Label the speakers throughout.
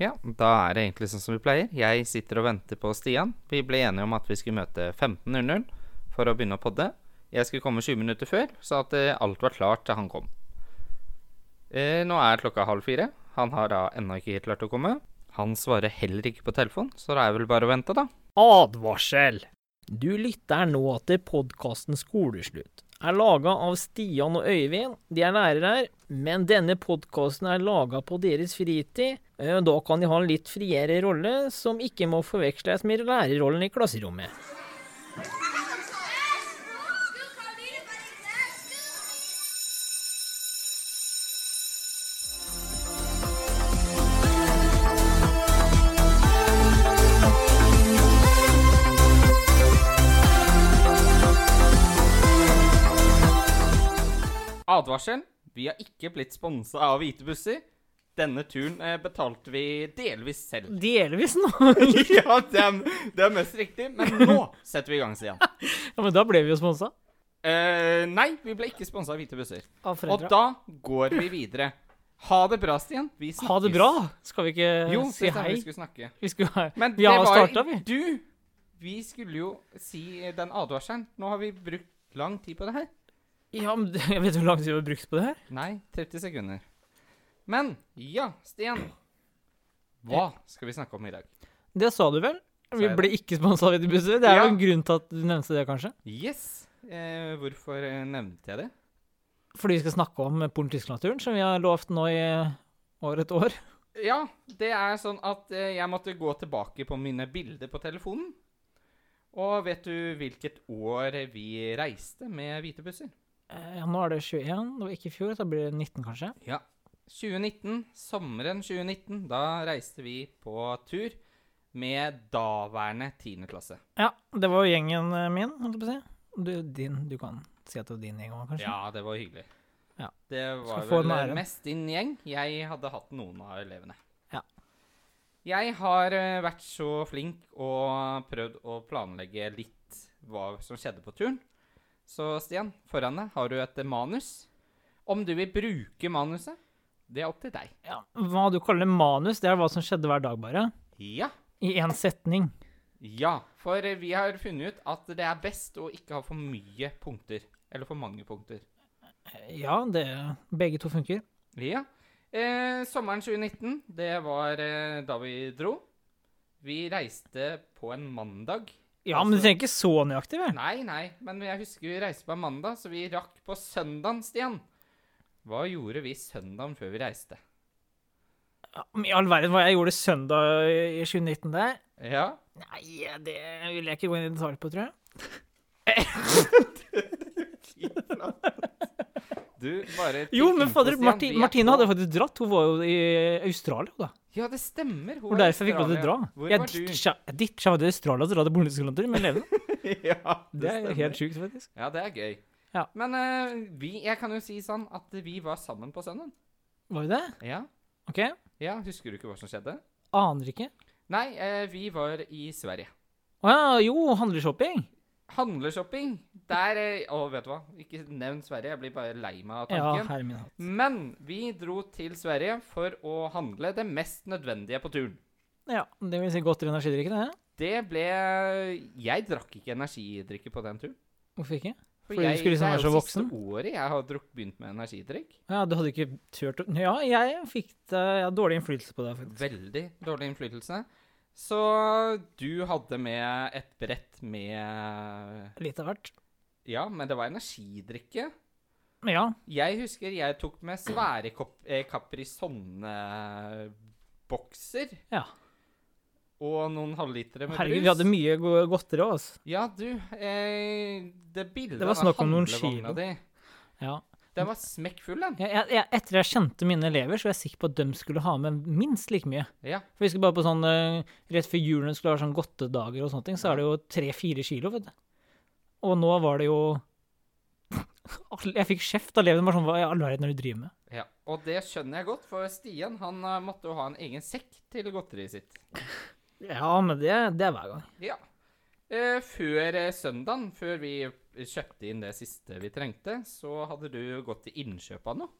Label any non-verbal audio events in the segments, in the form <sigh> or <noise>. Speaker 1: Ja, da er det egentlig sånn som vi pleier. Jeg sitter og venter på Stian. Vi ble enige om at vi skulle møte 15.00 for å begynne å podde. Jeg skulle komme 20 minutter før, så at eh, alt var klart til han kom. Eh, nå er klokka halv fire. Han har da ennå ikke helt klart å komme. Han svarer heller ikke på telefon, så det er vel bare å vente, da.
Speaker 2: Advarsel! Du lytter nå til podkasten Skoleslutt. Er laga av Stian og Øyvind. De er lærere her. Men denne podkasten er laga på deres fritid. Eh, Da kan de ha en litt friere rolle, som ikke må forveksles med lærerrollen i klasserommet.
Speaker 1: Advarsel! Vi har ikke blitt sponsa av Hvite busser. Denne turen eh, betalte vi delvis selv. <laughs>
Speaker 2: Delvis <laughs> nå.
Speaker 1: ja, det er, det er mest riktig, men nå setter vi i gang, Stian.
Speaker 2: Ja, men da ble vi jo sponsa.
Speaker 1: Eh, nei, vi ble ikke sponsa av Hvite busser.
Speaker 2: Av
Speaker 1: Og
Speaker 2: foreldra.
Speaker 1: da går vi videre. Ha det bra, Stian. Vi snakkes.
Speaker 2: Ha det bra! Skal vi ikke
Speaker 1: Jo,
Speaker 2: si
Speaker 1: det er
Speaker 2: hei?
Speaker 1: vi skulle snakke.
Speaker 2: Vi, skulle,
Speaker 1: Men
Speaker 2: vi
Speaker 1: det
Speaker 2: har
Speaker 1: var
Speaker 2: starta, vi.
Speaker 1: du. Vi skulle jo si den advarselen. Nå har vi brukt lang tid på det her.
Speaker 2: Ja, men <laughs> jeg vet du hvor lang tid vi har brukt på det her?
Speaker 1: Nei, 30 sekunder. Men ja, Stian. Hva skal vi snakke om i dag?
Speaker 2: Det sa du vel?
Speaker 1: Sa
Speaker 2: Vi
Speaker 1: jeg
Speaker 2: ble ikke sponsa av Eddie Busser. Det er jo
Speaker 1: Ja.
Speaker 2: en grunn til at du nevnte det, kanskje?
Speaker 1: Yes. Eh, hvorfor eh, nevnte jeg det?
Speaker 2: Fordi vi skal snakke om Porn-Tyskland-turen, som vi har lovt nå i over et år.
Speaker 1: Ja, det er sånn at eh, jeg måtte gå tilbake på mine bilder på telefonen. Og vet du hvilket år vi reiste med hvite busser?
Speaker 2: Eh, Ja, nå er det 21, det var ikke i fjor, så da blir det 19, kanskje.
Speaker 1: Ja. 2019, sommeren 2019, da reiste vi på tur med daværende 10. klasse.
Speaker 2: Ja, det var jo gjengen eh, min, holdt jeg på å si. Du, din, du kan si at det var din gjeng òg, kanskje.
Speaker 1: Ja, det var hyggelig.
Speaker 2: Ja.
Speaker 1: Det var
Speaker 2: Skal få
Speaker 1: vel
Speaker 2: den æren.
Speaker 1: mest din gjeng. Jeg hadde hatt noen av elevene.
Speaker 2: Ja.
Speaker 1: Jeg har eh, vært så flink og prøvd å planlegge litt hva som skjedde på turen. Så Stian, foran deg har du et eh, manus. Om du vil bruke manuset, det er opp til deg.
Speaker 2: Ja. Hva du kaller manus, det er hva som skjedde hver dag, bare.
Speaker 1: Ja.
Speaker 2: I én setning.
Speaker 1: Ja, for eh, vi har funnet ut at det er best å ikke ha for mye punkter. Eller for mange punkter.
Speaker 2: Eh, Ja, det Begge to funker.
Speaker 1: Ja. Eh, sommeren 2019, det var eh, da vi dro. Vi reiste på en mandag.
Speaker 2: Ja, men du trenger ikke så nøyaktig, vel?
Speaker 1: Nei, nei, men jeg husker vi reiste på en mandag, så vi rakk på søndagen, Stian. Hva gjorde vi søndagen før vi reiste?
Speaker 2: Ja, men I all verden, hva jeg gjorde søndag i 2019 der?
Speaker 1: Ja,
Speaker 2: Nei, det vil jeg ikke gå inn i detalj på, tror jeg.
Speaker 1: du bare
Speaker 2: Jo,
Speaker 1: fikk
Speaker 2: men
Speaker 1: info,
Speaker 2: fader,
Speaker 1: Stian.
Speaker 2: Marti,
Speaker 1: Vi er
Speaker 2: Martine
Speaker 1: på-
Speaker 2: hadde faktisk dratt. Hun var jo i Australia, da.
Speaker 1: Ja, det stemmer. Hun
Speaker 2: Og
Speaker 1: er
Speaker 2: derfor fikk hun til å dra.
Speaker 1: Australia. Hvor
Speaker 2: Jeg
Speaker 1: var <laughs> du?
Speaker 2: ditcha jeg ditcha jo til Australia og dra til Bondeskolontur med
Speaker 1: <laughs>
Speaker 2: levende.
Speaker 1: ja,
Speaker 2: Det er jo
Speaker 1: stemmer.
Speaker 2: helt sjukt, faktisk.
Speaker 1: Ja, det er gøy.
Speaker 2: Ja.
Speaker 1: Men eh, vi, jeg kan jo si sånn at vi var sammen på søndag.
Speaker 2: Var jo det?
Speaker 1: Ja.
Speaker 2: OK.
Speaker 1: ja, husker du ikke hva som skjedde?
Speaker 2: Aner ikke.
Speaker 1: Nei, eh, vi var i Sverige.
Speaker 2: Å ja, jo, handleshopping.
Speaker 1: Handleshopping. Der eh, Å, vet du hva? Ikke nevn Sverige, jeg blir bare lei meg av
Speaker 2: Ja,
Speaker 1: tanken.
Speaker 2: herre min hatt.
Speaker 1: Men vi dro til Sverige for å handle det mest nødvendige på turen.
Speaker 2: Ja, det vil si godteri og energidrikke, det.
Speaker 1: Det ble Jeg drakk ikke energidrikke på den turen.
Speaker 2: Hvorfor ikke?
Speaker 1: For
Speaker 2: Fordi du skulle liksom være så
Speaker 1: Det er jo siste året jeg har drukk, begynt med energidrikk.
Speaker 2: Ja, du hadde ikke turt å Ja, jeg fikk det Jeg hadde dårlig innflytelse på det, faktisk.
Speaker 1: Veldig dårlig innflytelse. Så du hadde med et brett med
Speaker 2: Litt av hvert.
Speaker 1: Ja, men det var energidrikke.
Speaker 2: Men ja.
Speaker 1: Jeg husker jeg tok med svære kop- eh, Caprisonne-bokser.
Speaker 2: Ja.
Speaker 1: Og noen halvlitere med
Speaker 2: Herregud,
Speaker 1: brus.
Speaker 2: vi hadde mye go- godteri òg, altså.
Speaker 1: Ja, du eh, Det bildet
Speaker 2: Det var snakk om noen kilo.
Speaker 1: Di,
Speaker 2: Ja.
Speaker 1: den var smekkfull, den.
Speaker 2: Jeg, jeg, jeg, etter jeg kjente mine elever, så var jeg sikker på at de skulle ha med minst like mye.
Speaker 1: Ja.
Speaker 2: For vi skal bare på sånn eh, Rett før julen skulle ha sånn godtedager og sånne ting, så er det jo tre-fire kilo, vet du. Og nå var det jo <laughs> Alle- Jeg fikk kjeft av elevene. Bare sånn Hva i all verden er det du driver med?
Speaker 1: ja. Og det skjønner jeg godt, for Stian han eh, måtte jo ha en egen sekk til godteriet sitt.
Speaker 2: Ja, men det, det er hver gang.
Speaker 1: Ja. Eh, før eh, søndagen, før vi kjøpte inn det siste vi trengte, så hadde du gått til innkjøp av noe.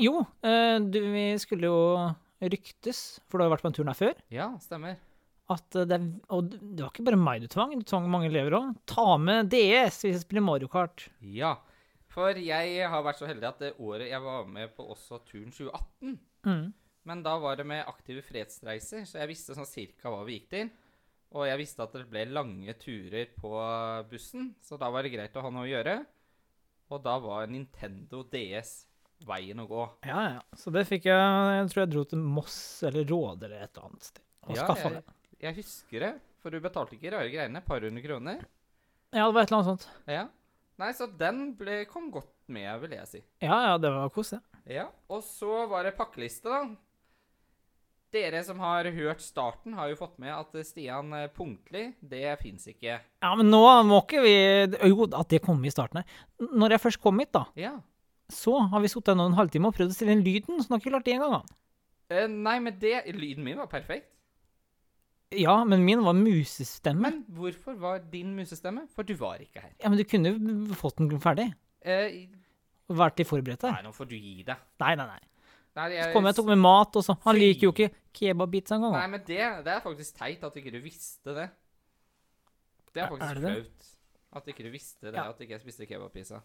Speaker 2: Jo, eh, du, vi skulle jo ryktes, for du har jo vært på den turen her før,
Speaker 1: Ja, stemmer.
Speaker 2: at eh, det er Og det var ikke bare meg du tvang, du tvang mange elever òg. Ta med DS hvis jeg spiller Mario Kart.
Speaker 1: Ja. For jeg har vært så heldig at det året jeg var med på også turen 2018
Speaker 2: Mm.
Speaker 1: Men da var det med aktive fredsreiser, så jeg visste sånn cirka hva vi gikk til. Og jeg visste at det ble lange turer på bussen, så da var det greit å ha noe å gjøre. Og da var Nintendo DS veien å gå.
Speaker 2: Ja, ja. Så det fikk jeg Jeg tror jeg dro til Moss eller Råde eller et eller annet sted. Og
Speaker 1: Ja,
Speaker 2: skaffa
Speaker 1: jeg,
Speaker 2: det.
Speaker 1: jeg husker det, for du betalte ikke rare greiene. Et par hundre kroner.
Speaker 2: Ja, det var et eller annet sånt.
Speaker 1: Ja. Nei, så den ble, kom godt med, vil jeg si.
Speaker 2: Ja, ja, det var kos, det.
Speaker 1: Ja, og så var det pakkeliste, da. Dere som har hørt starten, har jo fått med at Stian eh, punktlig, det fins ikke.
Speaker 2: Ja, men nå må ikke vi Jo, at det kom i starten her. Når jeg først kom hit, da,
Speaker 1: Ja.
Speaker 2: så har vi sittet nå en halvtime og prøvd å stille inn lyden, så nå har ikke klart det engang. han.
Speaker 1: Eh, nei, men det Lyden min var perfekt.
Speaker 2: Ja, men min var musestemme.
Speaker 1: Men hvorfor var din musestemme? For du var ikke her.
Speaker 2: Ja, men du kunne jo fått den ferdig.
Speaker 1: Eh,
Speaker 2: og Vært litt forberedt der.
Speaker 1: nei, nå får du gi deg.
Speaker 2: Nei, nei, nei.
Speaker 1: Nei,
Speaker 2: Så
Speaker 1: jeg-
Speaker 2: kom jeg og tok med mat, og så Han
Speaker 1: Fy.
Speaker 2: liker jo ikke kebabbits engang.
Speaker 1: nei
Speaker 2: han.
Speaker 1: men det, det er faktisk teit at ikke du visste det. Det er
Speaker 2: Er-
Speaker 1: faktisk
Speaker 2: er det det?
Speaker 1: flaut. At ikke du visste det,
Speaker 2: Ja.
Speaker 1: at ikke jeg spiste kebabpizza.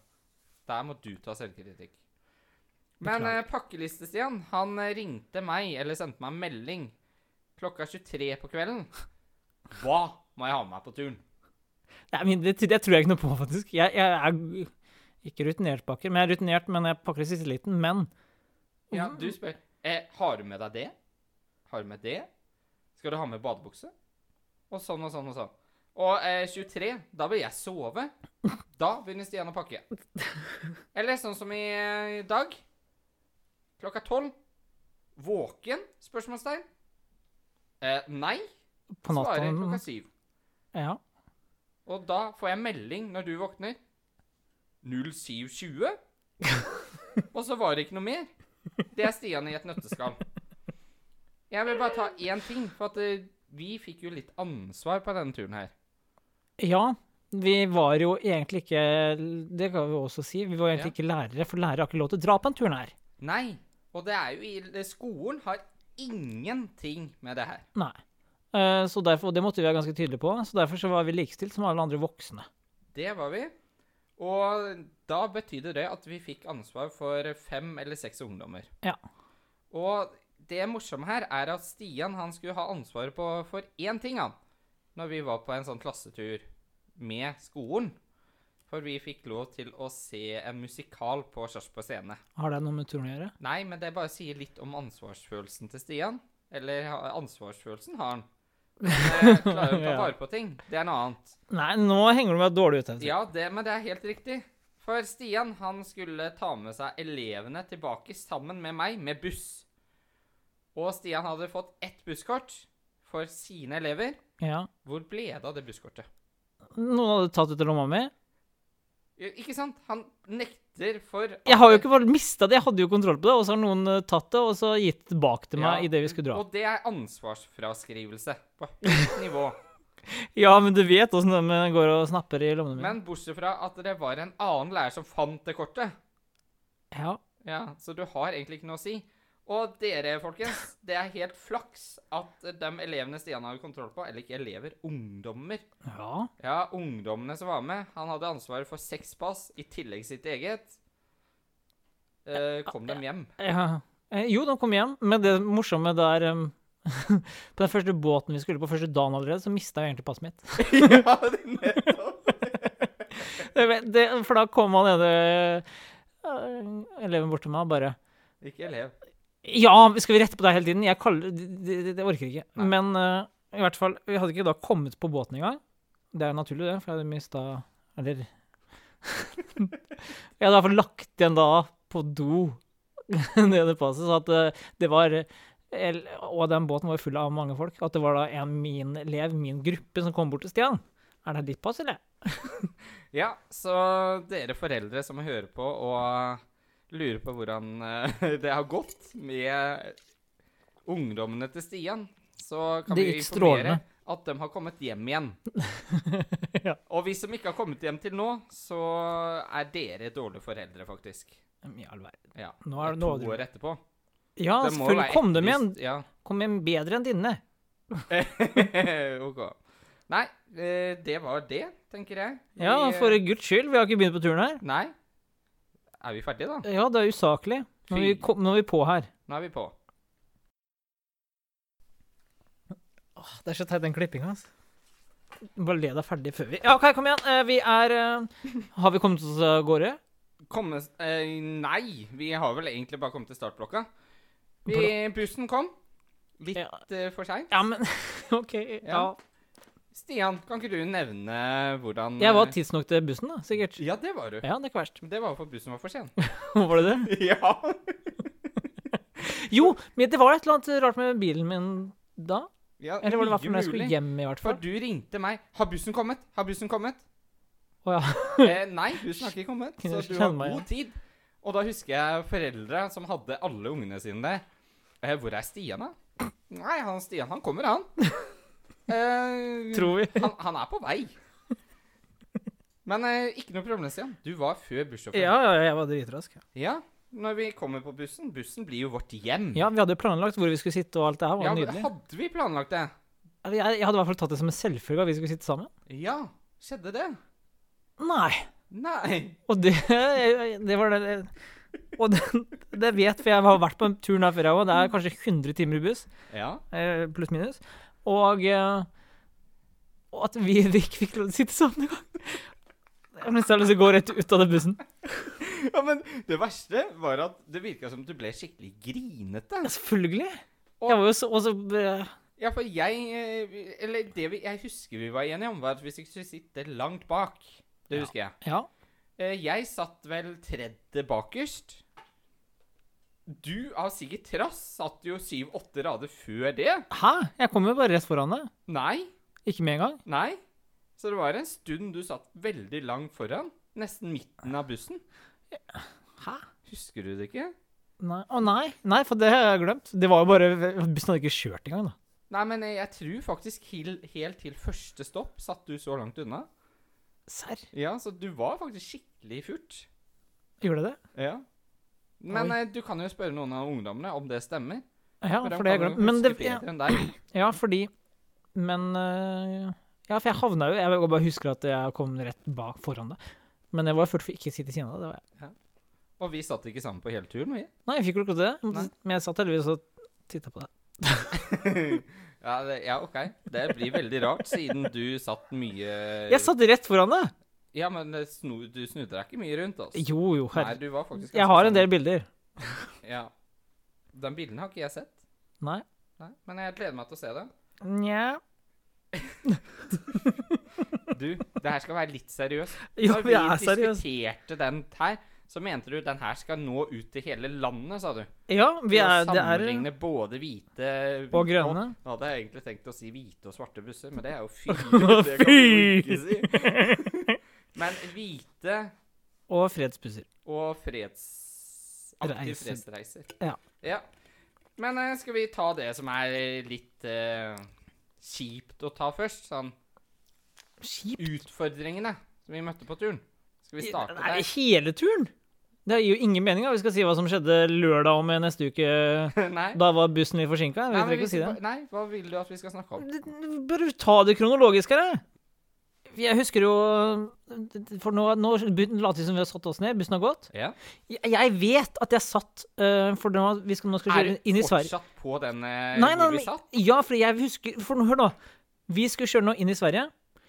Speaker 1: Der må du ta selvkritikk. Men
Speaker 2: Beklager.
Speaker 1: eh, Pakkeliste-Stian, han eh, ringte meg, eller sendte meg en melding, klokka 23 på kvelden. Hva må jeg ha med meg på turen?
Speaker 2: Nei, men det, det tror jeg ikke noe på, faktisk. Jeg, jeg er ikke rutinert pakker, men jeg er rutinert, men jeg pakker i siste liten. Men
Speaker 1: Ja, du spør eh, Har du med deg det? Har du med det? Skal du ha med badebukse? Og sånn og sånn og sånn. Og eh, 23, da vil jeg sove. Da begynner Stian å pakke. Eller sånn som i eh, i dag. Klokka tolv. Våken? Spørsmålstegn. Eh, nei,
Speaker 2: på
Speaker 1: svarer
Speaker 2: natta
Speaker 1: klokka syv.
Speaker 2: Ja.
Speaker 1: Og da får jeg melding når du våkner. 0720? Og så var det ikke noe mer. Det er Stian i et nøtteskall. Jeg vil bare ta én ting, for at eh, vi fikk jo litt ansvar på denne turen her.
Speaker 2: ja. Vi var jo egentlig ikke Det kan vi også si. Vi var egentlig
Speaker 1: Ja.
Speaker 2: ikke lærere, for lærere har ikke lov til å dra på den turen her.
Speaker 1: Nei, og det er jo i Skolen har ingenting med det her.
Speaker 2: Nei. Eh, Så derfor, og det måtte vi være ganske tydelige på, så derfor så var vi likestilt som alle andre voksne.
Speaker 1: Det var vi. Og da betydde det at vi fikk ansvar for fem eller seks ungdommer.
Speaker 2: Ja.
Speaker 1: Og det morsomme her er at Stian han skulle ha ansvaret på, for én ting, han. Når vi var på en sånn klassetur med skolen. For vi fikk lov til å se en musikal på Sarpsborg scene.
Speaker 2: Har det noe med turen å gjøre?
Speaker 1: Nei, men det bare sier litt om ansvarsfølelsen til Stian. Eller ha- ansvarsfølelsen har han. Men jeg klarer å ta
Speaker 2: <laughs> Ja.
Speaker 1: vare på ting. Det er noe annet.
Speaker 2: Nei, nå henger du meg dårlig ut. Henrik.
Speaker 1: Ja, det, men det er helt riktig. For Stian han skulle ta med seg elevene tilbake sammen med meg med buss. Og Stian hadde fått ett busskort for sine elever.
Speaker 2: Ja.
Speaker 1: Hvor ble det av det busskortet?
Speaker 2: Noen hadde tatt ut av lomma mi.
Speaker 1: I- Ikke sant? Han nekter for at-
Speaker 2: Jeg har jo ikke bare mista det, jeg hadde jo kontroll på det, og så har noen eh, tatt det, og så gitt det tilbake til meg
Speaker 1: Ja,
Speaker 2: i det vi skulle dra.
Speaker 1: Og det er ansvarsfraskrivelse på høyt
Speaker 2: <laughs>
Speaker 1: nivå.
Speaker 2: Ja, men du vet åssen de går og snapper i lommene mine.
Speaker 1: Men bortsett fra at det var en annen lærer som fant det kortet.
Speaker 2: Ja.
Speaker 1: Ja, så du har egentlig ikke noe å si. Og dere, folkens, det er helt flaks at de elevene Stian hadde kontroll på, eller ikke elever, ungdommer.
Speaker 2: ja.
Speaker 1: Ja, ungdommene som var med. Han hadde ansvaret for seks pass, i tillegg sitt eget. Eh, kom dem hjem.
Speaker 2: Ja. Eh, Jo, de kom hjem, men det morsomme der em, <laughs> På den første båten vi skulle på, første dagen allerede, så mista jeg egentlig passet mitt.
Speaker 1: <laughs>
Speaker 2: <laughs>
Speaker 1: ja, det er nettopp.
Speaker 2: Det, det, for da kom han ene eh, eleven bort til meg og bare
Speaker 1: Ikke elev.
Speaker 2: Ja, skal vi rette på deg hele tiden? Jeg kaller Det, det, det, det orker jeg ikke.
Speaker 1: Nei.
Speaker 2: Men eh, i hvert fall, vi hadde ikke da kommet på båten engang. Det er naturlig, det, for jeg hadde mista Eller <laughs> Jeg hadde i hvert fall lagt igjen da på do <laughs> nede passet, så at eh, det var el- Og den båten var jo full av mange folk. At det var da en min elev, min gruppe, som kom bort til Stian. Er det ditt pass, eller?
Speaker 1: Ja, så dere foreldre som hører på og lurer på hvordan eh, <laughs> det har gått med ungdommene til Stian, så kan
Speaker 2: Det
Speaker 1: vi
Speaker 2: gikk
Speaker 1: informere
Speaker 2: strålende.
Speaker 1: at de har kommet hjem
Speaker 2: <laughs>
Speaker 1: igjen.
Speaker 2: Ja.
Speaker 1: Og vi som ikke har kommet hjem til nå, så er dere dårlige foreldre, faktisk.
Speaker 2: I all verden.
Speaker 1: Ja.
Speaker 2: Nå er det
Speaker 1: to
Speaker 2: nå
Speaker 1: år etterpå.
Speaker 2: Ja,
Speaker 1: Det må jo
Speaker 2: selvfølgelig
Speaker 1: være
Speaker 2: kom de med en,
Speaker 1: etterlyst- Ja. <laughs>
Speaker 2: kom med en bedre enn dine.
Speaker 1: ok. Nei, eh, det var det, tenker jeg.
Speaker 2: Ja,
Speaker 1: Vi, eh,
Speaker 2: for guds skyld, vi har ikke begynt på turen her.
Speaker 1: Nei. Er vi ferdige, da?
Speaker 2: Ja, det er usaklig. Nå er vi,
Speaker 1: Fy.
Speaker 2: kom, nå er vi på her.
Speaker 1: Nå er vi på.
Speaker 2: Ah, Det er så teit, den klippinga. Bare le deg ferdig før vi Ja, OK, kom igjen. Eh, Vi er eh, Har vi kommet oss av gårde?
Speaker 1: Komme eh, Nei, vi har vel egentlig bare kommet til startblokka. Vi, bussen kom. Litt
Speaker 2: Ja.
Speaker 1: eh, for seint.
Speaker 2: Ja, men <laughs> OK. Ja.
Speaker 1: Ja. Stian, kan ikke du nevne hvordan
Speaker 2: Jeg var
Speaker 1: eh,
Speaker 2: tidsnok til bussen, da. Sikkert.
Speaker 1: Ja, det var du.
Speaker 2: Ja, det er ikke verst.
Speaker 1: Det var jo for bussen var for sen.
Speaker 2: <laughs> Var det det?
Speaker 1: ja.
Speaker 2: Jo, men det var et eller annet rart med bilen min da.
Speaker 1: ja
Speaker 2: Eller var det i
Speaker 1: mye
Speaker 2: hvert fall når jeg skulle
Speaker 1: mulig.
Speaker 2: hjem, i hvert
Speaker 1: For
Speaker 2: fall.
Speaker 1: du ringte meg. 'Har bussen kommet?' 'Har bussen kommet?'
Speaker 2: Å ja.
Speaker 1: Eh, nei, bussen har ikke kommet, så
Speaker 2: Kunne
Speaker 1: du har
Speaker 2: kjenne meg
Speaker 1: god tid. Og da husker jeg foreldre som hadde alle ungene sine der. Eh, 'Hvor er Stian, da?' 'Nei, han Stian, han kommer,
Speaker 2: <laughs>
Speaker 1: han'. Eh,
Speaker 2: Tror vi.
Speaker 1: han, han er på vei. Men eh, ikke noe problem, Stian. Du var før bussjåføren.
Speaker 2: <laughs> Ja, ja, jeg var dritrask. ja.
Speaker 1: Når vi kommer på bussen Bussen blir jo vårt hjem.
Speaker 2: Ja, vi hadde jo planlagt hvor vi skulle sitte, og alt det her var
Speaker 1: Ja,
Speaker 2: jo
Speaker 1: men
Speaker 2: nydelig.
Speaker 1: Hadde vi planlagt det?
Speaker 2: Eller Jeg, jeg hadde i hvert fall tatt det som en selvfølge at vi skulle sitte sammen.
Speaker 1: Ja. Skjedde det?
Speaker 2: Nei.
Speaker 1: Nei.
Speaker 2: Og det, <laughs> det var det Og det, det vet for jeg har vært på en turen her før, jeg òg. Det er kanskje 100 timer i buss,
Speaker 1: Ja.
Speaker 2: eh, pluss minus. Og, eh, og at vi <laughs> ikke fikk lov til å sitte sammen engang. Jeg har nesten lyst til å gå rett ut av den bussen.
Speaker 1: Ja, men det verste var at det virka som du ble skikkelig grinete.
Speaker 2: Ja, Selvfølgelig. Jeg var jo så, og så eh,
Speaker 1: Ja, for jeg eh, Eller det vi, jeg husker vi var enige om, var at vi skulle sitte langt bak. Det husker jeg.
Speaker 2: Ja.
Speaker 1: Eh, Jeg satt vel tredje bakerst. Du av Sigurd Trass satt jo syv-åtte rader før det.
Speaker 2: Hæ? Jeg kom jo bare rett foran deg.
Speaker 1: Nei.
Speaker 2: Ikke med engang.
Speaker 1: Nei. Så det var en stund du satt veldig langt foran. Nesten midten av bussen.
Speaker 2: Hæ?
Speaker 1: Husker du det ikke?
Speaker 2: Nei. Å nei. nei, for det har jeg glemt. Det var jo bare Bussen hadde ikke kjørt engang, da.
Speaker 1: Nei, men jeg jeg tror faktisk hil- helt til første stopp satt du så langt unna.
Speaker 2: Serr?
Speaker 1: Ja, så du var faktisk skikkelig furt.
Speaker 2: Gjorde jeg det?
Speaker 1: Ja. Men
Speaker 2: Oi.
Speaker 1: eh, du kan jo spørre noen av ungdommene om det stemmer.
Speaker 2: Ja,
Speaker 1: de
Speaker 2: for det har jeg
Speaker 1: kan jo
Speaker 2: glemt. Men det,
Speaker 1: huske bedre enn deg.
Speaker 2: Ja, fordi Men øh, Ja, for jeg havna jo Jeg bare husker at jeg kom rett bak foran deg. Men jeg var ført for ikke å sitte i siden av deg. det var jeg.
Speaker 1: Og vi satt ikke sammen på hele turen, vi.
Speaker 2: Nei, jeg fikk jo ikke lov til det. Jeg
Speaker 1: Nei.
Speaker 2: måtte, men jeg satt heldigvis og titta på deg.
Speaker 1: Ja, det, ja, OK. Det blir veldig rart, siden du satt mye
Speaker 2: Jeg satt rett foran deg!
Speaker 1: Ja, men det snu, du snudde deg ikke mye rundt, altså.
Speaker 2: Jo, jo,
Speaker 1: Nei,
Speaker 2: herre.
Speaker 1: du var faktisk
Speaker 2: Jeg har en del bilder.
Speaker 1: bilder. Ja. Den bilden har ikke jeg sett.
Speaker 2: Nei.
Speaker 1: Nei. Men jeg gleder meg til å se det.
Speaker 2: Nja
Speaker 1: Du, det her skal være litt seriøst.
Speaker 2: <laughs> Jo,
Speaker 1: Når vi
Speaker 2: jeg er seriøs.
Speaker 1: diskuterte den her, så mente du den her skal nå ut til hele landet, sa du.
Speaker 2: Ja, vi
Speaker 1: Ved å
Speaker 2: er Det er
Speaker 1: Sammenligne både hvite
Speaker 2: Og grønne.
Speaker 1: Nå hadde jeg egentlig tenkt å si hvite og svarte busser, men det
Speaker 2: <laughs>
Speaker 1: er jo fy! Det kan
Speaker 2: Fy!
Speaker 1: du ikke si.
Speaker 2: <laughs>
Speaker 1: Men hvite
Speaker 2: Og fredspusser.
Speaker 1: og freds... Aktiv
Speaker 2: Reiser.
Speaker 1: fredsreiser.
Speaker 2: Ja.
Speaker 1: ja. Men eh, skal vi ta det som er eh, litt eh, kjipt å ta først? Sånn
Speaker 2: Skip?
Speaker 1: utfordringene som vi møtte på turen. Skal vi starte
Speaker 2: Nei,
Speaker 1: der?
Speaker 2: hele turen? Det gir jo ingen mening. da. Vi skal si hva som skjedde lørdag om neste uke.
Speaker 1: Nei.
Speaker 2: Da var bussen litt forsinka.
Speaker 1: Nei,
Speaker 2: Vi
Speaker 1: men
Speaker 2: trenger
Speaker 1: vi
Speaker 2: ikke å si det.
Speaker 1: skal- nei, hva vil du at vi skal snakke om?
Speaker 2: Det- Bør du ta det kronologisk her, jeg? Jeg husker jo For nå, nå later vi som vi har satt oss ned. Bussen har gått.
Speaker 1: Ja.
Speaker 2: Jeg, jeg vet at jeg satt øh, For nå, vi skal, nå skal vi
Speaker 1: Er
Speaker 2: kjøre
Speaker 1: du
Speaker 2: inn i Sverige.
Speaker 1: fortsatt på den eh,
Speaker 2: Nei, nei,
Speaker 1: hvor vi
Speaker 2: nei,
Speaker 1: satt?
Speaker 2: ja, for jeg husker For nå, hør nå. Vi skulle kjøre nå inn i Sverige.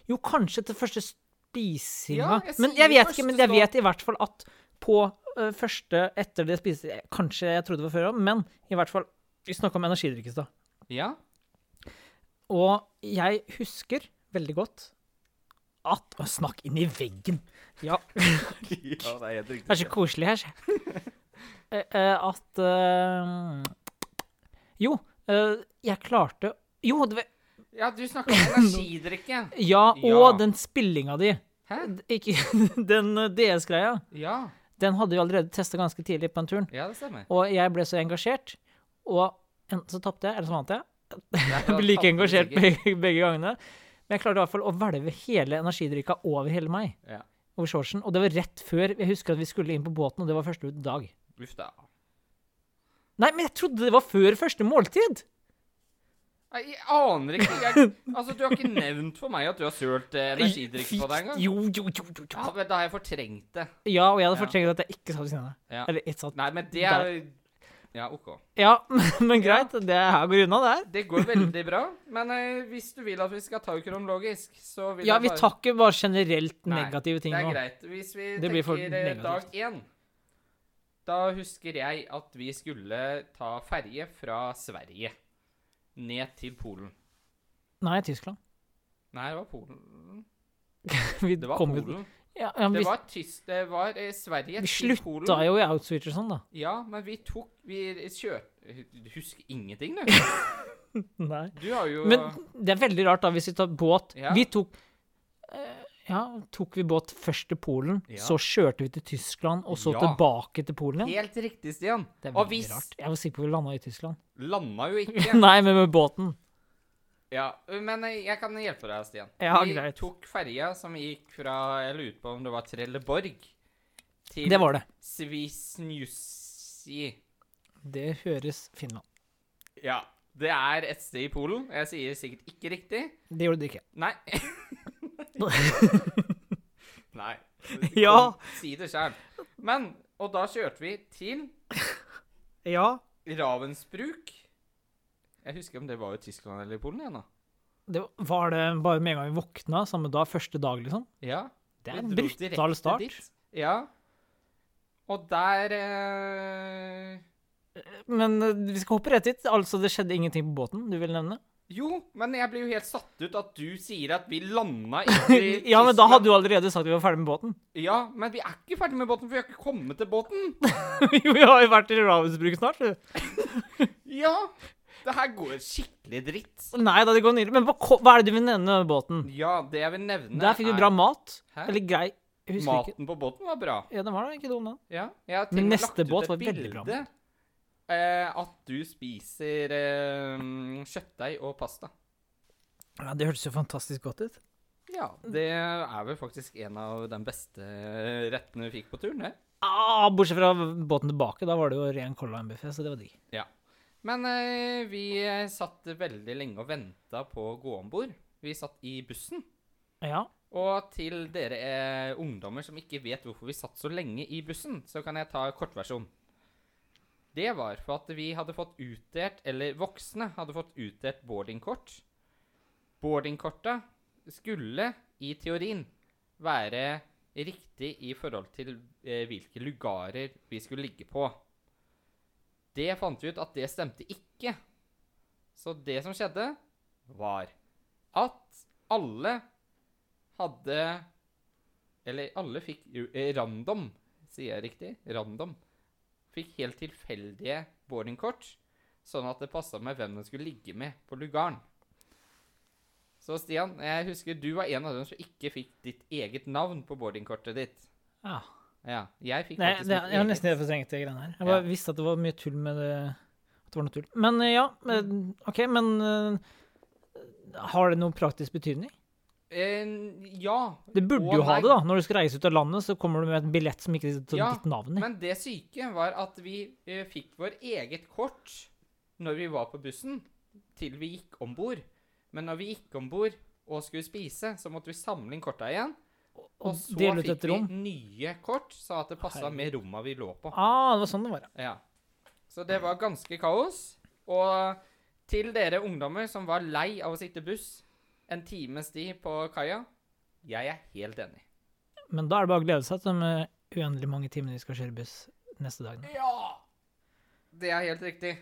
Speaker 2: Jo, kanskje til første spisinga.
Speaker 1: Ja, jeg
Speaker 2: men
Speaker 1: sier
Speaker 2: jeg vet
Speaker 1: første
Speaker 2: ikke, men jeg
Speaker 1: stopp.
Speaker 2: vet i hvert fall at på øh, første etter det spiste Kanskje jeg trodde det var før òg, men i hvert fall Vi snakka om energidrikk i stad.
Speaker 1: Ja.
Speaker 2: Og jeg husker veldig godt at Å, snakk inn i veggen! Ja, det
Speaker 1: <laughs> ja, det er helt
Speaker 2: er så koselig her, se.
Speaker 1: <laughs>
Speaker 2: Eh, eh, At eh, Jo, eh, jeg klarte Jo, det var
Speaker 1: Ja, du snakker
Speaker 2: <laughs>
Speaker 1: om energidrikke.
Speaker 2: Ja, og
Speaker 1: Ja.
Speaker 2: den spillinga di.
Speaker 1: Hæ?
Speaker 2: Ikke <laughs> Den eh, DS-greia.
Speaker 1: Ja.
Speaker 2: Den hadde vi allerede testa ganske tidlig på den turen.
Speaker 1: Ja, det stemmer.
Speaker 2: Og jeg ble så engasjert. Og enten så tapte jeg, eller så vant jeg.
Speaker 1: Jeg
Speaker 2: Jeg ble like engasjert begge, begge gangene. Men jeg klarte i hvert fall å hvelve hele energidrikka over hele meg.
Speaker 1: Ja.
Speaker 2: over shortsen. Og det var rett før Jeg husker at vi skulle inn på båten, og det var første dag.
Speaker 1: Uff da.
Speaker 2: Nei, men jeg trodde det var før første måltid!
Speaker 1: Nei, Jeg aner ikke. Jeg, altså, Du har ikke nevnt for meg at du har sølt eh, energidrikk på deg engang.
Speaker 2: Jo, jo, jo, jo,
Speaker 1: Ja,
Speaker 2: jo.
Speaker 1: men da har jeg fortrengt det.
Speaker 2: Ja, og jeg hadde
Speaker 1: Ja.
Speaker 2: fortrengt at jeg ikke satt ved siden av deg.
Speaker 1: Ja.
Speaker 2: Eller ett satt.
Speaker 1: Nei, men det er Ja, OK.
Speaker 2: Ja, <laughs> men greit. Det her går unna, det her.
Speaker 1: Det går veldig bra, men eh, hvis du vil at vi skal ta kronologisk, så vil
Speaker 2: Ja,
Speaker 1: jeg
Speaker 2: vi
Speaker 1: bare
Speaker 2: tar ikke bare generelt
Speaker 1: Nei,
Speaker 2: negative ting
Speaker 1: Det er
Speaker 2: nå.
Speaker 1: greit. Hvis vi
Speaker 2: Det blir for
Speaker 1: tenker eh, dag
Speaker 2: negativt.
Speaker 1: én Da husker jeg at vi skulle ta ferje fra Sverige ned til Polen.
Speaker 2: Nei, Tyskland. <laughs>
Speaker 1: Nei, det var Polen.
Speaker 2: Vi
Speaker 1: Det var
Speaker 2: kom jo-
Speaker 1: Polen.
Speaker 2: Ja, ja, men
Speaker 1: Det
Speaker 2: vi,
Speaker 1: var, tyst, det var eh, Sverige
Speaker 2: vi
Speaker 1: til Polen.
Speaker 2: slutta jo i Outsuite og sånn, da.
Speaker 1: Ja, men vi tok Vi kjørte Du husker ingenting, du.
Speaker 2: Nei.
Speaker 1: Du har jo
Speaker 2: Men det er veldig rart, da, hvis vi tar båt
Speaker 1: Ja.
Speaker 2: Vi tok eh, Ja, tok vi båt først til Polen,
Speaker 1: Ja.
Speaker 2: så kjørte vi til Tyskland, og så
Speaker 1: Ja.
Speaker 2: tilbake til Polen igjen?
Speaker 1: Helt riktig, Stian.
Speaker 2: Det er
Speaker 1: Og
Speaker 2: veldig
Speaker 1: vi s-
Speaker 2: rart. Jeg var sikker på vi landa i Tyskland.
Speaker 1: landa jo ikke.
Speaker 2: <laughs> Nei, men med båten.
Speaker 1: Ja, men eh, jeg kan hjelpe deg, Stian.
Speaker 2: Ja,
Speaker 1: vi
Speaker 2: greit.
Speaker 1: tok ferja som gikk fra Jeg lurer på om det var Trelleborg til
Speaker 2: Det var det.
Speaker 1: Svisnjussi.
Speaker 2: Det høres Finland.
Speaker 1: Ja. Det er et sted i Polen. Jeg sier sikkert ikke riktig.
Speaker 2: Det gjorde det ikke. <laughs>
Speaker 1: Nei. Nei.
Speaker 2: Ja.
Speaker 1: Kom, Si det sjøl. Men Og da kjørte vi til
Speaker 2: Ja.
Speaker 1: Ravensbruk. Jeg husker om det var i Tyskland eller i Polen igjen, da.
Speaker 2: Det var, var det bare med en gang vi våkna, samme dag, første dag, liksom?
Speaker 1: Ja.
Speaker 2: Det
Speaker 1: vi
Speaker 2: er en
Speaker 1: dro direkte
Speaker 2: brutal start.
Speaker 1: dit. Ja. Og der eh...
Speaker 2: Men eh, vi skal hoppe rett dit. Altså, det skjedde ingenting på båten du vil nevne?
Speaker 1: Jo, men jeg blir jo helt satt ut at du sier at vi landa ikke i
Speaker 2: <laughs> Ja, men da
Speaker 1: Tyskland.
Speaker 2: hadde du allerede sagt vi var ferdig med båten. <laughs>
Speaker 1: Ja, men vi er ikke ferdig med båten, for vi har ikke kommet til båten.
Speaker 2: <laughs> jo, vi har jo vært i Ravensbruk snart. du.
Speaker 1: Ja. Det her går skikkelig dritt.
Speaker 2: Nei da, det går nydelig. Men hva, ko- hva er det du vil nevne med båten?
Speaker 1: Ja, det jeg vil nevne
Speaker 2: Der fikk vi
Speaker 1: er-
Speaker 2: bra mat.
Speaker 1: Hæ?
Speaker 2: Eller grei Jeg husker ikke.
Speaker 1: Maten på båten var bra.
Speaker 2: Ja, den var da ikke dum, den.
Speaker 1: Ja, jeg har til
Speaker 2: Men
Speaker 1: og med
Speaker 2: neste
Speaker 1: lagt ut
Speaker 2: båt
Speaker 1: et
Speaker 2: var veldig bra.
Speaker 1: bilde, eh, at du spiser eh, kjøttdeig og pasta.
Speaker 2: Ja, det hørtes jo fantastisk godt ut.
Speaker 1: Ja, det er vel faktisk en av de beste rettene vi fikk på turen, det.
Speaker 2: Ah, bortsett fra båten tilbake. Da var det jo ren Color Line-buffé, så det var digg.
Speaker 1: Men eh, vi satt veldig lenge og venta på å gå om bord. Vi satt i bussen.
Speaker 2: Ja.
Speaker 1: Og til dere eh, ungdommer som ikke vet hvorfor vi satt så lenge i bussen, så kan jeg ta kortversjon. Det var for at vi hadde fått utdelt, eller voksne hadde fått utdelt boardingkort. Boardingkorta skulle, i teorien, være riktig i forhold til eh, hvilke lugarer vi skulle ligge på. Det fant vi ut at det stemte ikke. Så det som skjedde, var at alle hadde Eller alle fikk jo- eh, Random, sier jeg riktig? Random. Fikk helt tilfeldige boardingkort, sånn at det passa med hvem de skulle ligge med på lugaren. Så Stian, jeg husker du var en av dem som ikke fikk ditt eget navn på boardingkortet ditt.
Speaker 2: ja.
Speaker 1: Ja, jeg fikk
Speaker 2: Nei,
Speaker 1: faktisk
Speaker 2: det,
Speaker 1: mitt
Speaker 2: jeg har nesten
Speaker 1: eget.
Speaker 2: helt fortrengt det greiene her. Jeg bare
Speaker 1: Ja.
Speaker 2: visste at det var mye tull med det. At det var noe tull. Men eh, ja,
Speaker 1: Mm.
Speaker 2: men- OK, men eh, har det noen praktisk betydning?
Speaker 1: Eh, ja.
Speaker 2: Det burde
Speaker 1: og
Speaker 2: jo ha
Speaker 1: nei.
Speaker 2: det, da. Når du skal reise ut av landet, så kommer du med et billett som ikke det står
Speaker 1: Ja,
Speaker 2: ditt navn i.
Speaker 1: Men det syke var at vi eh, fikk vår eget kort når vi var på bussen, til vi gikk om bord. Men når vi gikk om bord og skulle spise, så måtte vi samle inn korta igjen. Og
Speaker 2: Og
Speaker 1: så
Speaker 2: dele ut
Speaker 1: fikk
Speaker 2: et
Speaker 1: vi
Speaker 2: rom.
Speaker 1: nye kort, så at det passa
Speaker 2: Herregud.
Speaker 1: med romma vi lå på.
Speaker 2: Ah, det var sånn det var. ja.
Speaker 1: Ja. Så det var ganske kaos. Og til dere ungdommer som var lei av å sitte buss en times tid på kaia, jeg er helt enig.
Speaker 2: Men da er det bare å glede seg til de eh, uendelig mange timene vi skal kjøre buss neste dag.
Speaker 1: Ja! Det er helt riktig.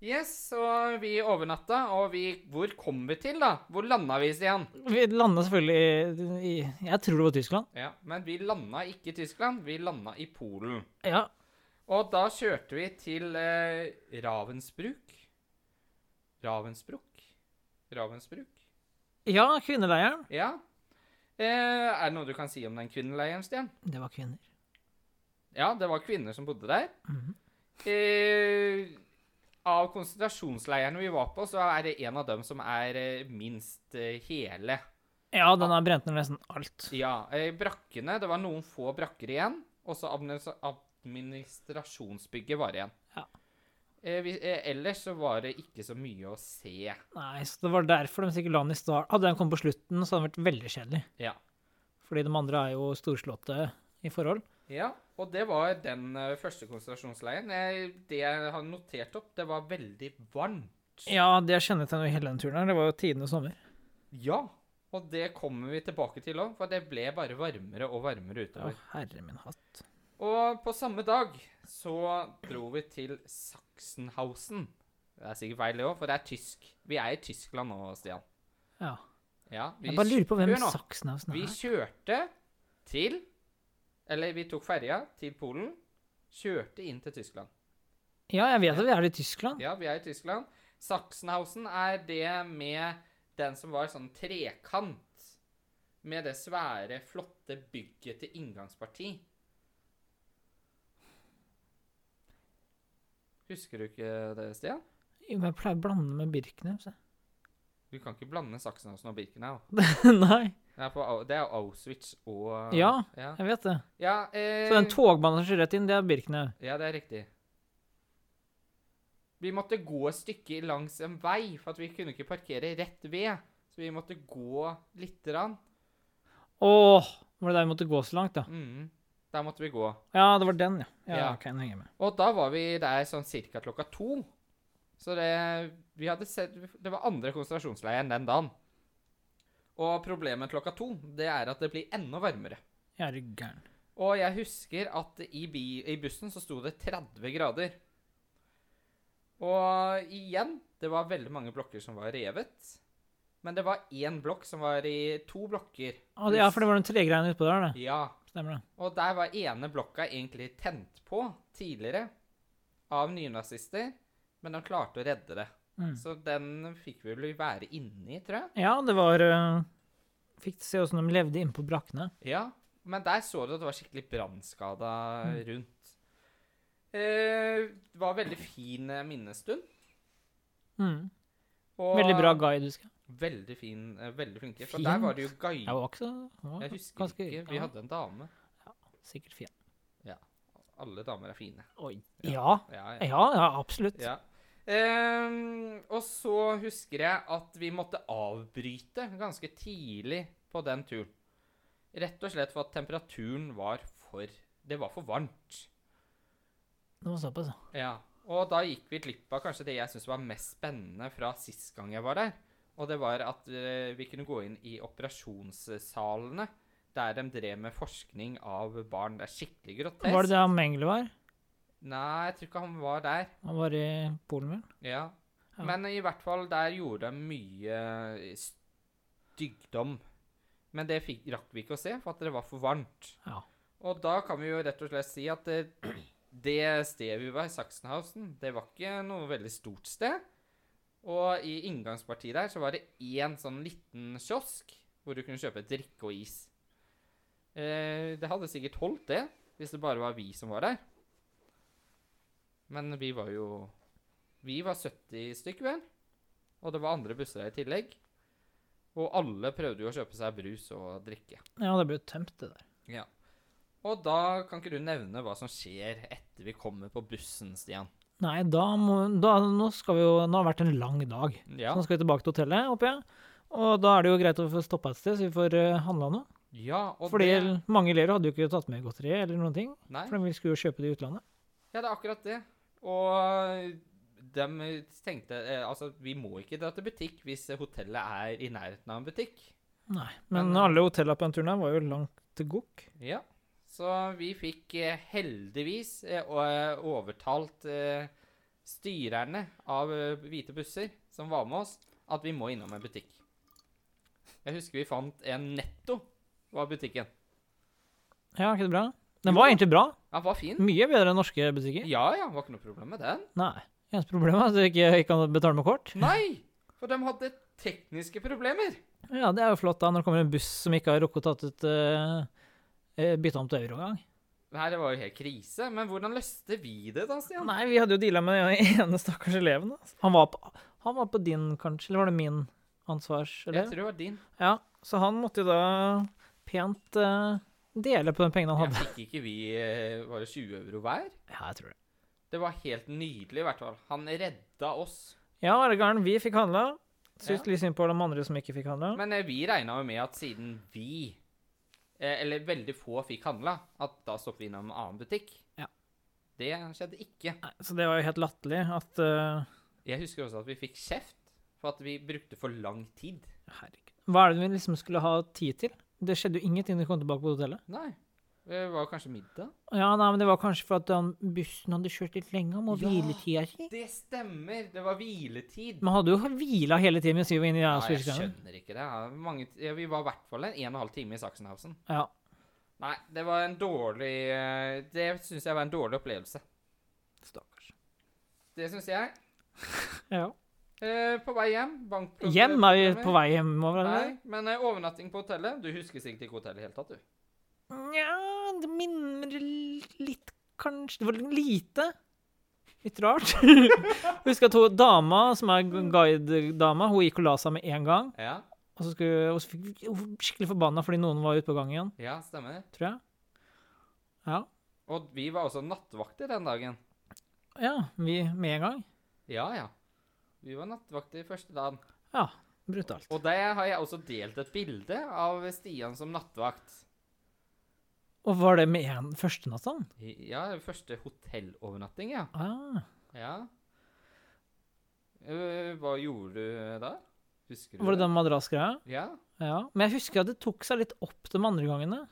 Speaker 1: Yes, og vi overnatta, og vi Hvor kom vi til, da? Hvor landa vi, Stian?
Speaker 2: Vi landa selvfølgelig i, i Jeg tror det var Tyskland.
Speaker 1: Ja, men vi landa ikke i Tyskland, vi landa i Polen.
Speaker 2: Ja.
Speaker 1: Og da kjørte vi til eh, Ravensbruk. Ravensbruk? Ravensbruk?
Speaker 2: ja, kvinneleiren.
Speaker 1: Ja. Eh, er det noe du kan si om den kvinneleiren, Stian?
Speaker 2: Det var kvinner.
Speaker 1: Ja, det var kvinner som bodde der.
Speaker 2: Mhm.
Speaker 1: eh, av konsentrasjonsleirene vi var på, så er det en av dem som er eh, minst eh, hele.
Speaker 2: Ja, den har brent ned nesten alt.
Speaker 1: Ja, eh, brakkene, det var noen få brakker igjen, og så administra- administrasjonsbygget var igjen.
Speaker 2: Ja.
Speaker 1: Eh, vi, eh, ellers så var det ikke så mye å se.
Speaker 2: Nei, så det var derfor de sikkert la den i start. Hadde den kommet på slutten, så hadde den vært veldig kjedelig.
Speaker 1: Ja.
Speaker 2: Fordi de andre er jo storslåtte i forhold.
Speaker 1: Ja, og det var den eh, første konsentrasjonsleiren. Jeg, det jeg har notert opp, det var veldig varmt.
Speaker 2: Ja, det kjennetegner jo hele den turen her. Det var jo tidenes sommer.
Speaker 1: Ja, og det kommer vi tilbake til òg, for det ble bare varmere og varmere
Speaker 2: Å,
Speaker 1: utover.
Speaker 2: herre min hatt.
Speaker 1: Og på samme dag så dro vi til Sachsenhausen. Det er sikkert feil, det òg, for det er tysk. Vi er i Tyskland nå, Stian.
Speaker 2: Ja.
Speaker 1: Ja, vi
Speaker 2: Jeg bare lurer på hvem
Speaker 1: Hør nå.
Speaker 2: Sachsenhausen
Speaker 1: Vi
Speaker 2: er.
Speaker 1: kjørte til Eller vi tok ferja til Polen. Kjørte inn til Tyskland.
Speaker 2: Ja, jeg vet at vi er i Tyskland.
Speaker 1: Ja, vi er i Tyskland. Sachsenhausen er det med den som var sånn trekant. Med det svære, flotte bygget til inngangsparti. Husker du ikke det, Stian?
Speaker 2: Jo, men Jeg pleier å blande med Birkenes.
Speaker 1: <laughs>
Speaker 2: jeg.
Speaker 1: Du kan ikke blande Sachsenhausen og Birkenau.
Speaker 2: <laughs> Nei,
Speaker 1: Det er, på, Au- det er Auschwitz og
Speaker 2: Ja.
Speaker 1: Ja,
Speaker 2: jeg vet det.
Speaker 1: ja, eh,
Speaker 2: Så den togbanen som kjører rett inn, det er Birkenes.
Speaker 1: Ja, det er riktig. Vi måtte gå et stykke langs en vei, for at vi kunne ikke parkere rett ved. Så vi måtte gå lite grann.
Speaker 2: Åh, var det der vi måtte gå så langt, da?
Speaker 1: Mm. Der måtte vi gå.
Speaker 2: Ja, det var den, ja. Ja,
Speaker 1: Ja.
Speaker 2: kan jeg henge med.
Speaker 1: Og da var vi der sånn cirka klokka to. Så det Vi hadde sett Det var andre konsentrasjonsleiren den dagen. Og problemet med klokka to, det er at det blir enda varmere.
Speaker 2: Jeg er gæren.
Speaker 1: Og jeg husker at i, bi, i bussen så sto det 30 grader. Og igjen, det var veldig mange blokker som var revet. Men det var én blokk som var i to blokker.
Speaker 2: Å, det- Ja, for det var den tregreiene utpå der, det.
Speaker 1: Ja.
Speaker 2: Stemmer det.
Speaker 1: Og der var ene blokka egentlig tent på tidligere av nynazister. Men de klarte å redde det.
Speaker 2: Mm.
Speaker 1: Så den fikk vi vel være inni, tror jeg.
Speaker 2: Ja, det var øh, Fikk se åssen de levde inne på brakkene.
Speaker 1: Ja, men der så du at det var skikkelig brannskada
Speaker 2: Mm.
Speaker 1: rundt. Eh, det var veldig fin eh, minnestund.
Speaker 2: Mm.
Speaker 1: Og
Speaker 2: Veldig bra guide, husker jeg.
Speaker 1: Veldig fin, eh, veldig flinke. For
Speaker 2: Fin?
Speaker 1: der var det jo guide.
Speaker 2: Jeg var ikke så jeg var
Speaker 1: Jeg husker ikke. Vi
Speaker 2: ja,
Speaker 1: hadde en dame.
Speaker 2: Sikkert fin.
Speaker 1: Alle damer er fine.
Speaker 2: Oi. Ja.
Speaker 1: Ja, ja.
Speaker 2: Ja, ja, absolutt.
Speaker 1: ja. Ehm, og så husker jeg at vi måtte avbryte ganske tidlig på den turen. Rett og slett for at temperaturen var for Det var for varmt.
Speaker 2: Det var såpass, ja.
Speaker 1: Ja, og da gikk vi glipp av kanskje det jeg syntes var mest spennende fra sist gang jeg var der. Og det var at eh, vi kunne gå inn i operasjonssalene, der de drev med forskning av barn. Det er skikkelig grotesk.
Speaker 2: Var det der Mengele var?
Speaker 1: Nei, jeg tror ikke han var der.
Speaker 2: Han var i Polen, vel?
Speaker 1: Ja.
Speaker 2: Ja.
Speaker 1: Men i hvert fall, der gjorde de mye stygdom. Men det fikk, rakk vi ikke å se, for at det var for varmt.
Speaker 2: Ja.
Speaker 1: Og da kan vi jo rett og slett si at det, det stedet vi var i Sachsenhausen, det var ikke noe veldig stort sted. Og i inngangspartiet der så var det én sånn liten kiosk hvor du kunne kjøpe drikke og is. Eh, det hadde sikkert holdt det, hvis det bare var vi som var der. Men vi var jo Vi var 70 stykk, vel? Og det var andre busser der i tillegg. Og alle prøvde jo å kjøpe seg brus og drikke.
Speaker 2: Ja, det ble jo tømt, det der.
Speaker 1: Ja. Og da kan ikke du nevne hva som skjer etter vi kommer på bussen, Stian.
Speaker 2: Nei, da må da, Nå skal vi jo Nå har det vært en lang dag.
Speaker 1: Ja.
Speaker 2: Så nå skal vi tilbake til hotellet, håper jeg. Og da er det jo greit å få stoppa et sted, så vi får uh, handla noe.
Speaker 1: ja og
Speaker 2: Fordi
Speaker 1: det
Speaker 2: mange elever hadde jo ikke tatt med godteri eller noen ting.
Speaker 1: Nei,
Speaker 2: For de skulle jo kjøpe det i utlandet.
Speaker 1: ja, det er akkurat det. Og de tenkte eh, Altså, vi må ikke dra til butikk hvis hotellet er i nærheten av en butikk.
Speaker 2: Nei. Men
Speaker 1: Men, eh,
Speaker 2: alle hotellene på den turen her var jo langt til gokk.
Speaker 1: Ja. Så vi fikk eh, heldigvis eh, å- eh, overtalt eh, styrerne av eh, hvite busser som var med oss, at vi må innom en butikk. Jeg husker vi fant en Netto var butikken.
Speaker 2: Ja, ikke det bra? Den
Speaker 1: Jo.
Speaker 2: var egentlig bra.
Speaker 1: Den var fin.
Speaker 2: Mye bedre enn norske butikker.
Speaker 1: Ja, ja, var ikke noe problem med den.
Speaker 2: Nei. Eneste problemet er at du ikke ikke kan betale med kort.
Speaker 1: Nei, for de hadde tekniske problemer.
Speaker 2: Ja, det er jo flott da, når det kommer en buss som ikke har rukket å tatt ut uh, bytte om til eurogang.
Speaker 1: Det her var jo helt krise, men hvordan løste vi det da, Stian?
Speaker 2: Nei, vi hadde jo deala med <laughs> den ene stakkars eleven. Altså. Han, var på, han var på din, kanskje, eller var det min
Speaker 1: Jeg
Speaker 2: ansvarselev?
Speaker 1: tror det var din.
Speaker 2: Ja, Så han måtte jo da pent eh, dele på de pengene han
Speaker 1: Jeg
Speaker 2: hadde.
Speaker 1: fikk ikke vi eh, bare 20 euro hver?
Speaker 2: Ja, jeg tror det.
Speaker 1: Det var helt nydelig, i hvert fall. Han redda oss.
Speaker 2: Ja, er det gæren, vi fikk handla. Syns
Speaker 1: Ja.
Speaker 2: litt synd på de andre som ikke fikk handla.
Speaker 1: Men eh, vi regna jo med at siden vi, eh, eller veldig få, fikk handla, at da stopper vi innom en annen butikk.
Speaker 2: Ja.
Speaker 1: Det skjedde ikke.
Speaker 2: Nei, Så det var jo helt latterlig at eh,
Speaker 1: Jeg husker også at vi fikk kjeft for at vi brukte for lang tid.
Speaker 2: Herregud. Hva er det vi liksom skulle ha tid til? Det skjedde jo ingenting da vi kom tilbake på hotellet.
Speaker 1: Nei. Det var kanskje middag?
Speaker 2: Ja, nei, men det var kanskje for at han, bussen hadde kjørt litt lenger, må
Speaker 1: Ja.
Speaker 2: hviletida si.
Speaker 1: Det stemmer! Det var hviletid.
Speaker 2: Man hadde jo hvila hele tiden mens vi var inne i
Speaker 1: Ja,
Speaker 2: ja,
Speaker 1: jeg skjønner ikke det. Ja, Mange, t- ja, vi var i hvert fall en, en og en halv time i Sachsenhausen.
Speaker 2: Ja.
Speaker 1: Nei, det var en dårlig eh, Det syns jeg var en dårlig opplevelse.
Speaker 2: Stakkars.
Speaker 1: Det syns jeg.
Speaker 2: Ja.
Speaker 1: Eh, på vei hjem bank
Speaker 2: Hjem er vi på vei hjemover, eller?
Speaker 1: Nei, men eh, overnatting på hotellet Du husker sikkert ikke hotellet i det hele tatt, du.
Speaker 2: Nja, det minner litt, kanskje. Det var lite. Litt rart. Husker at hun dama, som er guide-dama, hun gikk og la seg med en gang.
Speaker 1: Ja,
Speaker 2: Og så, skulle, og så fikk hun var skikkelig forbanna fordi noen var ute på gangen,
Speaker 1: ja, stemmer.
Speaker 2: tror jeg. Ja.
Speaker 1: Og vi var også nattvakter den dagen.
Speaker 2: Ja, vi med en gang.
Speaker 1: Ja, ja. Vi var nattvakter første dagen.
Speaker 2: Ja. Brutalt.
Speaker 1: Og der har jeg også delt et bilde av Stian som nattvakt.
Speaker 2: Og var det med en første natt, sånn?
Speaker 1: I- Ja, første hotellovernatting, ja.
Speaker 2: Ah,
Speaker 1: Ja. Eh, Hva gjorde du da? Husker du
Speaker 2: var det den madrassgreia?
Speaker 1: Ja.
Speaker 2: Ja. Men jeg husker at det tok seg litt opp de andre gangene.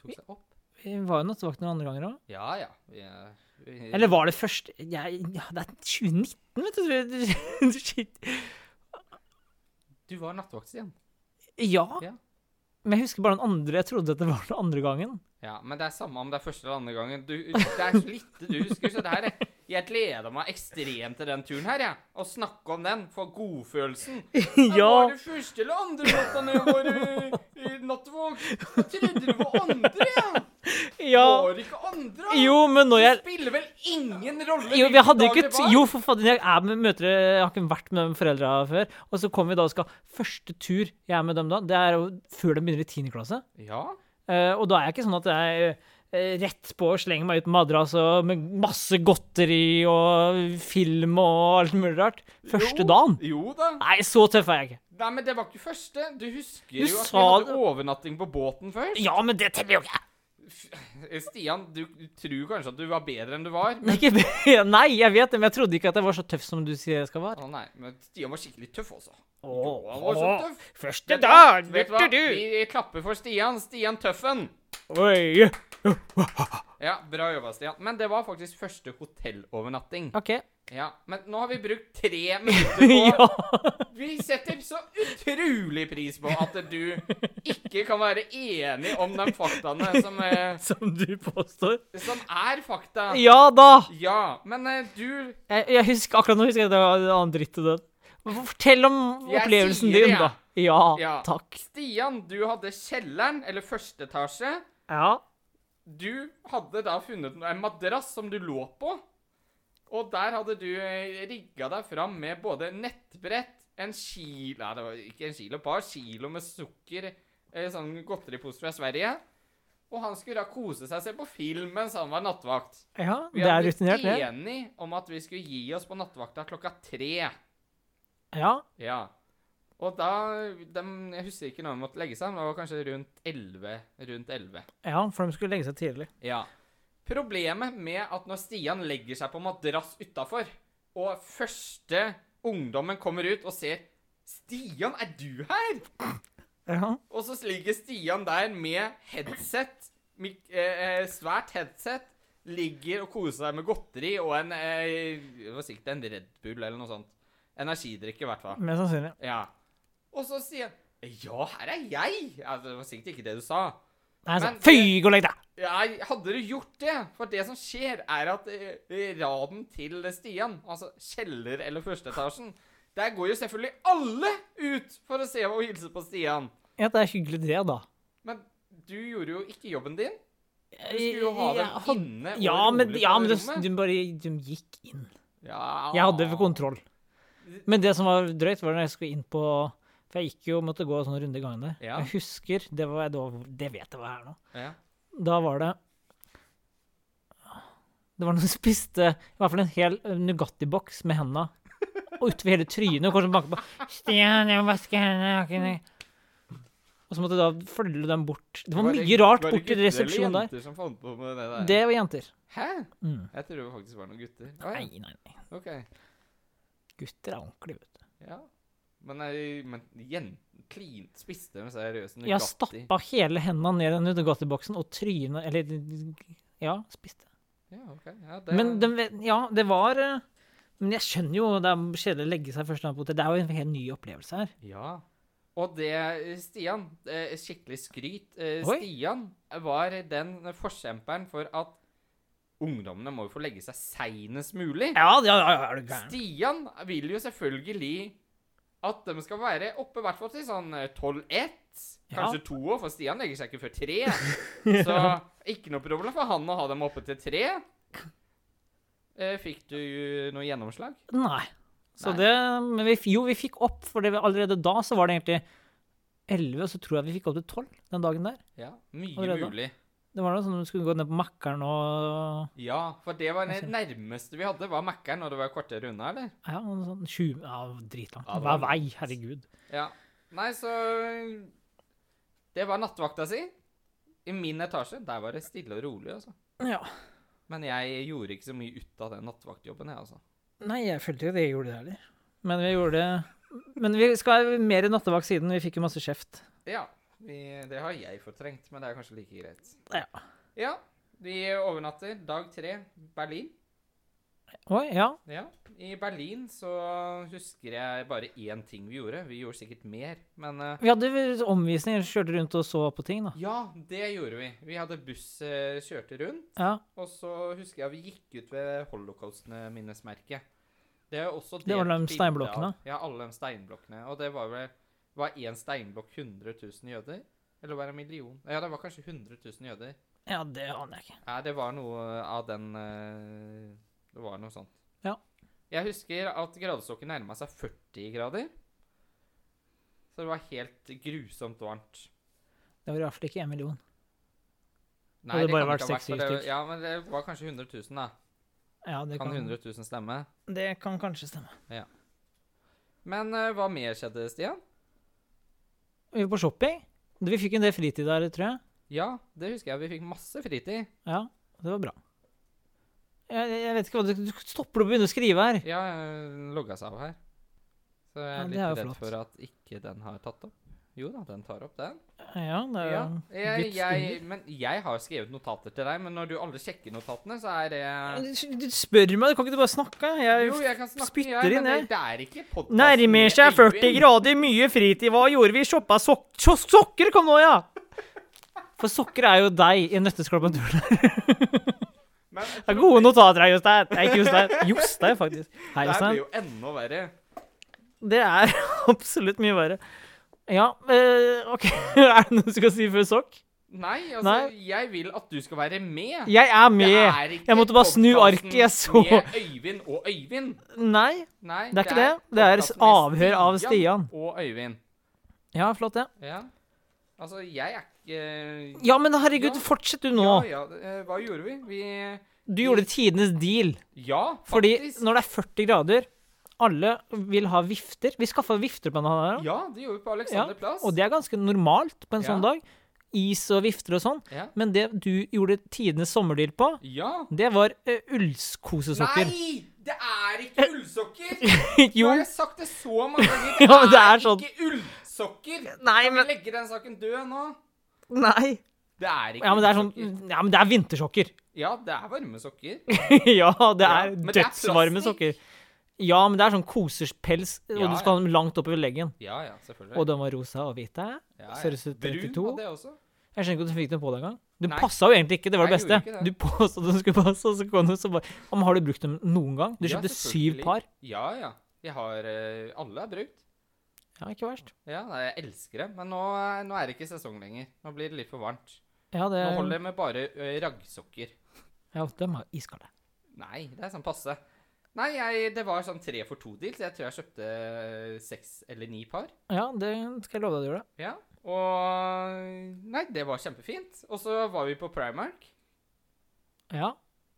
Speaker 1: Tok seg opp.
Speaker 2: Vi var jo nattevakt noen andre ganger òg.
Speaker 1: Ja, ja. Vi, er- vi-
Speaker 2: Eller var det første jeg, Ja, det er 2019, vet du, tror jeg. <laughs> Shit.
Speaker 1: Du var nattvakt, Stian.
Speaker 2: Ja.
Speaker 1: Ja.
Speaker 2: Men jeg husker bare den andre. Jeg trodde at det var den andre gangen.
Speaker 1: Ja, men det er samme om det er første eller andre gangen. Du, det er så lite du husker, så det her er Jeg gleder meg ekstremt til den turen her, jeg. Å snakke om den, få godfølelsen. Det Var
Speaker 2: <laughs> ja.
Speaker 1: det første eller andre natta når jeg var eh, i nattvåg? Jeg trodde det var andre, jeg.
Speaker 2: <laughs> ja.
Speaker 1: Var det ikke andre?
Speaker 2: Jo, men når
Speaker 1: Det
Speaker 2: jeg
Speaker 1: spiller vel ingen rolle
Speaker 2: jo, vi
Speaker 1: hvilken
Speaker 2: hadde
Speaker 1: dag
Speaker 2: ikke
Speaker 1: det
Speaker 2: t
Speaker 1: var?
Speaker 2: jo, for fader, jeg er med møtere Jeg har ikke vært med de foreldra før. Og så kommer vi da og skal Første tur jeg er med dem da, det er jo før de begynner i 10. klasse.
Speaker 1: Ja.
Speaker 2: Eh, og da er jeg ikke sånn at jeg eh, rett på slenger meg ut med madrass og med masse godteri og film og alt mulig rart. Første
Speaker 1: Jo.
Speaker 2: dagen?
Speaker 1: Jo da.
Speaker 2: Nei, så tøff er jeg ikke.
Speaker 1: Nei, men det var ikke første. Du husker
Speaker 2: Du
Speaker 1: jo at vi
Speaker 2: sa
Speaker 1: hadde
Speaker 2: det.
Speaker 1: overnatting på båten først.
Speaker 2: Ja, men det teller jo ikke!
Speaker 1: Stian, du tror kanskje at du var bedre enn du var.
Speaker 2: Men ikke det- <laughs> Nei, jeg vet det, men jeg trodde ikke at jeg var så tøff som du sier jeg skal være.
Speaker 1: Å nei, men Stian var skikkelig tøff også.
Speaker 2: Åh,
Speaker 1: han var så tøff.
Speaker 2: Første
Speaker 1: Vet du hva?
Speaker 2: dagen,
Speaker 1: Vet
Speaker 2: vet
Speaker 1: du hva?
Speaker 2: du!
Speaker 1: Vi klapper for Stian. Stian Tøffen.
Speaker 2: Oi.
Speaker 1: Ja, bra jobba, Stian. Men det var faktisk første hotellovernatting.
Speaker 2: <laughs> OK.
Speaker 1: Ja, Men nå har vi brukt tre minutter på
Speaker 2: <laughs> Ja.
Speaker 1: Vi setter så utrolig pris på at du ikke kan være enig om de faktaene som, eh,
Speaker 2: Som du påstår.
Speaker 1: som er fakta.
Speaker 2: Ja da!
Speaker 1: Ja, men eh, du
Speaker 2: Jeg, jeg husker, akkurat nå husker jeg at det var en annen dritt til den. Men Fortell om
Speaker 1: Jeg
Speaker 2: opplevelsen
Speaker 1: sier det,
Speaker 2: din,
Speaker 1: jeg.
Speaker 2: da. Ja,
Speaker 1: Ja.
Speaker 2: takk.
Speaker 1: Stian, du hadde kjelleren, eller første etasje.
Speaker 2: Ja.
Speaker 1: Du hadde da funnet no- en madrass som du lå på. Og der hadde du eh, rigga deg fram med både nettbrett, en kilo Nei, det var ikke en kilo, et par kilo med sukker, eh, sånn godteripose fra Sverige. Og han skulle da kose seg, se på film mens han var nattvakt.
Speaker 2: ja
Speaker 1: Vi
Speaker 2: det er
Speaker 1: hadde
Speaker 2: rutinert,
Speaker 1: blitt
Speaker 2: det.
Speaker 1: enige om at vi skulle gi oss på nattvakta klokka tre.
Speaker 2: Ja.
Speaker 1: Ja. Og da dem- Jeg husker ikke når de måtte legge seg, men det var kanskje rundt 11. Rundt 11.
Speaker 2: ja, for de skulle legge seg tidlig.
Speaker 1: Ja. Problemet med at når Stian legger seg på madrass utafor, og første ungdommen kommer ut og ser 'Stian, er du her?'
Speaker 2: Ja.
Speaker 1: Og så ligger Stian der med headset, mik eh, eh, svært headset, ligger og koser seg med godteri og en eh, det var sikkert en Red Bull eller noe sånt. Energidrikk, i hvert fall.
Speaker 2: Mest sannsynlig.
Speaker 1: Ja. Og så sier han 'Ja, her er jeg'. Altså, det var sikkert ikke det du sa.
Speaker 2: Nei, så,
Speaker 1: Men-
Speaker 2: Fy, gå og legg deg!
Speaker 1: Nei, hadde du gjort det? For det som skjer, er at eh, raden til Stian, altså kjeller- eller førsteetasjen Der går jo selvfølgelig alle ut for å se og hilse på Stian.
Speaker 2: Ja, det er hyggelig, det, da.
Speaker 1: Men du gjorde jo ikke jobben din. Du
Speaker 2: Jeg-
Speaker 1: skulle jo ha
Speaker 2: jeg
Speaker 1: dem
Speaker 2: had-
Speaker 1: inne og
Speaker 2: ja,
Speaker 1: rolig
Speaker 2: men,
Speaker 1: på
Speaker 2: ja, men
Speaker 1: det
Speaker 2: de,
Speaker 1: rommet. Ah.
Speaker 2: de bare de gikk inn.
Speaker 1: Ja.
Speaker 2: Jeg hadde kontroll. Men det som var drøyt, var når jeg skulle inn på For jeg gikk jo, måtte gå en sånn runde i gangen der.
Speaker 1: Ja.
Speaker 2: Jeg husker det, var, da, det vet jeg hva er nå.
Speaker 1: Ja.
Speaker 2: Da var det Det var noen som spiste i hvert fall en hel eh, Nugatti-boks med henda. Og utover hele trynet. Og kanskje banket på Stian, jeg må vaske hendene. jeg har ikke noe». Og så måtte jeg da følge dem bort. Det var, mye rart
Speaker 1: var det
Speaker 2: borti
Speaker 1: gutter eller
Speaker 2: resepsjonen der.
Speaker 1: jenter som fant på med det der?
Speaker 2: Det var jenter.
Speaker 1: Hæ?
Speaker 2: Mm.
Speaker 1: Jeg tror det faktisk var noen gutter. Å,
Speaker 2: Nei, nei, nei.
Speaker 1: ja. Ok.
Speaker 2: Gutter er ordentlige, vet du.
Speaker 1: Ja. Men, nei, men jenten klint spiste med seriøst Nugatti.
Speaker 2: Jeg stappa hele henda ned i den Nugatti-boksen og trynet Eller ja, spiste.
Speaker 1: Ja, ok. Ja, det,
Speaker 2: Men den, ve- ja, det var eh, Men jeg skjønner jo det er kjedelig å legge seg første gang på hotell. Det er jo en helt ny opplevelse her.
Speaker 1: Ja. Og det Stian eh, Skikkelig skryt. Eh,
Speaker 2: Oi.
Speaker 1: Stian var den forkjemperen for at ungdommene må jo få legge seg seinest mulig.
Speaker 2: Ja, ja, ja, ja er du gæren.
Speaker 1: Stian vil jo selvfølgelig at de skal være oppe i hvert fall til sånn eh, 12-1.
Speaker 2: Ja.
Speaker 1: Kanskje to òg, for Stian legger seg ikke før tre.
Speaker 2: <laughs>
Speaker 1: Så ikke noe problem for han å ha dem oppe til tre. Eh, Fikk du noe gjennomslag?
Speaker 2: Nei. Så
Speaker 1: Nei.
Speaker 2: det Men vi, f- jo, vi fikk opp, for det, allerede da så var det egentlig 11, og så tror jeg vi fikk opp til 12 den dagen der.
Speaker 1: Ja, mye
Speaker 2: Allerede?
Speaker 1: mulig.
Speaker 2: Det var noe sånn at vi skulle gå ned på Mækkern og
Speaker 1: Ja, for det var det nærmeste vi hadde, var Mækkern, og det var kortere unna, eller?
Speaker 2: Ja, noe sånn 20 Ja, dritlangt.
Speaker 1: Ja, det var
Speaker 2: Hver vei. Herregud.
Speaker 1: Ja. Nei, så Det var nattvakta si. I min etasje. Der var det stille og rolig, altså.
Speaker 2: Ja.
Speaker 1: Men jeg gjorde ikke så mye ut av den nattvaktjobben, jeg, altså.
Speaker 2: Nei, jeg følte jo det jeg gjorde det heller. Men vi gjorde det Men vi skal mer i nattevakt siden. Vi fikk jo masse kjeft.
Speaker 1: Ja. Vi, det har jeg fortrengt, men det er kanskje like greit.
Speaker 2: Ja.
Speaker 1: Ja. Vi overnatter dag tre, Berlin.
Speaker 2: Oi, ja.
Speaker 1: Ja. I Berlin så husker jeg bare én ting vi gjorde. Vi gjorde sikkert mer, men eh,
Speaker 2: Vi hadde vel omvisninger, kjørte rundt og så på ting, da.
Speaker 1: Ja, det gjorde vi. Vi hadde buss, eh, kjørte rundt.
Speaker 2: Ja,
Speaker 1: Og så husker jeg vi gikk ut ved holocaust-minnesmerket. Det, er også
Speaker 2: Det var
Speaker 1: delt
Speaker 2: de
Speaker 1: bilde
Speaker 2: steinblokkene?
Speaker 1: av- Ja, alle de steinblokkene. Og det var vel var én steinblokk 100 000 jøder? Eller var det en million? Ja, det var kanskje 100 000 jøder.
Speaker 2: ja det aner jeg ikke.
Speaker 1: Ja, det var noe av den eh, Det var noe sånt.
Speaker 2: Ja.
Speaker 1: Jeg husker at gradestokken nærma seg 40 grader. Så det var helt grusomt varmt.
Speaker 2: Det var i hvert fall ikke én million.
Speaker 1: Nei,
Speaker 2: det
Speaker 1: det
Speaker 2: bare
Speaker 1: kan ikke ha vært,
Speaker 2: vært
Speaker 1: for
Speaker 2: 60
Speaker 1: det,
Speaker 2: stykk.
Speaker 1: ja, men det var kanskje 100 000, da.
Speaker 2: Ja, det
Speaker 1: Kan
Speaker 2: kan,
Speaker 1: 100 000 stemme?
Speaker 2: det kan kanskje stemme.
Speaker 1: Men eh, hva mer skjedde, Stian?
Speaker 2: Vi var på shopping. Vi fikk en del fritid der, tror jeg.
Speaker 1: Ja, det husker jeg. Vi fikk masse fritid.
Speaker 2: Ja, det var bra. Jeg, jeg vet ikke hva Du du stopper opp og begynner å skrive her.
Speaker 1: Ja, jeg logga seg av her. Så jeg
Speaker 2: Ja,
Speaker 1: er
Speaker 2: det
Speaker 1: litt
Speaker 2: er jo
Speaker 1: redd
Speaker 2: flott.
Speaker 1: for at ikke den har tatt opp. Jo da, den tar opp, den.
Speaker 2: Ja, det er
Speaker 1: Ja, jeg,
Speaker 2: Guds
Speaker 1: jeg, men jeg har skrevet notater til deg, men når du aldri sjekker notatene, så er det
Speaker 2: under. Du spør meg, du kan ikke du bare snakke? Jeg
Speaker 1: Jo, jeg kan snakke,
Speaker 2: spytter
Speaker 1: jeg, men
Speaker 2: inn,
Speaker 1: det,
Speaker 2: jeg.
Speaker 1: det er ikke podkasten.
Speaker 2: Nærmer seg 40 grader, mye fritid. Hva gjorde vi? Shoppa sok so sokker, kom nå, ja! For sokker er jo deg i nøttesklubben. Det
Speaker 1: Men
Speaker 2: er gode notater her, Jostein. Nei, ikke Jostein. Jostein, faktisk.
Speaker 1: det
Speaker 2: Hei,
Speaker 1: her
Speaker 2: Jostein.
Speaker 1: blir jo enda verre.
Speaker 2: Det er <laughs> absolutt mye verre. Ja, eh, OK. <laughs> Er det noe du skal si før sokk?
Speaker 1: Nei, altså,
Speaker 2: Nei.
Speaker 1: jeg vil at du skal være med.
Speaker 2: Jeg er
Speaker 1: Det
Speaker 2: med.
Speaker 1: er ikke
Speaker 2: Jeg måtte bare snu
Speaker 1: podkasten
Speaker 2: arket, jeg så-
Speaker 1: Med Øyvind og Øyvind.
Speaker 2: Nei,
Speaker 1: Nei,
Speaker 2: det er ikke det. Det er
Speaker 1: podkasten med
Speaker 2: avhør av Stian.
Speaker 1: Og Øyvind.
Speaker 2: Ja, flott, det.
Speaker 1: Ja. Altså, jeg er ikke
Speaker 2: Ja, men herregud,
Speaker 1: Ja.
Speaker 2: fortsett du
Speaker 1: Ja,
Speaker 2: nå.
Speaker 1: ja, eh, hva gjorde vi? Vi
Speaker 2: Du gjorde tidenes deal.
Speaker 1: Ja,
Speaker 2: Fordi
Speaker 1: faktisk.
Speaker 2: når det er 40 grader Alle vil ha vifter. Vi skaffa vifter på denne her.
Speaker 1: Ja, det gjorde vi på Alexander Plass.
Speaker 2: Og det er ganske normalt på en
Speaker 1: Ja.
Speaker 2: sånn dag. Is og vifter og sånn.
Speaker 1: Ja.
Speaker 2: Men det du gjorde tidenes sommerdeal på,
Speaker 1: ja.
Speaker 2: det var eh, ullskosesokker.
Speaker 1: Nei! Det er ikke ullsokker! Nå
Speaker 2: Eh, <laughs> jo.
Speaker 1: har jeg sagt det så mange
Speaker 2: <laughs>
Speaker 1: ganger.
Speaker 2: Ja, men det er sånn-
Speaker 1: ikke ullsokker!
Speaker 2: Nei,
Speaker 1: Kan vi
Speaker 2: men
Speaker 1: legge den saken død nå?
Speaker 2: Nei.
Speaker 1: Det er ikke
Speaker 2: Ja, men det er sånn
Speaker 1: ullsokker.
Speaker 2: Ja, men det er vintersokker. <laughs>
Speaker 1: Ja, det er varme sokker.
Speaker 2: ja, det
Speaker 1: Ja,
Speaker 2: er
Speaker 1: men det er
Speaker 2: dødsvarme
Speaker 1: plastikk.
Speaker 2: sokker. Ja, men det er sånn koserspels, og
Speaker 1: Ja,
Speaker 2: du skal ha dem langt oppover leggen.
Speaker 1: Ja, ja, selvfølgelig.
Speaker 2: Og den var rosa og hvit. der.
Speaker 1: ja, ja.
Speaker 2: Størrelse
Speaker 1: Brun
Speaker 2: 32.
Speaker 1: hadde jeg også.
Speaker 2: Jeg skjønner ikke at du fikk den på deg engang. Du
Speaker 1: Nei.
Speaker 2: passa jo egentlig ikke, det var det
Speaker 1: Jeg gjorde
Speaker 2: beste.
Speaker 1: ikke
Speaker 2: Du
Speaker 1: det.
Speaker 2: påstod at du skulle passe, og så kom du så bare Ja, Men har du brukt dem noen gang? Du
Speaker 1: Ja,
Speaker 2: kjøpte syv
Speaker 1: selvfølgelig.
Speaker 2: par.
Speaker 1: Ja, ja. Jeg har eh, Alle er brukt.
Speaker 2: Ja, ikke verst.
Speaker 1: Ja, nei, jeg elsker det. Men nå, eh, nå er det ikke sesong lenger. Nå blir det litt for varmt.
Speaker 2: Ja, det
Speaker 1: Nå holder det med bare ø, eh, raggsokker.
Speaker 2: Ja, dem er iskalde.
Speaker 1: Nei, det er sånn passe. Nei, jeg, det var sånn tre for to-deal, så jeg tror jeg kjøpte eh, seks eller ni par.
Speaker 2: Ja, det skal jeg love deg at du gjør. det.
Speaker 1: Ja, og Nei, det var kjempefint. Og så var vi på Primark.
Speaker 2: Ja.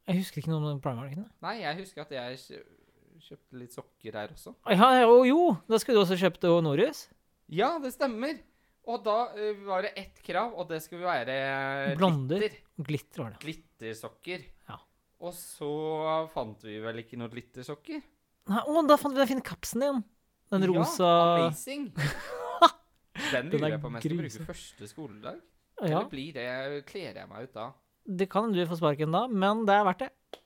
Speaker 2: Jeg husker ikke noe om den primarken.
Speaker 1: Nei, jeg husker at jeg kjø- kjøpte litt sokker her også.
Speaker 2: Ja, jo, jo, da skulle du også kjøpt eh, Norus.
Speaker 1: Ja, det stemmer. Og da eh, var det ett krav, og det skulle være
Speaker 2: Blonder.
Speaker 1: glitter.
Speaker 2: Glitter var det.
Speaker 1: Glittersokker.
Speaker 2: Ja.
Speaker 1: Og så fant vi vel ikke noen glittersokker.
Speaker 2: Nei, å, da fant vi den fine kapsen din. Den rosa
Speaker 1: Ja, amazing.
Speaker 2: <laughs>
Speaker 1: Den
Speaker 2: Den er
Speaker 1: lurer jeg på om jeg skal
Speaker 2: grusom.
Speaker 1: bruke første skoledag.
Speaker 2: Ja,
Speaker 1: Eller blir det, kler jeg meg ut da?
Speaker 2: det kan du få sparken da, men det er verdt det.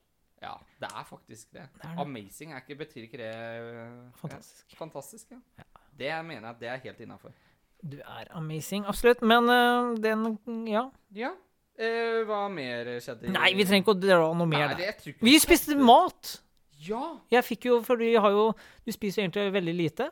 Speaker 1: Ja, det er faktisk det.
Speaker 2: Det er det.
Speaker 1: Amazing er ikke, betyr ikke det eh,
Speaker 2: Fantastisk.
Speaker 1: Ja, fantastisk, ja. Det mener jeg at det er helt innafor.
Speaker 2: Du er amazing, absolutt. Men eh, den Ja.
Speaker 1: Ja. eh, hva mer skjedde? i-
Speaker 2: Nei, vi trenger ikke å dra noe mer
Speaker 1: Nei,
Speaker 2: der.
Speaker 1: jeg tror ikke-
Speaker 2: Vi spiste mat!
Speaker 1: Ja!
Speaker 2: Jeg fikk jo, for du har jo Du spiser jo egentlig veldig lite.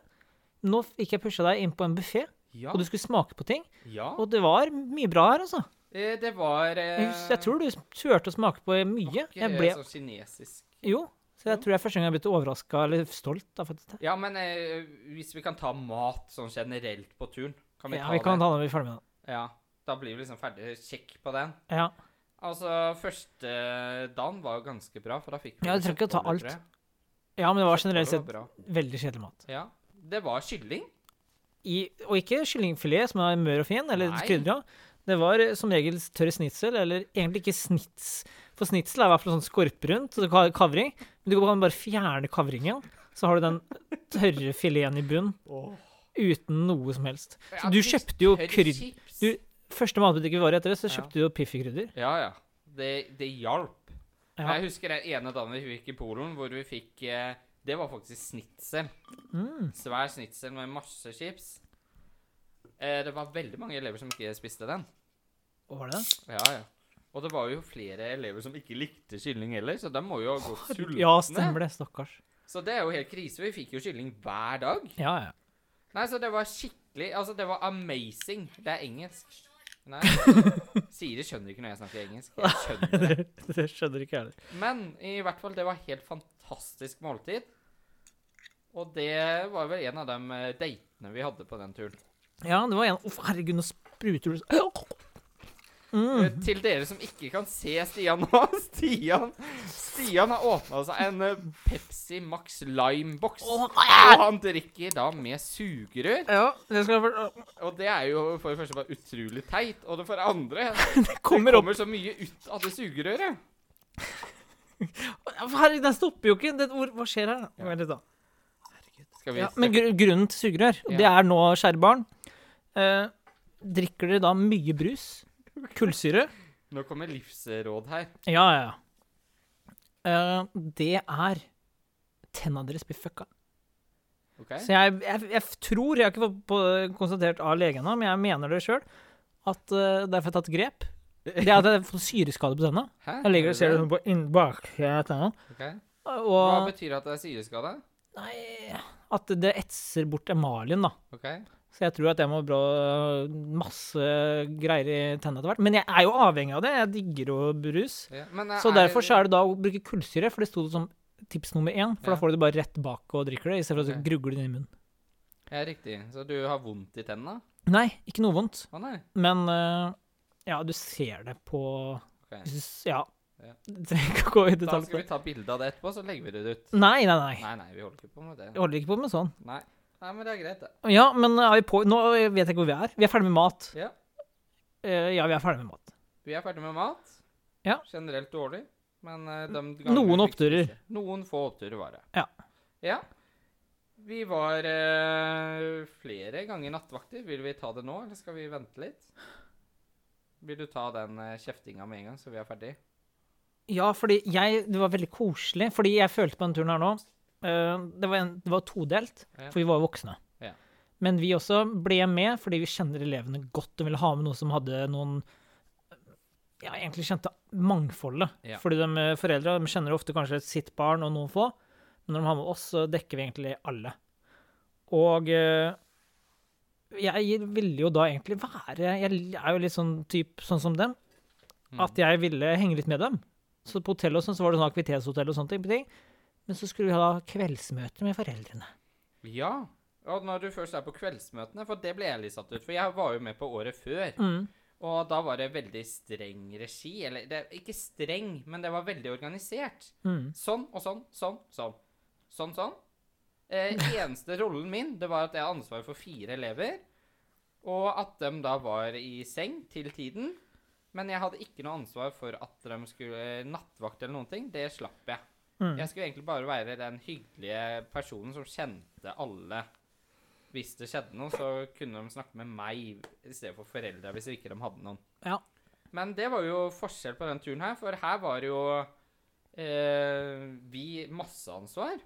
Speaker 2: Nå fikk jeg pusha deg inn på en buffé,
Speaker 1: Ja.
Speaker 2: og du skulle smake på ting.
Speaker 1: ja.
Speaker 2: Og det var mye bra her, altså.
Speaker 1: Eh, det var
Speaker 2: Jeg,
Speaker 1: eh,
Speaker 2: hus- jeg tror du turte å smake på mye.
Speaker 1: ikke,
Speaker 2: Jeg
Speaker 1: eh,
Speaker 2: ble
Speaker 1: Sånn kinesisk
Speaker 2: Jo. Så jeg tror det er første gang jeg har blitt overraska eller stolt. Da, faktisk.
Speaker 1: Ja, men eh, hvis vi kan ta mat sånn generelt på turen, kan vi
Speaker 2: Ja,
Speaker 1: ta
Speaker 2: vi kan
Speaker 1: det?
Speaker 2: ta den når vi er ferdig med den.
Speaker 1: Ja, da blir vi liksom ferdig. Sjekk på den.
Speaker 2: Ja.
Speaker 1: Altså, første dagen var jo ganske bra, for da fikk vi
Speaker 2: Ja, du trenger ikke å ta
Speaker 1: kjøttboller,
Speaker 2: alt.
Speaker 1: tror jeg.
Speaker 2: ja, men det var generelt
Speaker 1: Kjøttboller
Speaker 2: sett
Speaker 1: var
Speaker 2: veldig kjedelig mat.
Speaker 1: bra. Ja. Det var kylling.
Speaker 2: I, og ikke kyllingfilet som er mør og fin, eller
Speaker 1: Nei.
Speaker 2: krydra. Det var eh, som regel tørr snitsel, eller egentlig ikke snits. For snitsel er i hvert fall sånn skorprunt, så det ka- kavring. Men du kan bare fjerne kavringen, så har du den tørre fileten i bunn uten noe som helst. Så du kjøpte jo krydder.
Speaker 1: Chips.
Speaker 2: Du- Første matbutikk vi var i etter det, så
Speaker 1: Ja.
Speaker 2: kjøpte du jo Piffi-krydder.
Speaker 1: Ja, ja. Det, det hjalp.
Speaker 2: Ja.
Speaker 1: Jeg husker den ene dagen vi gikk i Polen, hvor vi fikk eh, Det var faktisk snitsel.
Speaker 2: Mm.
Speaker 1: Svær snitsel med masse chips. Eh, det var veldig mange elever som ikke spiste den.
Speaker 2: Hva var det?
Speaker 1: Ja, ja. Og det var jo flere elever som ikke likte kylling heller, så de må jo ha gått sultne.
Speaker 2: Ja, stemmer det. Stakkars.
Speaker 1: Så det er jo helt krise. Vi fikk jo kylling hver dag.
Speaker 2: Ja, ja.
Speaker 1: Nei, så det var skikkelig Altså, det var amazing. Det er engelsk.
Speaker 2: <laughs>
Speaker 1: Nei. Siri skjønner ikke når jeg snakker engelsk. Jeg skjønner det.
Speaker 2: <laughs> det, det skjønner ikke jeg heller.
Speaker 1: Men i hvert fall, det var helt fantastisk måltid. Og det var vel en av de eh, datene vi hadde på den turen.
Speaker 2: Ja, det var en Uff, herregud, nå spruter du så mm.
Speaker 1: Eh, Til dere som ikke kan se Stian nå <laughs> Stian Stian har åpna seg en eh, Pepsi Max Lime-boks.
Speaker 2: Åh,
Speaker 1: Og han drikker da med sugerør.
Speaker 2: Ja, det skal jeg for...
Speaker 1: Og det er jo for det første bare utrolig teit, og det for det andre
Speaker 2: Det
Speaker 1: det
Speaker 2: kommer opp
Speaker 1: kommer så mye ut av det sugerøret.
Speaker 2: Ja, for Herregud, den stopper jo ikke! Det, hvor, hva skjer her?
Speaker 1: Ja.
Speaker 2: Vent litt, da.
Speaker 1: Skal vi
Speaker 2: Ja, men gru- grunnen til sugerør, og det
Speaker 1: Ja.
Speaker 2: er nå, kjære barn eh, Drikker dere da mye brus? Kullsyre?
Speaker 1: Nå kommer livsråd her.
Speaker 2: Ja, ja, ja. Eh, det er Tenna deres blir fucka.
Speaker 1: OK?
Speaker 2: Så jeg, jeg, jeg tror, jeg har ikke fått på, konstatert av legen, nå, men jeg mener det sjøl, at eh, derfor har jeg tatt grep. Det er at jeg har fått syreskade på tenna.
Speaker 1: Hæ?
Speaker 2: Jeg ligger og ser det
Speaker 1: det?
Speaker 2: sånn på inn- baksida av tenna.
Speaker 1: Ok. Hva
Speaker 2: Og
Speaker 1: betyr at det er syreskade?
Speaker 2: nei, at det etser bort emaljen, da.
Speaker 1: OK?
Speaker 2: Så jeg tror at jeg må bra masse greier i tenna etter hvert. Men jeg er jo avhengig av det. Jeg digger jo brus.
Speaker 1: Ja. Men, eh,
Speaker 2: Så derfor så er det da å bruke kullsyre, for det sto som tips nummer én. For
Speaker 1: Ja.
Speaker 2: da får du det bare rett bak og drikker det, istedenfor at
Speaker 1: Ok.
Speaker 2: du grugler det inn i munnen.
Speaker 1: Ja, riktig. Så du har vondt i tennene?
Speaker 2: Nei, ikke noe vondt.
Speaker 1: Å nei.
Speaker 2: Men eh, ja, du ser det på
Speaker 1: Ok.
Speaker 2: jeg synes- Ja.
Speaker 1: Ja.
Speaker 2: <laughs> Du trenger ikke å gå i
Speaker 1: Da
Speaker 2: detalj
Speaker 1: skal
Speaker 2: på
Speaker 1: vi
Speaker 2: det.
Speaker 1: ta bilde av det etterpå, så legger vi det ut.
Speaker 2: Nei, nei, nei.
Speaker 1: Nei, nei, vi holder ikke på med
Speaker 2: Jeg
Speaker 1: det.
Speaker 2: holder ikke på med sånn.
Speaker 1: Nei. Nei, men det er greit, det.
Speaker 2: Ja, men er vi på Nå vet jeg ikke hvor vi er. Vi er ferdig med mat.
Speaker 1: Ja.
Speaker 2: Eh, ja, vi er ferdig med mat.
Speaker 1: Vi er ferdig med mat.
Speaker 2: Ja.
Speaker 1: Generelt dårlig, men eh, de gangene vi
Speaker 2: Noen
Speaker 1: fikk
Speaker 2: oppturer.
Speaker 1: spise- Noen få oppturer var det.
Speaker 2: Ja.
Speaker 1: Ja. Vi var eh, flere ganger nattvakter. Vil vi ta det nå, eller skal vi vente litt? Vil du ta den eh, kjeftinga med en gang, så vi er ferdig?
Speaker 2: Ja, fordi jeg Det var veldig koselig. Fordi jeg følte på den turen her nå eh, det, var en, det var todelt,
Speaker 1: Ja.
Speaker 2: for vi var jo voksne.
Speaker 1: Ja.
Speaker 2: Men vi også ble med fordi vi kjenner elevene godt og ville ha med noe som hadde noen Ja, egentlig kjente mangfoldet.
Speaker 1: Ja.
Speaker 2: Fordi de eh, foreldra de kjenner ofte kanskje sitt barn og noen få. Men når de har med oss, så dekker vi egentlig alle. Og eh, jeg ville jo da egentlig være Jeg er jo litt sånn typ sånn som dem.
Speaker 1: Mm.
Speaker 2: At jeg ville henge litt med dem. Så på hotell og sånn, så var det sånn aktivitetshotell og sånne ting. Men så skulle vi ha kveldsmøte med foreldrene.
Speaker 1: Ja. Og når du først er på kveldsmøtene, for det ble jeg litt satt ut, for jeg var jo med på året før.
Speaker 2: Mm.
Speaker 1: Og da var det veldig streng regi. Eller det, ikke streng, men det var veldig organisert.
Speaker 2: Mm.
Speaker 1: Sånn og sånn, sånn, sånn. Sånn, sånn. Eh, eneste rollen min det var at jeg har ansvar for fire elever. Og at de da var i seng til tiden. Men jeg hadde ikke noe ansvar for at de skulle nattvakt eller noen ting. Det slapp jeg.
Speaker 3: Mm.
Speaker 1: Jeg skulle egentlig bare være den hyggelige personen som kjente alle. Hvis det skjedde noe, så kunne de snakke med meg i stedet for foreldra hvis ikke de hadde noen.
Speaker 2: Ja.
Speaker 1: Men det var jo forskjell på den turen her, for her var det jo eh, vi masseansvar.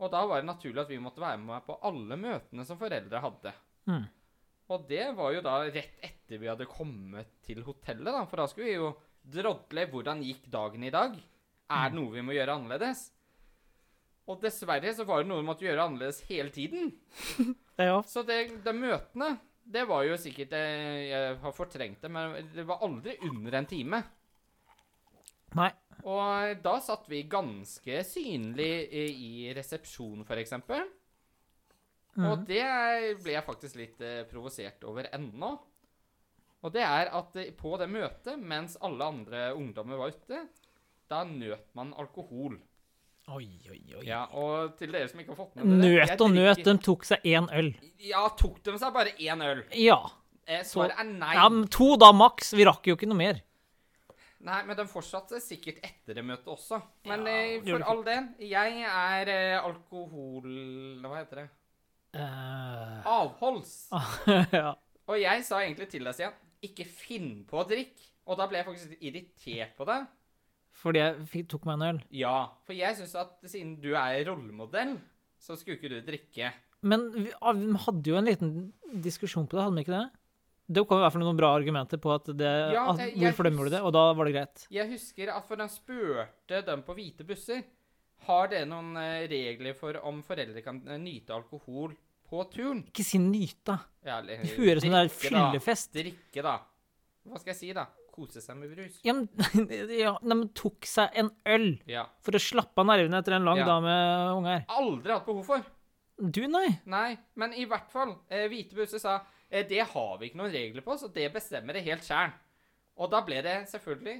Speaker 1: Og da var det naturlig at vi måtte være med på alle møtene som foreldre hadde.
Speaker 2: Mm.
Speaker 1: Og det var jo da rett etter vi hadde kommet til hotellet, da, for da skulle vi jo drodle hvordan gikk dagen i dag. Er det noe vi må gjøre annerledes? Og dessverre så var det noe vi måtte gjøre annerledes hele tiden.
Speaker 2: Ja.
Speaker 1: Så det, de møtene, det var jo sikkert eh, Jeg har fortrengt det, men det var aldri under en time.
Speaker 2: Nei.
Speaker 1: Og da satt vi ganske synlig eh, i resepsjon, for eksempel.
Speaker 2: Mhm. Mm.
Speaker 1: Og det ble jeg faktisk litt eh, provosert over ennå. Og det er at eh, på det møtet, mens alle andre ungdommer var ute, da nøt man alkohol.
Speaker 2: Oi, oi, oi.
Speaker 1: Ja, og til dere som ikke har fått med dere jeg
Speaker 2: Nøt og nøt,
Speaker 1: drikker-
Speaker 2: de tok seg én øl.
Speaker 1: Ja, tok de seg bare én øl?
Speaker 2: Ja.
Speaker 1: Eh, Svaret er nei.
Speaker 2: ja. men To da, maks. Vi rakk jo ikke noe mer.
Speaker 1: Nei, men den fortsatte sikkert etter det møtet også. Men
Speaker 2: Ja,
Speaker 1: eh,
Speaker 2: det gjorde
Speaker 1: for
Speaker 2: det
Speaker 1: all del, jeg er eh, alkohol... Hva heter det?
Speaker 2: Eh, <laughs>
Speaker 1: Avholds.
Speaker 2: ja.
Speaker 1: Og jeg sa egentlig til deg, Stian, ikke finn på å drikke. Og da ble jeg faktisk litt irritert på deg.
Speaker 2: Fordi jeg fikk, tok meg en øl.
Speaker 1: Ja, for jeg syns at siden du er rollemodell, så skulle ikke du drikke.
Speaker 2: Men vi, ah, vi hadde jo en liten diskusjon på det, hadde vi ikke det? Det kom i hvert fall noen bra argumenter på at det,
Speaker 1: Ja,
Speaker 2: at,
Speaker 1: jeg- jeg
Speaker 2: hvorfor de gjorde det, og da var det greit.
Speaker 1: Jeg husker at for den spurte dem på hvite busser Har dere noen eh, regler for om foreldre kan eh, nyte alkohol på turen?
Speaker 2: Ikke si nyta.
Speaker 1: Ja, eller,
Speaker 2: Det høres ut som det er
Speaker 1: drikke, da.
Speaker 2: fyllefest.
Speaker 1: Drikke, da. Hva skal jeg si, da? Kose seg med brus.
Speaker 2: Ja, men, <laughs> ja, nei, men tok seg en øl
Speaker 1: Ja.
Speaker 2: for å slappe av nervene etter en lang
Speaker 1: Ja.
Speaker 2: dag med unger.
Speaker 1: Aldri hatt behov for.
Speaker 2: Du, nei.
Speaker 1: Nei, men i hvert fall. Eh, hvite busser sa eh, det har vi ikke noen regler på, så det bestemmer det helt sjæl. Og da ble det selvfølgelig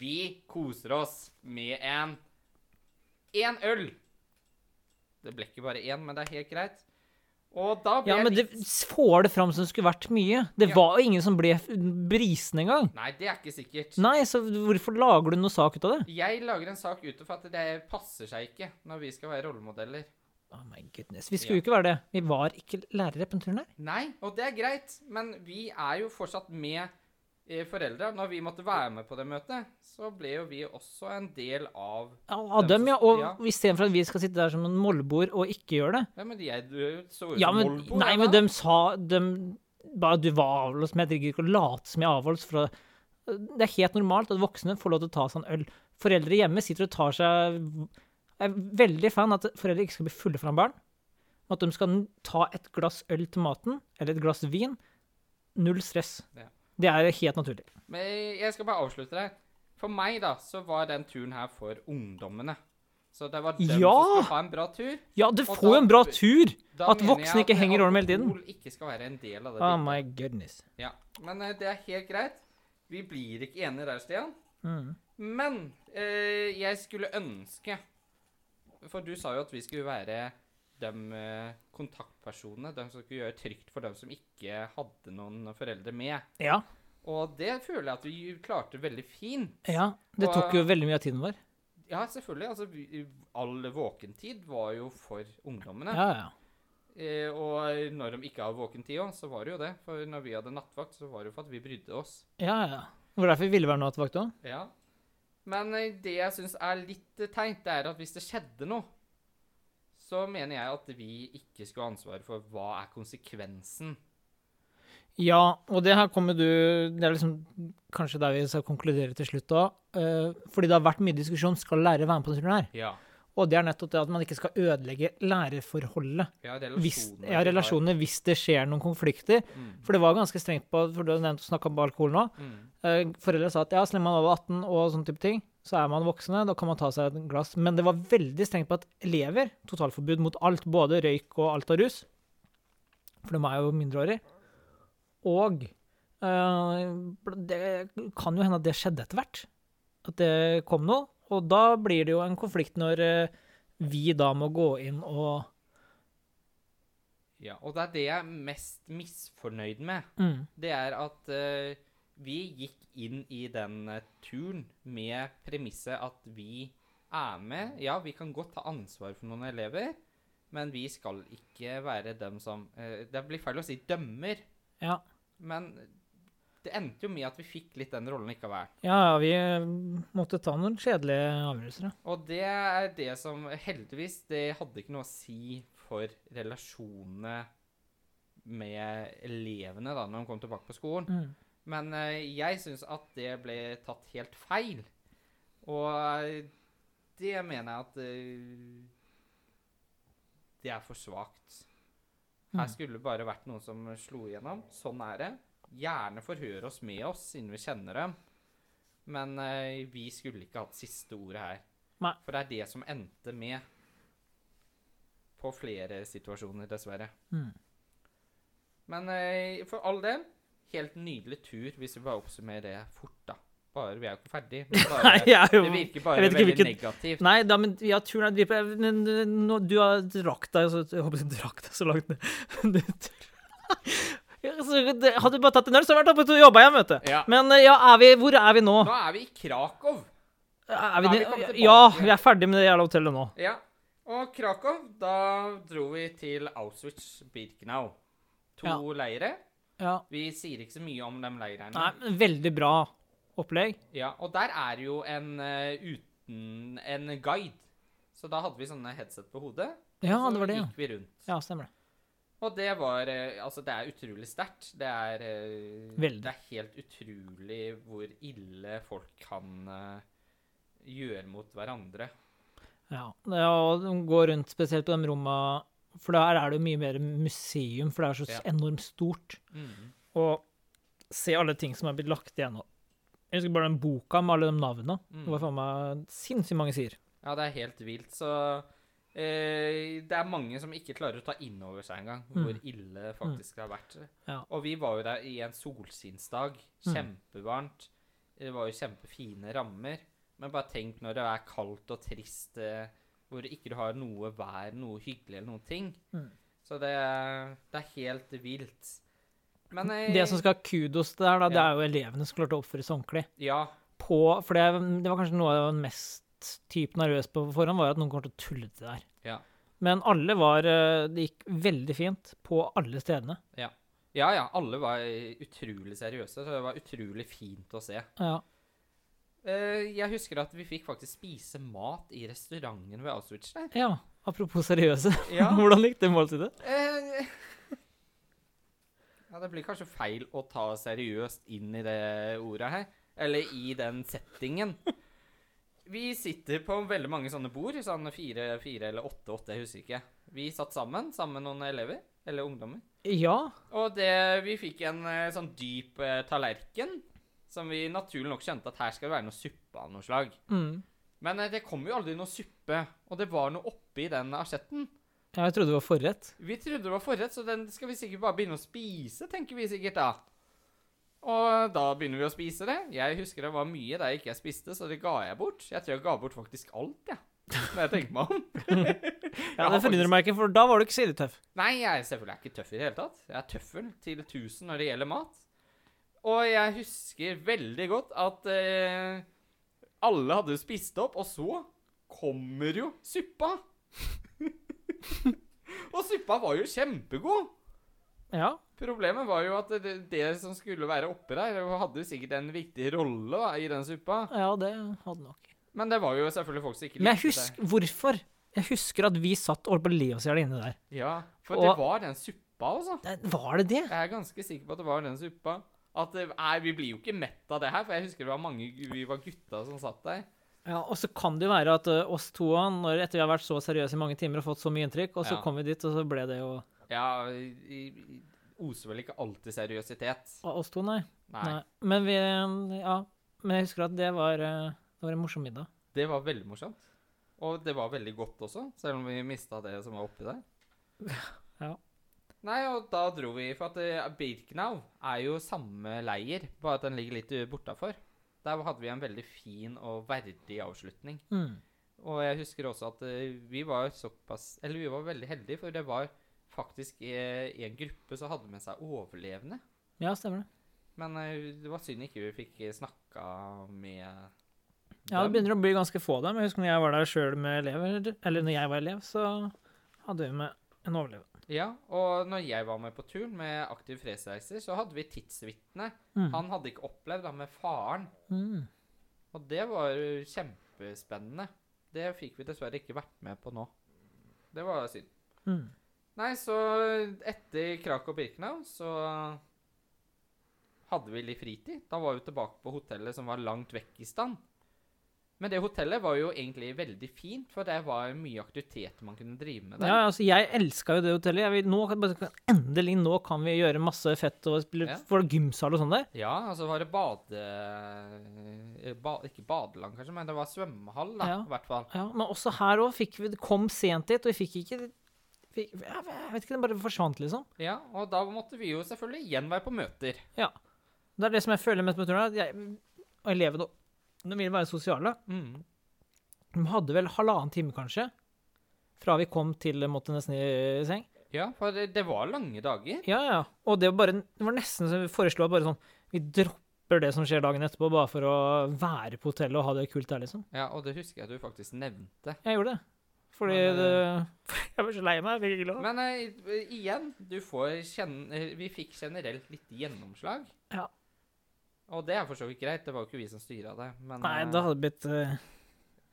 Speaker 1: Vi koser oss med en én øl. Det ble ikke bare én, men det er helt greit. Og da ble
Speaker 2: Ja, men det
Speaker 1: jeg litt
Speaker 2: får det fram som det skulle vært mye. Det
Speaker 1: Ja.
Speaker 2: var jo ingen som ble brisen engang.
Speaker 1: Nei, det er ikke sikkert.
Speaker 2: Nei, så hvorfor lager du noe sak ut av det?
Speaker 1: Jeg lager en sak ut av at det passer seg ikke når vi skal være rollemodeller.
Speaker 2: Oh my goodness. Vi skulle jo ikke være det. Vi var ikke lærere på den turen her.
Speaker 1: Nei, og det er greit, men vi er jo fortsatt med eh, foreldra. Når vi måtte være med på det møtet, så ble jo vi også en del av
Speaker 2: Ja, Av dem, ja. Og
Speaker 1: Ja.
Speaker 2: istedenfor at vi skal sitte der som en mollebord og ikke gjøre det.
Speaker 1: Ja, men jeg du så ut
Speaker 2: Ja,
Speaker 1: som
Speaker 2: men,
Speaker 1: Molbo,
Speaker 2: nei,
Speaker 1: jeg,
Speaker 2: men
Speaker 1: da.
Speaker 2: de sa de, Bare du var avholds, men jeg drikker ikke og later som jeg er avholds. For å, det er helt normalt at voksne får lov til å ta seg en øl. Foreldre hjemme sitter og tar seg Jeg er veldig fan av at foreldre ikke skal bli fulle foran barn. At de skal ta et glass øl til maten, eller et glass vin. Null stress.
Speaker 1: Ja.
Speaker 2: Det er helt naturlig.
Speaker 1: Men jeg skal bare avslutte der. For meg, da, så var den turen her for ungdommene. Så det var dem
Speaker 2: Ja!
Speaker 1: som skulle ha en bra tur.
Speaker 2: Ja, du
Speaker 1: Og
Speaker 2: får jo
Speaker 1: da-
Speaker 2: en bra tur!
Speaker 1: Da
Speaker 2: At
Speaker 1: mener
Speaker 2: voksne
Speaker 1: jeg
Speaker 2: ikke henger over dem hele tiden.
Speaker 1: Alkohol ikke skal være en del av det.
Speaker 2: Oh
Speaker 1: bildet.
Speaker 2: my goodness.
Speaker 1: Ja, men eh, det er helt greit. Vi blir ikke enige der, Stian.
Speaker 2: Mm.
Speaker 1: Men eh, jeg skulle ønske For du sa jo at vi skulle være de eh, kontaktpersonene. De som skulle gjøre trygt for dem som ikke hadde noen foreldre med.
Speaker 2: Ja.
Speaker 1: Og det føler jeg at vi klarte veldig fint.
Speaker 2: ja. Det
Speaker 1: Og-
Speaker 2: tok jo veldig mye av tiden vår.
Speaker 1: Ja, selvfølgelig. Altså, vi- all våkentid var jo for ungdommene.
Speaker 2: Ja, ja.
Speaker 1: Eh, og når de ikke har våkentid òg, så var det jo det. For når vi hadde nattvakt, så var det jo for at vi brydde oss.
Speaker 2: ja, ja. Det var derfor vi ville være nattvakt òg.
Speaker 1: Ja. Men eh, det jeg syns er litt eh, teit, det er at hvis det skjedde noe, så mener jeg at vi ikke skulle ha ansvaret for hva er konsekvensen.
Speaker 2: Ja, og det her kommer du Det er liksom kanskje der vi skal konkludere til slutt òg. fordi det har vært mye diskusjon skal lærere være med på denne turen her.
Speaker 1: Ja.
Speaker 2: Og det er nettopp det at man ikke skal ødelegge lærerforholdet.
Speaker 1: Ja,
Speaker 2: Hvis,
Speaker 1: relasjoner.
Speaker 2: ja, relasjonene hvis det skjer noen konflikter. For det var ganske strengt på For du har nevnt å snakke om alkohol nå.
Speaker 1: Mm.
Speaker 2: Eh, foreldre sa at ja, så lenge man var over 18 og sånne type ting, så er man voksne, da kan man ta seg et glass. Men det var veldig strengt på at elever, totalforbud mot alt, både røyk og alt av rus, for de er jo mindreårige, og eh, det kan jo hende at det skjedde etter hvert, at det kom noe, og da blir det jo en konflikt når eh, vi da må gå inn og
Speaker 1: Ja, og det er det jeg er mest misfornøyd med.
Speaker 2: mm,
Speaker 1: Det er at eh, vi gikk inn i den eh, turen med premisset at vi er med. Ja, vi kan godt ta ansvar for noen elever, men vi skal ikke være dem som eh, Det blir feil å si dømmer,
Speaker 2: ja.
Speaker 1: men det endte jo med at vi fikk litt den rollen likevel.
Speaker 2: ja, ja, vi eh, måtte ta noen kjedelige avgjørelser, ja.
Speaker 1: Og det er det som Heldigvis, det hadde ikke noe å si for relasjonene med elevene da, når de kom tilbake på skolen.
Speaker 2: Mm.
Speaker 1: Men eh, jeg syns at det ble tatt helt feil. Og eh, det mener jeg at eh, Det er for svakt. Her
Speaker 2: Mm.
Speaker 1: skulle det bare vært noen som slo igjennom. Sånn er det. Gjerne forhør oss med oss siden vi kjenner dem. Men eh, vi skulle ikke hatt siste ordet her.
Speaker 2: Nei.
Speaker 1: For det er det som endte med på flere situasjoner, dessverre.
Speaker 2: Mm.
Speaker 1: Men eh, for all del, helt nydelig tur, hvis vi bare oppsummerer det fort, da. Bare vi er jo ikke ferdig.
Speaker 2: <laughs>
Speaker 1: Men bare,
Speaker 2: Nei, jeg er jo...
Speaker 1: det virker bare
Speaker 2: jeg vet
Speaker 1: veldig
Speaker 2: ikke hvilken-
Speaker 1: negativt.
Speaker 2: Nei, da, men ja, turen er dritt. Men eh, nå, du har drakt deg så, Jeg håper du drakk deg så langt ned. <laughs> Du- Ja, så det- Hadde du bare tatt en øl, så hadde jeg vært oppe og jobba igjen, vet du.
Speaker 1: Ja.
Speaker 2: Men eh, ja, er vi, hvor er vi nå?
Speaker 1: Nå er vi i Krakow. da
Speaker 2: Er vi,
Speaker 1: er vi kommet tilbake.
Speaker 2: ja, vi er ferdig med det jævla hotellet nå.
Speaker 1: Ja. Og Krakow, da dro vi til Auschwitz-Birkenau. To
Speaker 2: Ja.
Speaker 1: leire.
Speaker 2: Ja.
Speaker 1: Vi sier ikke så mye om de leirene.
Speaker 2: Nei, men veldig bra opplegg.
Speaker 1: Ja, og der er jo en eh, uten en guide. Så da hadde vi sånne headset på hodet.
Speaker 2: Ja,
Speaker 1: og så
Speaker 2: det var det, ja.
Speaker 1: gikk vi rundt.
Speaker 2: Ja, stemmer det.
Speaker 1: Og det var eh, Altså, det er utrolig sterkt. Det er eh,
Speaker 2: Veldig.
Speaker 1: Det er helt utrolig hvor ille folk kan eh, gjøre mot hverandre.
Speaker 2: Ja, det er å gå rundt spesielt på de romma, for der er det jo mye mer museum, for det er så
Speaker 1: Ja.
Speaker 2: enormt stort. Og se alle ting som er blitt lagt igjen. og- Jeg husker bare den boka med alle de navnene. Det
Speaker 1: Mm.
Speaker 2: var faen meg sinnssykt mange sider.
Speaker 1: Ja, det er helt vilt, så eh, Det er mange som ikke klarer å ta inn over seg engang hvor ille det faktisk har vært.
Speaker 2: Mm. Ja. Mm.
Speaker 1: Og vi var jo der i en solskinnsdag. Kjempevarmt. Det var jo kjempefine rammer. Men bare tenk når det er kaldt og trist, eh, hvor ikke du har noe vær, noe hyggelig eller noen ting.
Speaker 2: Mm.
Speaker 1: Så det, er- det er helt vilt. Men eh,
Speaker 2: Det som skal ha kudos der, da, det
Speaker 1: Ja.
Speaker 2: er jo elevene som klarte å oppføre seg ordentlig.
Speaker 1: Ja.
Speaker 2: På, for det, det var kanskje noe jeg var mest typ nervøs på på forhånd, var at noen kommer til å tulle til det der.
Speaker 1: Ja.
Speaker 2: Men alle var eh, Det gikk veldig fint på alle stedene.
Speaker 1: ja ja, alle var eh, utrolig seriøse, så det var utrolig fint å se.
Speaker 2: Ja.
Speaker 1: Eh, jeg husker at vi fikk faktisk spise mat i restauranten ved Auschwitz der.
Speaker 2: ja. Apropos seriøse,
Speaker 1: Ja.
Speaker 2: <laughs> hvordan likte måltidet?
Speaker 1: Eh, ja, det blir kanskje feil å ta seriøst inn i det ordet her. Eller i den settingen. Vi sitter på veldig mange sånne bord, sånn fire, fire eller åtte, åtte, jeg husker ikke. Vi satt sammen, sammen med noen elever, eller ungdommer.
Speaker 2: Ja.
Speaker 1: Og det, vi fikk en eh, sånn dyp eh, tallerken, som vi naturlig nok kjente at her skal det være noe suppe av noe slag.
Speaker 2: Mm.
Speaker 1: Men eh, det kom jo aldri noe suppe, og det var noe oppi den asjetten.
Speaker 2: ja. Jeg trodde det var forrett.
Speaker 1: Vi trodde det var forrett, så den skal vi sikkert bare begynne å spise, tenker vi sikkert da. Og da begynner vi å spise det. Jeg husker det var mye der jeg ikke spiste, så det ga jeg bort. Jeg tror jeg ga bort faktisk alt, jeg. Når jeg tenker meg om.
Speaker 2: Ja, Det forundrer meg ikke, for da var du ikke sidetøff.
Speaker 1: Nei, jeg er selvfølgelig ikke tøff i det hele tatt. Jeg er tøffel til 1000 når det gjelder mat. Og jeg husker veldig godt at eh, alle hadde spist opp, og så kommer jo suppa. <laughs> og suppa var jo kjempegod.
Speaker 2: Ja.
Speaker 1: Problemet var jo at det, det som skulle være oppe der, hadde jo sikkert en viktig rolle da, i den suppa.
Speaker 2: ja, det hadde nok.
Speaker 1: Men det var jo selvfølgelig folk som ikke
Speaker 2: Men jeg
Speaker 1: det.
Speaker 2: husker Hvorfor? Jeg husker at vi satt og holdt på å le oss i hjel inne der.
Speaker 1: Ja, for
Speaker 2: Og-
Speaker 1: det var den suppa, altså.
Speaker 2: Nei, Var det det?
Speaker 1: Jeg er ganske sikker på at det var den suppa. At det, nei, vi blir jo ikke mett av det her, for jeg husker det var mange gu- vi var gutta som satt der.
Speaker 2: Ja, Og så kan det jo være at ø, oss to, når, etter vi har vært så seriøse i mange timer og fått så mye inntrykk, og så
Speaker 1: Ja.
Speaker 2: kom vi dit, og så ble det jo
Speaker 1: Ja, i- i- oser vel ikke alltid seriøsitet.
Speaker 2: Å, oss to, nei.
Speaker 1: Nei.
Speaker 2: nei. Men vi ø, Ja. Men jeg husker at det var ø, Det var en morsom middag.
Speaker 1: Det var veldig morsomt. Og det var veldig godt også, selv om vi mista det som var oppi der.
Speaker 2: <laughs> Ja.
Speaker 1: Nei, og da dro vi, for at eh, Birkenau er jo samme leir, bare at den ligger litt bortafor. Der hadde vi en veldig fin og verdig avslutning.
Speaker 2: Mm.
Speaker 1: Og jeg husker også at eh, vi var såpass Eller vi var veldig heldige, for det var faktisk eh, en gruppe som hadde med seg overlevende.
Speaker 2: Ja, stemmer det.
Speaker 1: Men eh, det var synd ikke vi fikk eh, snakka med
Speaker 2: Ja, det
Speaker 1: dem.
Speaker 2: begynner å bli ganske få av dem. Jeg husker når jeg var der sjøl med elever, eller når jeg var elev, så hadde vi med en overlever.
Speaker 1: Ja, og når jeg var med på turen med Aktiv fredsreiser, så hadde vi tidsvitne.
Speaker 2: Mm.
Speaker 1: Han hadde ikke opplevd det med faren,
Speaker 2: Mm.
Speaker 1: og det var jo kjempespennende. Det fikk vi dessverre ikke vært med på nå. Det var synd.
Speaker 2: Mm.
Speaker 1: Nei, så etter Krakow-Birkenau så hadde vi litt fritid. Da var vi tilbake på hotellet som var langt vekk i stand. Men det hotellet var jo egentlig veldig fint, for det var mye aktivitet man kunne drive med der.
Speaker 2: Ja, altså jeg elska jo det hotellet. Jeg vil, nå, kan- bare- endelig, nå kan vi gjøre masse fett og spille
Speaker 1: Ja.
Speaker 2: for gymsal og sånn der.
Speaker 1: Ja, altså var det bade... Ba, ikke badeland, kanskje, men det var svømmehall, da,
Speaker 2: Ja.
Speaker 1: i hvert fall.
Speaker 2: Ja, men også her òg fikk vi det kom sent dit, og vi fikk ikke fikk, Jeg vet ikke, den bare forsvant, liksom.
Speaker 1: Ja, og da måtte vi jo selvfølgelig igjen være på møter.
Speaker 2: Ja. Det er det som jeg føler mest med turen, at jeg og elevene De vil være sosiale. De hadde vel halvannen time, kanskje, fra vi kom til de måtte nesten i seng.
Speaker 1: Ja, for det, det var lange dager.
Speaker 2: Ja, ja. Og det var, bare, det var nesten som vi foreslo at bare sånn Vi dropper det som skjer dagen etterpå, bare for å være på hotellet og ha det kult der, liksom.
Speaker 1: Ja, og det husker jeg du faktisk nevnte.
Speaker 2: Jeg gjorde det. Fordi
Speaker 1: Men,
Speaker 2: det Jeg var så lei meg. Jeg ble ikke glad.
Speaker 1: Men eh, igjen, du får kjenne... eh, Vi fikk generelt litt gjennomslag.
Speaker 2: Ja.
Speaker 1: Og det er for så vidt greit, det var jo ikke vi som styret det. Men,
Speaker 2: Nei,
Speaker 1: eh,
Speaker 2: det hadde blitt eh,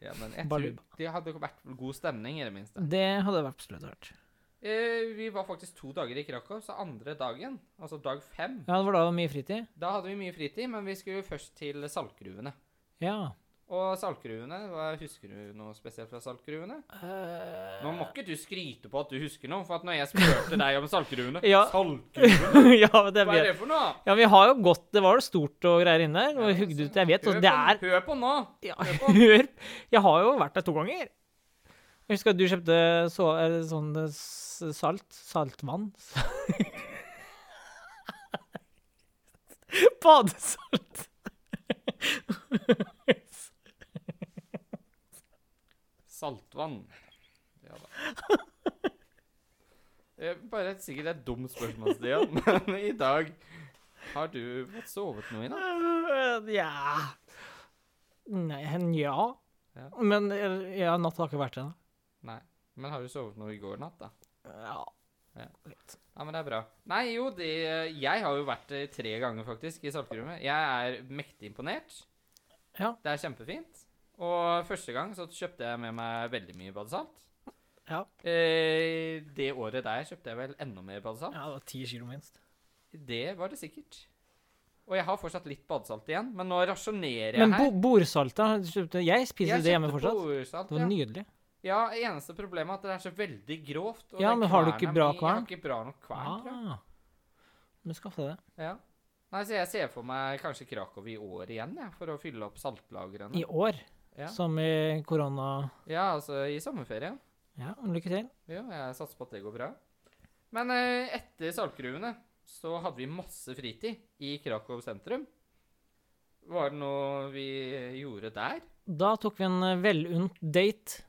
Speaker 1: Ja, men jeg tror
Speaker 2: Baluba.
Speaker 1: det hadde vært god stemning, i det minste.
Speaker 2: Det hadde vært absolutt vært.
Speaker 1: Eh, vi var faktisk to dager i Krakow, så andre dagen, altså dag fem,
Speaker 2: Ja, det var da mye fritid.
Speaker 1: Da hadde vi mye fritid, men vi skulle først til saltgruvene.
Speaker 2: Ja.
Speaker 1: Og saltgruvene, hva husker du noe spesielt fra saltgruvene?
Speaker 2: Eh,
Speaker 1: Nå må ikke du skryte på at du husker noe, for at når jeg spurte deg om saltgruvene
Speaker 2: <laughs> Ja.
Speaker 1: Saltgruvene,
Speaker 2: <laughs> ja, men det
Speaker 1: hva er
Speaker 2: blir
Speaker 1: det for noe?
Speaker 2: Ja, vi har jo gått Det var jo stort og greier inne der. Og hugd ut Jeg vet,
Speaker 1: hør,
Speaker 2: og det
Speaker 1: på,
Speaker 2: er
Speaker 1: hør på nå!
Speaker 2: ja,
Speaker 1: hør
Speaker 2: <laughs>
Speaker 1: på.
Speaker 2: Hør! Jeg har jo vært der to ganger. Jeg husker at du kjøpte så, eh, sånn eh, s- salt Saltvann. <laughs> Badesalt.
Speaker 1: Saltvann. Ja da.
Speaker 2: <laughs>
Speaker 1: Eh, Bare et, sikkert et dumt spørsmål, Stian, <laughs> men i dag Har du fått sovet noe i natt?
Speaker 2: Nja Nei, hen- ja.
Speaker 1: Ja.
Speaker 2: Men eh, ja, natt har ikke vært ennå.
Speaker 1: Nei. Men har du sovet noe i går natt, da?
Speaker 2: Ja.
Speaker 1: Ja, men det er bra. Nei, jo, det, jeg har jo vært eh, tre ganger faktisk i saltgrummet. Jeg er mektig imponert.
Speaker 2: Ja.
Speaker 1: Det er kjempefint. Og første gang så kjøpte jeg med meg veldig mye badesalt.
Speaker 2: Ja.
Speaker 1: Eh, det året der kjøpte jeg vel enda mer badesalt.
Speaker 2: ja, det var ti kilo minst.
Speaker 1: Det var det sikkert. Og jeg har fortsatt litt badesalt igjen, men nå rasjonerer jeg
Speaker 2: Men bo
Speaker 1: her.
Speaker 2: bordsalta kjøpte Jeg spiser
Speaker 1: Jeg
Speaker 2: det hjemme
Speaker 1: kjøpte
Speaker 2: fortsatt.
Speaker 1: boresalt,
Speaker 2: Det var nydelig.
Speaker 1: ja. ja, eneste problemet er at det er så veldig grovt. og
Speaker 2: Ja,
Speaker 1: den
Speaker 2: men har du
Speaker 1: kverna
Speaker 2: ikke bra
Speaker 1: mi- Jeg
Speaker 2: kvern?
Speaker 1: har ikke bra nok kvern, tror jeg.
Speaker 2: Ah. Du skaffa det.
Speaker 1: Ja. Nei, så jeg ser for meg kanskje Krakow i år igjen, jeg, for å fylle opp saltlagrene.
Speaker 2: I år,
Speaker 1: Ja.
Speaker 2: som i korona...
Speaker 1: Ja, altså i sommerferien.
Speaker 2: Ja, lykke til.
Speaker 1: Jo, jeg satser på at det går bra. Men eh, etter saltgruvene så hadde vi masse fritid i Krakow sentrum. Var det noe vi gjorde der?
Speaker 2: Da tok vi en eh, velunt date.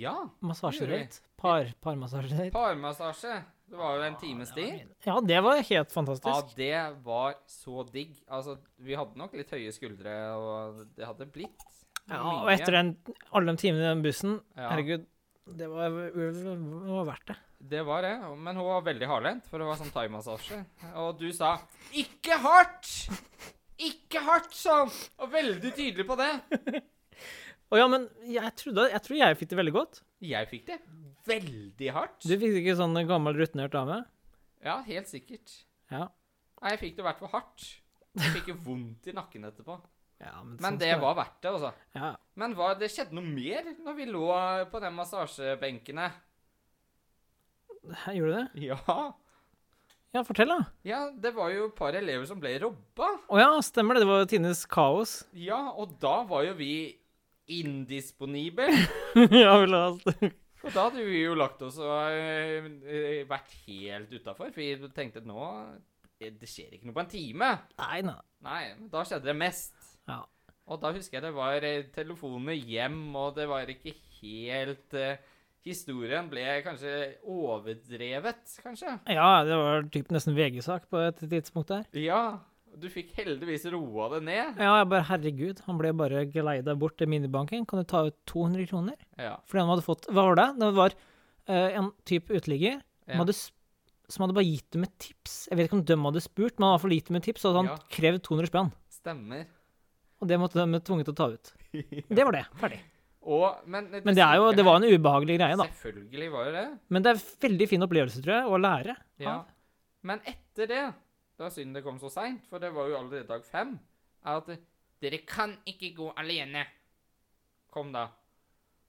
Speaker 1: Ja,
Speaker 2: Massasjedate. Par, parmassasjedate.
Speaker 1: parmassasje. Det var jo en times tid.
Speaker 2: Ja, det var helt
Speaker 1: Ja,
Speaker 2: fantastisk.
Speaker 1: det var så digg. Altså, vi hadde nok litt høye skuldre, og det hadde blitt
Speaker 2: Ja, og etter den, alle de timene i den bussen,
Speaker 1: Ja.
Speaker 2: herregud, det var, det var verdt det.
Speaker 1: Det var det, men hun var veldig hardlent, for det var sånn thaimassasje. Og du sa 'ikke hardt'! Ikke hardt, sånn! Og veldig tydelig på det.
Speaker 2: Å ja, men jeg, trodde, jeg tror jeg fikk det veldig godt.
Speaker 1: Jeg fikk det veldig hardt.
Speaker 2: Du fikk ikke sånn gammel, rutinert dame?
Speaker 1: Ja, helt sikkert.
Speaker 2: Ja.
Speaker 1: Nei, jeg fikk det i hvert fall hardt. Jeg fikk jo vondt i nakken etterpå.
Speaker 2: ja
Speaker 1: Men
Speaker 2: sånn
Speaker 1: det
Speaker 2: skal
Speaker 1: var verdt det, altså.
Speaker 2: Ja.
Speaker 1: Men hva, det skjedde noe mer når vi lå på de massasjebenkene.
Speaker 2: Hæ, Gjorde du det?
Speaker 1: Ja.
Speaker 2: Ja, fortell, da.
Speaker 1: Ja, det var jo et par elever som ble robba.
Speaker 2: Å ja, stemmer det. Det var tidenes kaos. <laughs>
Speaker 1: Ja, og da var jo vi
Speaker 2: <laughs>
Speaker 1: indisponibel.
Speaker 4: ja, vel, altså.
Speaker 1: Og da hadde vi jo lagt oss og eh, eh, vært helt utafor, for vi tenkte nå eh, Det skjer ikke noe på en time.
Speaker 4: Nei, nei.
Speaker 1: Nei, men da skjedde det mest.
Speaker 4: Ja.
Speaker 1: Og da husker jeg det var eh, telefoner hjem, og det var ikke helt eh, Historien ble kanskje overdrevet, kanskje.
Speaker 2: Ja, det var typ nesten VG-sak på et tidspunkt der.
Speaker 1: Ja. Du fikk heldigvis roa det ned.
Speaker 2: Ja, jeg bare Herregud, han ble bare geleida bort til minibanken. Kan du ta ut 200 kroner?
Speaker 1: Ja.
Speaker 2: Fordi han hadde fått Hva var det? Det var eh, en type uteligger
Speaker 1: Ja.
Speaker 2: som, hadde, sp- som hadde bare gitt dem et tips. Jeg vet ikke om de hadde spurt, men han hadde i hvert fall gitt dem et tips, og han
Speaker 1: Ja.
Speaker 2: krevde 200 spenn.
Speaker 1: Stemmer.
Speaker 2: Og det måtte de tvunget til å ta
Speaker 1: <laughs>
Speaker 2: ut. Det var det. Ferdig.
Speaker 1: Og, men,
Speaker 2: Men det, er jo, det var en ubehagelig greie, da.
Speaker 1: Selvfølgelig var det det.
Speaker 2: Men det er en veldig fin opplevelse, tror jeg, å lære.
Speaker 1: Ja.
Speaker 2: av.
Speaker 1: Men etter det, det var synd det kom så seint, for det var jo allerede dag fem, er at Dere kan ikke gå alene. Kom, da.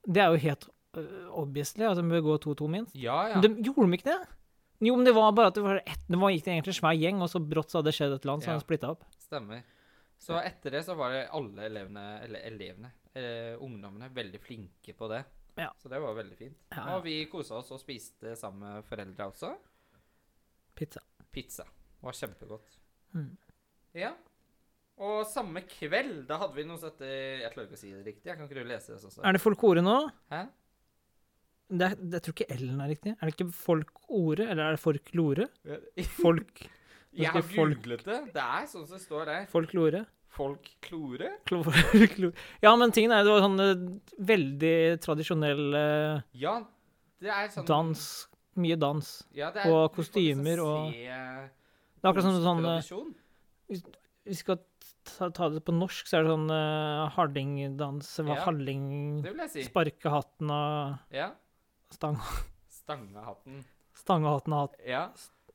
Speaker 2: Det er jo helt øh, obviously at de bør gå 2-2 minst.
Speaker 1: Ja, ja.
Speaker 2: Men De, gjorde de ikke det? Jo, men det var bare at det var ett Det var gikk det egentlig en svær gjeng, og så brått så hadde det skjedd et eller annet, så
Speaker 1: Ja.
Speaker 2: de splitta opp.
Speaker 1: Stemmer. Så etter det så var det alle elevene, eller elevene, eh, ungdommene, veldig flinke på det.
Speaker 4: Ja.
Speaker 1: Så det var veldig fint.
Speaker 4: Ja, ja.
Speaker 1: Og vi kosa oss og spiste sammen med foreldra også.
Speaker 2: Pizza.
Speaker 1: Pizza. Det var kjempegodt.
Speaker 4: Mm.
Speaker 1: Ja. Og samme kveld, da hadde vi noe sånt eh, Jeg klarer ikke å si det riktig. Jeg kan ikke du lese det sånn?
Speaker 2: Er det folkore nå?
Speaker 1: Hæ?
Speaker 2: Det er, jeg tror ikke L-en er riktig. Er det ikke folkore, eller er det folklore?
Speaker 1: <laughs>
Speaker 2: Folk,
Speaker 1: Jeg har
Speaker 2: skal folk-
Speaker 1: googlet det. Det er sånn som det står der.
Speaker 2: folklore?
Speaker 1: Folk klore.
Speaker 2: Klo- folklore. Ja, men tingen er, det var sånn eh, veldig tradisjonell eh,
Speaker 1: Ja, det er sånn
Speaker 2: dans. Mye dans.
Speaker 1: ja, det
Speaker 2: og
Speaker 1: du får liksom
Speaker 2: kostymer og-
Speaker 1: se
Speaker 2: Det er akkurat som sånn eh,
Speaker 1: tradisjon.
Speaker 2: Hvis vi skal ta, ta det på norsk, så er det sånn uh, hardingdans hva
Speaker 1: Ja.
Speaker 2: Harding
Speaker 1: Det vil jeg si.
Speaker 2: Sparke hatten av
Speaker 1: Ja.
Speaker 2: stang, <laughs>
Speaker 1: Stangehatten.
Speaker 2: stange hatten av hatt.
Speaker 1: Ja.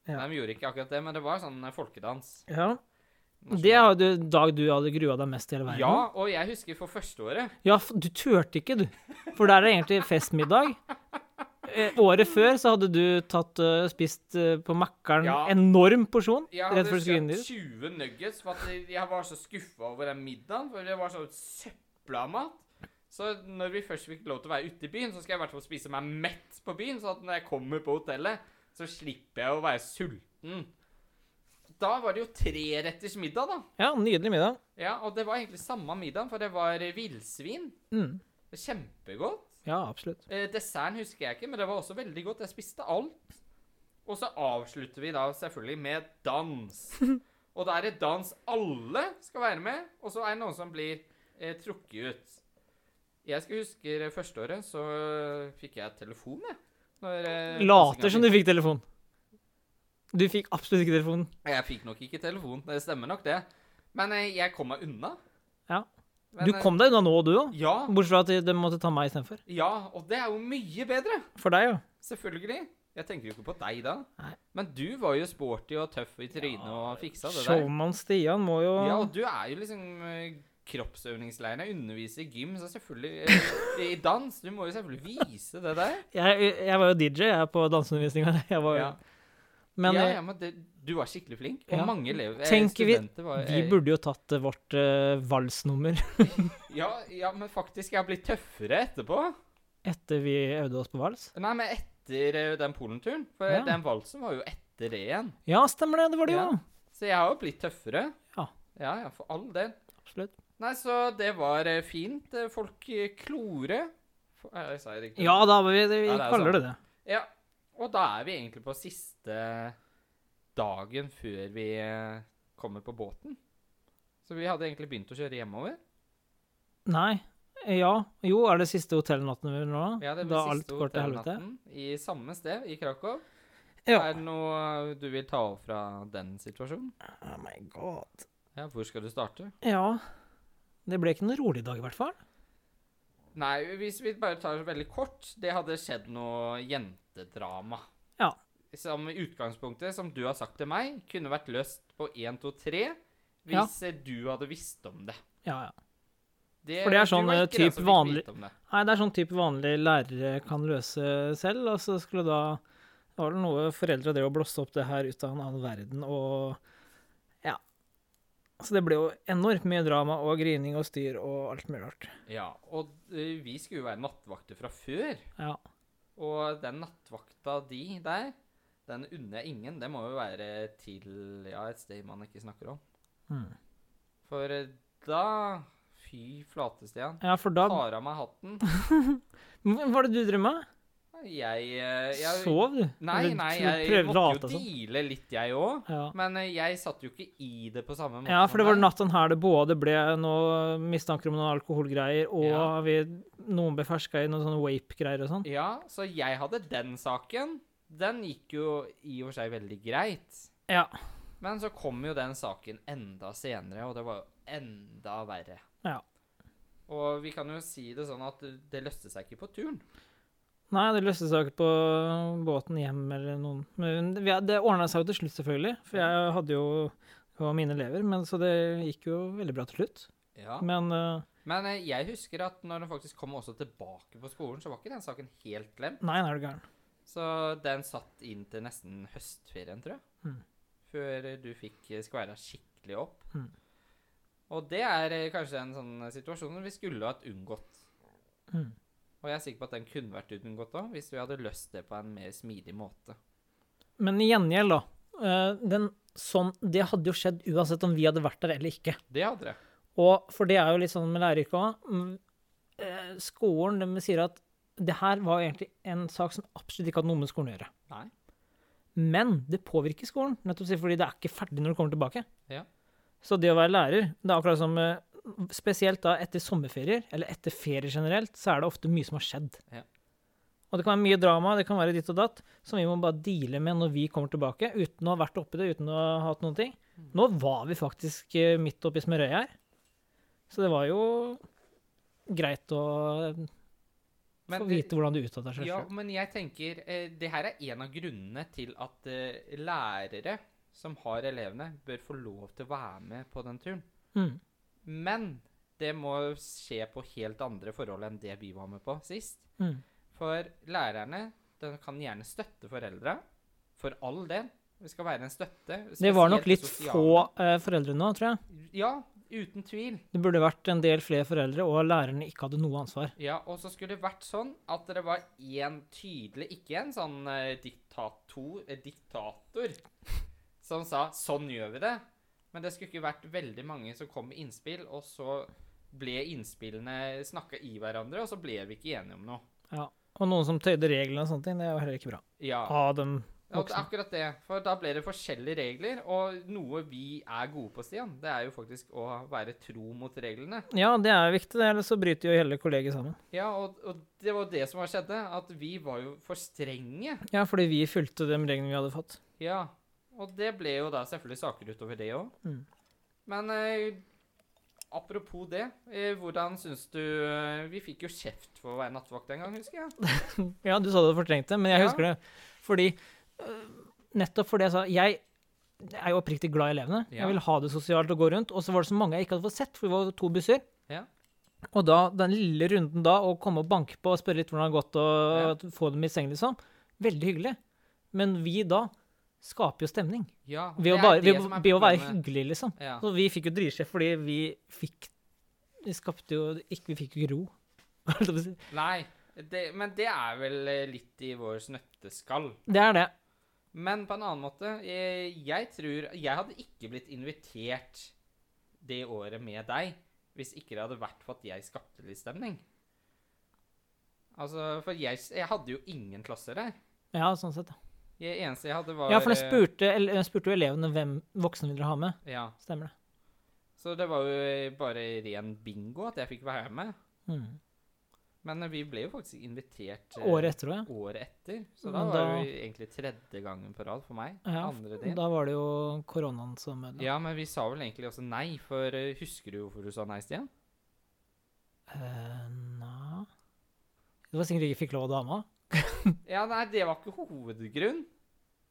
Speaker 2: Ja.
Speaker 1: Nei, de gjorde ikke akkurat det, men det var sånn eh, folkedans.
Speaker 2: Ja.
Speaker 1: Nasjonal-
Speaker 2: Det er jo en dag du hadde grua deg mest i hele verden.
Speaker 1: Ja, og jeg husker for første året.
Speaker 2: Ja, f- du turte ikke, du. For der er det egentlig festmiddag. Eh, året før så hadde du tatt, eh, spist eh, på Mækkern
Speaker 1: Ja.
Speaker 2: enorm porsjon
Speaker 1: Jeg
Speaker 2: rett
Speaker 1: hadde
Speaker 2: før du skulle inn
Speaker 1: kjøpt
Speaker 2: dit.
Speaker 1: 20 nuggets, for at jeg var så skuffa over den middagen. For det var sånn søpla mat. Så når vi først fikk lov til å være ute i byen, så skal jeg i hvert fall spise meg mett på byen. Sånn at når jeg kommer på hotellet, så slipper jeg å være sulten. Da var det jo treretters middag, da.
Speaker 2: Ja, nydelig middag.
Speaker 1: Ja, Og det var egentlig samme middagen, for det var villsvin.
Speaker 2: Mm.
Speaker 1: Kjempegodt.
Speaker 2: Ja, absolutt.
Speaker 1: Eh, desserten husker jeg ikke, men det var også veldig godt. Jeg spiste alt. Og så avslutter vi da selvfølgelig med
Speaker 2: <laughs>
Speaker 1: dans. Og da er det dans alle skal være med, og så er det noen som blir eh, trukket ut. Jeg skal huske det første året, så fikk jeg telefon, jeg. Når, eh,
Speaker 2: Later som du fikk telefon. Du fikk absolutt ikke telefon.
Speaker 1: Jeg fikk nok ikke telefon, det stemmer nok det. Men eh, jeg kom meg unna.
Speaker 2: Ja.
Speaker 1: Men,
Speaker 2: Du
Speaker 1: eh,
Speaker 2: kom deg unna nå, du òg.
Speaker 1: Ja,
Speaker 2: Bortsett fra at de måtte ta meg istedenfor.
Speaker 1: ja, og det er jo mye bedre.
Speaker 2: For deg, jo.
Speaker 1: Selvfølgelig. Jeg tenker jo ikke på deg da.
Speaker 2: Nei.
Speaker 1: Men du var jo sporty og tøff i trynet og fiksa det der.
Speaker 2: Showman Stian må jo
Speaker 1: Ja, og du er jo liksom eh, kroppsøvingsleiren. Jeg underviser i gym, så selvfølgelig eh, I dans. Du må jo selvfølgelig vise det der.
Speaker 2: jeg, jeg var jo DJ jeg på danseundervisninga. Jeg var jo
Speaker 1: Ja,
Speaker 2: Men
Speaker 1: ja,
Speaker 2: eh,
Speaker 1: ja men det, du var skikkelig flink. Og
Speaker 2: Ja.
Speaker 1: mange elever eh,
Speaker 2: Tenker vi-
Speaker 1: studenter var
Speaker 2: de burde jo tatt eh, vårt eh, valsnummer.
Speaker 1: eh, ja, ja, men faktisk, jeg har blitt tøffere etterpå.
Speaker 2: Etter vi øvde oss på vals?
Speaker 1: Nei, men etter eh, den polenturen. For
Speaker 2: Ja.
Speaker 1: den valsen var jo etter det igjen.
Speaker 2: Ja, stemmer det. Det var det jo.
Speaker 1: Ja. Så jeg har jo blitt tøffere.
Speaker 2: Ja.
Speaker 1: Ja, ja, for all del.
Speaker 2: Absolutt.
Speaker 1: Nei, så det var eh, fint. Eh, Folk eh, klore. F- eh, Jeg sa det riktig.
Speaker 2: Ja, da var vi, vi
Speaker 1: Ja, det er
Speaker 2: kaller det
Speaker 1: sant.
Speaker 2: det.
Speaker 1: Ja. Og da er vi egentlig på siste dagen før vi eh, kommer på båten. Så vi hadde egentlig begynt å kjøre hjemover.
Speaker 2: Nei. Ja. Jo, er det siste hotellnatten vi nå?
Speaker 1: Vi hadde
Speaker 2: da
Speaker 1: siste
Speaker 2: alt går til helvete?
Speaker 1: hotellnatten I samme sted, i Krakow.
Speaker 2: Ja.
Speaker 1: Er det noe du vil ta over fra den situasjonen?
Speaker 2: Oh my god.
Speaker 1: Ja, hvor skal du starte?
Speaker 2: Ja. Det ble ikke noen rolig dag, i hvert fall.
Speaker 1: Nei, hvis vi bare tar det veldig kort Det hadde skjedd noe jentedrama.
Speaker 2: Ja.
Speaker 1: Som i utgangspunktet, som du har sagt til meg, kunne vært løst på 1, 2, 3
Speaker 2: Ja.
Speaker 1: hvis eh, du hadde visst om det.
Speaker 2: Ja, ja. For det er
Speaker 1: du
Speaker 2: sånn,
Speaker 1: var
Speaker 2: eh,
Speaker 1: ikke den
Speaker 2: typ
Speaker 1: som fikk
Speaker 2: vanlig-
Speaker 1: vite om det.
Speaker 2: Nei, det er sånn type vanlige lærere kan løse selv, og så skulle da Det var vel noe foreldre drev og blåste opp det her ut av en annen verden, og Ja. Så det ble jo enormt mye drama og grining og styr og alt mulig rart.
Speaker 1: Ja, og eh, vi skulle jo være nattvakter fra før.
Speaker 2: Ja.
Speaker 1: Og den nattvakta di der, den unner jeg ingen. Det må jo være til ja, et sted man ikke snakker om.
Speaker 2: Mm.
Speaker 1: For eh, da Fy flate, Stian.
Speaker 2: Ja, for da
Speaker 1: Tar av meg hatten.
Speaker 2: Hva var det du drømma?
Speaker 1: Jeg, eh, jeg
Speaker 2: Sov du?
Speaker 1: Nei,
Speaker 2: Eller
Speaker 1: nei,
Speaker 2: tro-
Speaker 1: jeg
Speaker 2: prøvde å late
Speaker 1: måtte jo
Speaker 2: som.
Speaker 1: deale litt, jeg òg.
Speaker 2: Ja.
Speaker 1: Men eh, jeg satt jo ikke i det på samme måte.
Speaker 2: ja, for det var
Speaker 1: som deg.
Speaker 2: natten her det både ble noe mistanker om noen alkoholgreier, og
Speaker 1: Ja.
Speaker 2: vi, noen ble ferska i noen sånne wape-greier og sånn.
Speaker 1: Ja, så jeg hadde den saken. Den gikk jo i og for seg veldig greit.
Speaker 2: Ja.
Speaker 1: Men så kom jo den saken enda senere, og det var jo enda verre.
Speaker 2: Ja.
Speaker 1: Og vi kan jo si det sånn at det løste seg ikke på turen.
Speaker 2: Nei, det løste seg ikke på båten hjem eller noen Men vi, det ordna seg jo til slutt, selvfølgelig. For jeg hadde jo det var mine elever, men så det gikk jo veldig bra til slutt.
Speaker 1: Ja.
Speaker 2: Men eh,
Speaker 1: Men eh, jeg husker at når den faktisk kom også tilbake på skolen, så var ikke den saken helt glemt.
Speaker 2: nei, nå er du gæren.
Speaker 1: Så den satt inn til nesten høstferien, tror jeg.
Speaker 2: Mm.
Speaker 1: Før eh, du fikk eh, skværa skikkelig opp.
Speaker 2: Mm.
Speaker 1: Og det er eh, kanskje en sånn situasjon vi skulle hatt unngått.
Speaker 2: Mm.
Speaker 1: Og jeg er sikker på at den kunne vært unngått òg, hvis vi hadde løst det på en mer smidig måte.
Speaker 2: Men i gjengjeld, da. eh, Den, sånn, det hadde jo skjedd uansett om vi hadde vært der eller ikke.
Speaker 1: Det hadde det.
Speaker 2: Og for det er jo litt sånn med læreryrket òg. Skolen de sier at det her var jo egentlig en sak som absolutt ikke hadde noe med skolen å gjøre.
Speaker 1: Nei.
Speaker 2: Men det påvirker skolen, nettopp si- fordi det er ikke ferdig når du kommer tilbake.
Speaker 1: Ja.
Speaker 2: Så det å være lærer, det er akkurat som eh, Spesielt da etter sommerferier, eller etter ferier generelt, så er det ofte mye som har skjedd.
Speaker 1: Ja.
Speaker 2: Og det kan være mye drama, det kan være ditt og datt, som vi må bare deale med når vi kommer tilbake, uten å ha vært oppi det, uten å ha hatt noen ting.
Speaker 1: Mm.
Speaker 2: Nå var vi faktisk eh, midt oppi smørøyet her. Så det var jo greit å
Speaker 1: Men
Speaker 2: få
Speaker 1: det-
Speaker 2: vite hvordan du uttaler seg
Speaker 1: Ja,
Speaker 2: selv.
Speaker 1: men jeg tenker eh, det her er en av grunnene til at eh, lærere som har elevene, bør få lov til å være med på den turen.
Speaker 2: Mm.
Speaker 1: Men det må skje på helt andre forhold enn det vi var med på sist.
Speaker 2: Mm.
Speaker 1: For lærerne de kan gjerne støtte foreldre, for all del. Vi skal være en støtte.
Speaker 2: Det var nok
Speaker 1: spesielt
Speaker 2: litt
Speaker 1: sosiale.
Speaker 2: få eh, foreldre nå, tror jeg.
Speaker 1: Ja, uten tvil.
Speaker 2: Det burde vært en del flere foreldre, og lærerne ikke hadde noe ansvar.
Speaker 1: Ja, og så skulle det vært sånn at det var én tydelig Ikke en sånn eh, diktator, eh, diktator som sa 'sånn gjør vi det', men det skulle ikke vært veldig mange som kom med innspill, og så ble innspillene snakka i hverandre, og så ble vi ikke enige om noe.
Speaker 2: Og noen som tøyde reglene og sånne ting, det er jo heller ikke bra.
Speaker 1: Ja,
Speaker 2: Av dem
Speaker 1: og det er
Speaker 2: voksne.
Speaker 1: akkurat det. For da ble det forskjellige regler, og noe vi er gode på, Stian, det er jo faktisk å være tro mot reglene.
Speaker 2: Ja, det er viktig, det, ellers så bryter jo hele kollegiet sammen.
Speaker 1: Ja, og, og det var det som skjedde, at vi var jo for strenge.
Speaker 2: Ja, fordi vi fulgte de reglene vi hadde fått.
Speaker 1: Ja, og det ble jo da selvfølgelig saker utover det òg.
Speaker 2: Mm.
Speaker 1: Men eh, apropos det, eh, hvordan syns du eh, Vi fikk jo kjeft for å være nattevakt en gang, husker jeg.
Speaker 2: Ja, du sa du hadde fortrengt det, men jeg
Speaker 1: Ja.
Speaker 2: husker det. Fordi øh, Nettopp fordi jeg sa Jeg er jo oppriktig glad i elevene.
Speaker 1: Ja.
Speaker 2: Jeg vil ha det sosialt og gå rundt. Og så var det så mange jeg ikke hadde fått sett, for vi var to busser.
Speaker 1: Ja.
Speaker 2: Og da, den lille runden da, å komme og banke på og spørre litt hvordan det har gått, og få dem i seng, liksom. Veldig hyggelig. Men vi da skaper jo stemning.
Speaker 1: Ja,
Speaker 2: Ved å,
Speaker 1: det er
Speaker 2: bare,
Speaker 1: det
Speaker 2: ved,
Speaker 1: som er
Speaker 2: å- ved å være
Speaker 1: problemet.
Speaker 2: hyggelig, liksom.
Speaker 1: ja.
Speaker 2: Så vi fikk jo dritsjef fordi vi fikk Vi skapte jo ikke, Vi fikk jo ikke ro. <laughs> Hva er det å si?
Speaker 1: Nei, det, men det er vel eh, litt i vår snøtteskall.
Speaker 2: Det er det.
Speaker 1: Men på en annen måte, eh, jeg tror Jeg hadde ikke blitt invitert det året med deg hvis ikke det hadde vært for at jeg skapte litt stemning. Altså, for jeg, jeg hadde jo ingen klasser der.
Speaker 2: Ja, sånn sett. ja.
Speaker 1: Det eneste jeg hadde, var
Speaker 2: Ja, for jeg
Speaker 1: eh,
Speaker 2: spurte, el- jeg spurte jo elevene hvem voksne ville ha med.
Speaker 1: Ja.
Speaker 2: Stemmer det.
Speaker 1: Så det var jo eh, bare ren bingo at jeg fikk være med.
Speaker 2: Mm.
Speaker 1: Men eh, vi ble jo faktisk invitert eh,
Speaker 2: Året etter òg,
Speaker 1: året etter. Så da var
Speaker 2: Men da-
Speaker 1: det jo egentlig tredje gangen på rad for meg.
Speaker 2: ja.
Speaker 1: Andre
Speaker 2: ja.
Speaker 1: del.
Speaker 2: Da var det jo koronaen som ødela.
Speaker 1: Ja, men vi sa vel egentlig også nei, for eh, husker du hvorfor du sa nei, Stian?
Speaker 2: Eh, nei. Det var sikkert ikke fikk lov av dama.
Speaker 1: Ja, nei, det var ikke hovedgrunn.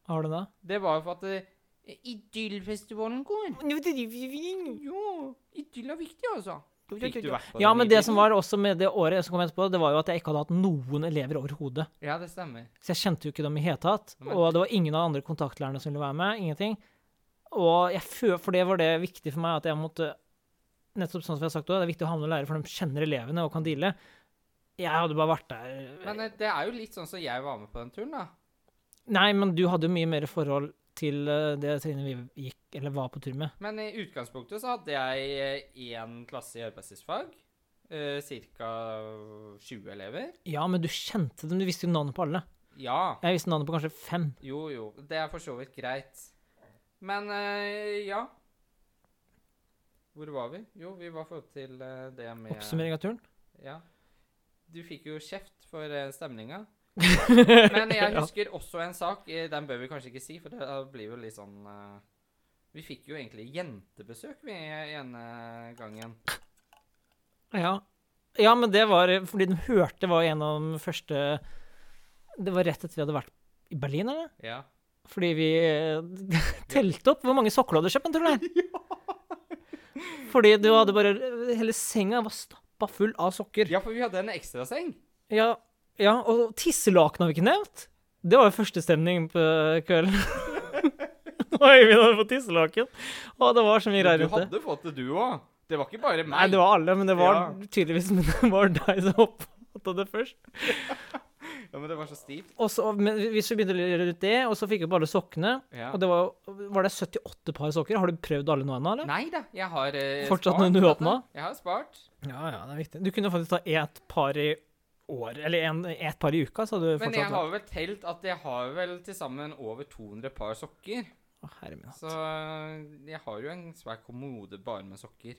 Speaker 2: Har du det?
Speaker 1: Det var jo for at eh, Idyllfestivalen går. Jo, idyll er viktig, altså. Fikk du vært på
Speaker 2: Ja,
Speaker 1: den
Speaker 2: men det
Speaker 1: idyllen?
Speaker 2: som var også med det året som kom etterpå, det var jo at jeg ikke hadde hatt noen elever overhodet.
Speaker 1: Ja, det stemmer.
Speaker 2: Så jeg kjente jo ikke dem i hele tatt.
Speaker 1: Nei.
Speaker 2: Og det var ingen av de andre kontaktlærerne som ville være med. Ingenting. Og jeg føler, for det var det viktig for meg at jeg måtte Nettopp sånn som jeg har sagt også, det er viktig å ha med noen lærere, for de kjenner elevene og kan deale. Jeg hadde bare vært der
Speaker 1: Men eh, det er jo litt sånn som jeg var med på den turen, da.
Speaker 2: Nei, men du hadde jo mye mer forhold til eh, det trinnet vi gikk, eller var på tur med.
Speaker 1: Men eh, i utgangspunktet så hadde jeg eh, én klasse i arbeidslivsfag. Ca. 20 elever.
Speaker 2: Ja, men du kjente dem. Du visste jo navnet på alle.
Speaker 1: Ja.
Speaker 2: Jeg visste navnet på kanskje fem.
Speaker 1: Jo, jo. Det er for så vidt greit. Men eh, ja. Hvor var vi? Jo, vi var forhold til eh, det med
Speaker 2: Oppsummering av turen.
Speaker 1: Ja. Du fikk jo kjeft for eh,
Speaker 2: <laughs>
Speaker 1: stemninga. Men jeg
Speaker 2: Ja.
Speaker 1: husker også en sak. eh, Den bør vi kanskje ikke si, for det eh, blir jo litt sånn eh, Vi fikk jo egentlig jentebesøk vi ene gangen.
Speaker 2: Ja. ja, men det var eh, fordi de hørte var en av de første Det var rett etter vi hadde vært i Berlin, eller?
Speaker 1: Ja.
Speaker 2: Fordi vi eh, <laughs> telte opp hvor mange sokker du hadde kjøpt, tror
Speaker 1: <laughs>
Speaker 2: jeg. Fordi du hadde bare Hele senga var stappa full av sokker.
Speaker 1: ja, for vi hadde en ekstraseng.
Speaker 2: Ja, ja og tisselaken har vi ikke nevnt. Det var jo førstestemning på eh, kvelden. <laughs> Oi, vi hadde fått tisselaken. Å, det var så mye
Speaker 1: Men
Speaker 2: greier
Speaker 1: Du
Speaker 2: rundt det.
Speaker 1: hadde fått det, du òg. Det var ikke bare meg.
Speaker 2: Nei, det var alle, men det var
Speaker 1: Ja.
Speaker 2: tydeligvis <laughs> men det var deg som oppfatta det først.
Speaker 1: Ja, men det var så stivt.
Speaker 2: Og så, men hvis vi begynte å lure ut det, og så fikk vi opp alle sokkene
Speaker 1: Ja.
Speaker 2: Og det var, var det 78 par sokker? Har du prøvd alle nå ennå, eller?
Speaker 1: Nei da, jeg har eh,
Speaker 2: Fortsatt
Speaker 1: spart,
Speaker 2: noen
Speaker 1: vet du.
Speaker 2: uåpna?
Speaker 1: Jeg har spart.
Speaker 2: Ja, ja, det er viktig. Du kunne faktisk ta ett par i år, eller en, ett par i uka, så hadde du
Speaker 1: Men jeg
Speaker 2: fortsatt.
Speaker 1: har vel telt at jeg har vel til sammen over 200 par sokker.
Speaker 2: Å, herre min hatt.
Speaker 1: Så eh, jeg har jo en svær kommode bare med sokker.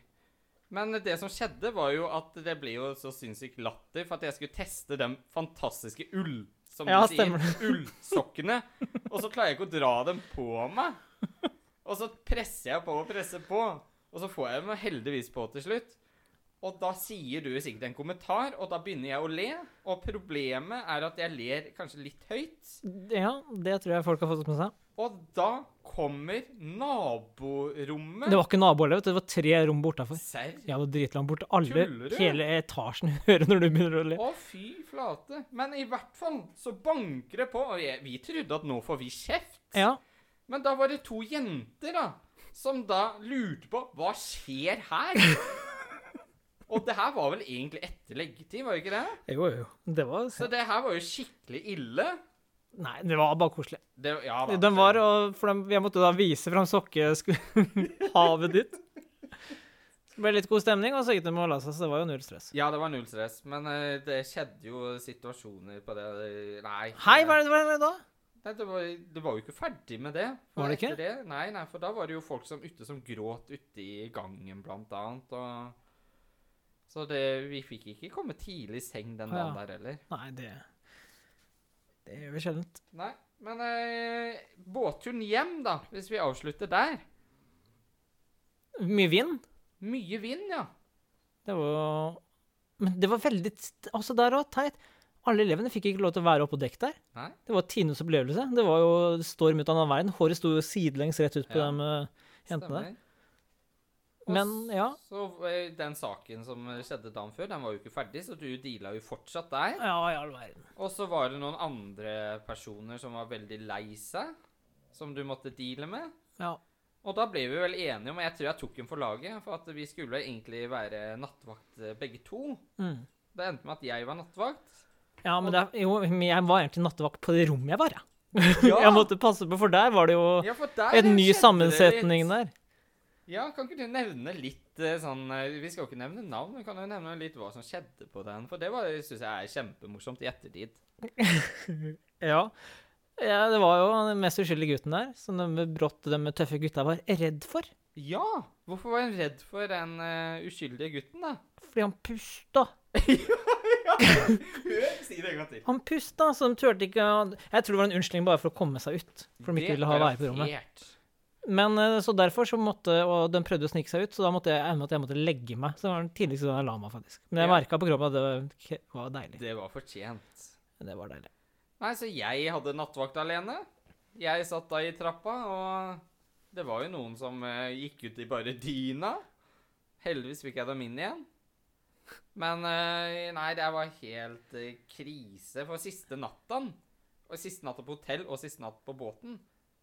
Speaker 1: Men det som skjedde, var jo at det ble jo så sinnssykt latter for at jeg skulle teste den fantastiske ull, som
Speaker 2: Ja,
Speaker 1: du
Speaker 2: stemmer
Speaker 1: sier, ullsokkene. Og så klarer jeg ikke å dra dem på meg. Og så presser jeg på og presser på, og så får jeg dem heldigvis på til slutt. Og da sier du sikkert en kommentar, og da begynner jeg å le. Og problemet er at jeg ler kanskje litt høyt.
Speaker 2: Ja, det tror jeg folk har fått med seg.
Speaker 1: Og da kommer naborommet.
Speaker 2: Det var ikke naboelev, det var tre rom bortafor.
Speaker 1: Serr?
Speaker 2: Ja, det var dritlangt borte. Alle,
Speaker 1: Tuller du?
Speaker 2: hele etasjen <laughs> hører når du begynner å le.
Speaker 1: Å, fy flate. Men i hvert fall så banker det på, og jeg, vi trodde at nå får vi kjeft.
Speaker 2: Ja,
Speaker 1: Men da var det to jenter, da, som da lurte på hva skjer
Speaker 2: <laughs>
Speaker 1: her? og det her var vel egentlig etter leggetid, var det ikke det?
Speaker 2: jo, jo. Det var
Speaker 1: Så det her var jo skikkelig ille.
Speaker 2: Nei, det var bare koselig.
Speaker 1: Det, ja, da,
Speaker 2: Den var, og for dem, jeg måtte da vise fram <laughs> sokkehavet ditt. Det ble litt god stemning, og så gikk de og la seg, så det var jo null stress.
Speaker 1: Ja, det var null stress, men eh, det skjedde jo situasjoner på det Nei.
Speaker 2: Hei, hva er det, hva er det da?
Speaker 1: Nei, det var, det var jo ikke ferdig med det. For
Speaker 2: Var det ikke?
Speaker 1: etter Det, nei, nei, for da var det jo folk som, ute som gråt ute i gangen, blant annet. Og, så det, vi fikk ikke komme tidlig i seng den
Speaker 2: Å, ja.
Speaker 1: dagen der heller.
Speaker 2: Nei, det Det gjør vi sjelden.
Speaker 1: Nei, men eh, båtturen hjem, da, hvis vi avslutter der.
Speaker 2: Mye vind.
Speaker 1: Mye vind, ja.
Speaker 2: Det var Men det var veldig Altså, der òg, teit. Alle elevene fikk ikke lov til å være oppe på dekk der.
Speaker 1: Nei.
Speaker 2: Det var tidenes opplevelse. Det var jo storm ut av den veien. Håret sto jo sidelengs rett ut på
Speaker 1: Ja.
Speaker 2: dem eh, jentene der.
Speaker 1: Stemmer. Og
Speaker 2: Men, ja.
Speaker 1: Så eh, den saken som skjedde dagen før, den var jo ikke ferdig, så du deala jo fortsatt der.
Speaker 2: Ja, i all verden.
Speaker 1: Og så var det noen andre personer som var veldig lei seg, som du måtte deale med.
Speaker 2: Ja.
Speaker 1: Og da ble vi vel enige om, og jeg tror jeg tok den for laget, for at vi skulle egentlig være nattvakt eh, begge to.
Speaker 2: Mm.
Speaker 1: Det endte med at jeg var nattvakt.
Speaker 2: Ja, men det, er- jo, men jeg var egentlig nattevakt på det rommet jeg var, ja.
Speaker 1: Ja,
Speaker 2: <laughs> Jeg måtte passe på, for der var det jo
Speaker 1: Ja, for der
Speaker 2: en ny
Speaker 1: skjedde det
Speaker 2: sammensetning
Speaker 1: litt.
Speaker 2: der.
Speaker 1: Ja, kan ikke du nevne litt eh, sånn eh, Vi skal jo ikke nevne navn, men kan du nevne litt hva som skjedde på den? For det syns jeg er kjempemorsomt i ettertid.
Speaker 2: Ja. ja. Det var jo den mest uskyldige gutten der, som de brått de tøffe gutta var redd for.
Speaker 1: Ja! Hvorfor var hun redd for den eh, uskyldige gutten, da?
Speaker 2: Fordi han pusta.
Speaker 1: <laughs> Si det en gang til.
Speaker 2: Han pusta, så de turte ikke å Jeg tror det var en unnskyldning bare for å komme seg ut. For de ikke ville ha være på rommet. Men eh, så derfor så måtte Og de prøvde å snike seg ut, så da måtte jeg enda at jeg måtte legge meg. Så det var den tidligste dagen jeg la meg, faktisk. Men jeg
Speaker 1: Ja.
Speaker 2: merka på kroppen at det var, k- var deilig.
Speaker 1: Det var fortjent.
Speaker 2: Det var deilig.
Speaker 1: Nei, så jeg hadde nattvakt alene. Jeg satt da i trappa, og det var jo noen som eh, gikk ut i bare dyna. Heldigvis fikk jeg dem inn igjen. Men eh, nei, det var helt eh, krise. For siste natten, og siste natta på hotell og siste natt på båten,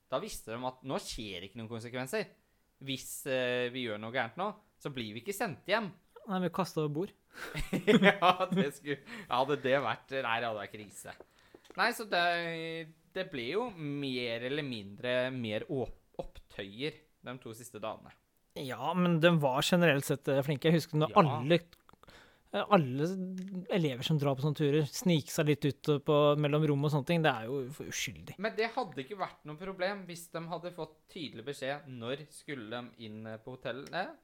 Speaker 1: Da visste de at nå skjer ikke noen konsekvenser. Hvis eh, vi gjør noe gærent nå, så blir vi ikke sendt hjem.
Speaker 2: Nei, vi kasta over bord.
Speaker 1: <laughs> ja, det skulle, hadde det vært Nei, det hadde vært krise. Nei, så det, det ble jo mer eller mindre mer åp- opptøyer de to siste dagene.
Speaker 2: Ja, men de var generelt sett eh, flinke. Jeg husker når
Speaker 1: Ja.
Speaker 2: alle, eh, alle elever som drar på sånne turer, sniker seg litt ut eh, på, mellom rom og sånne ting. Det er jo for uskyldig.
Speaker 1: Men det hadde ikke vært noe problem hvis de hadde fått tydelig beskjed når skulle de inn på hotellet,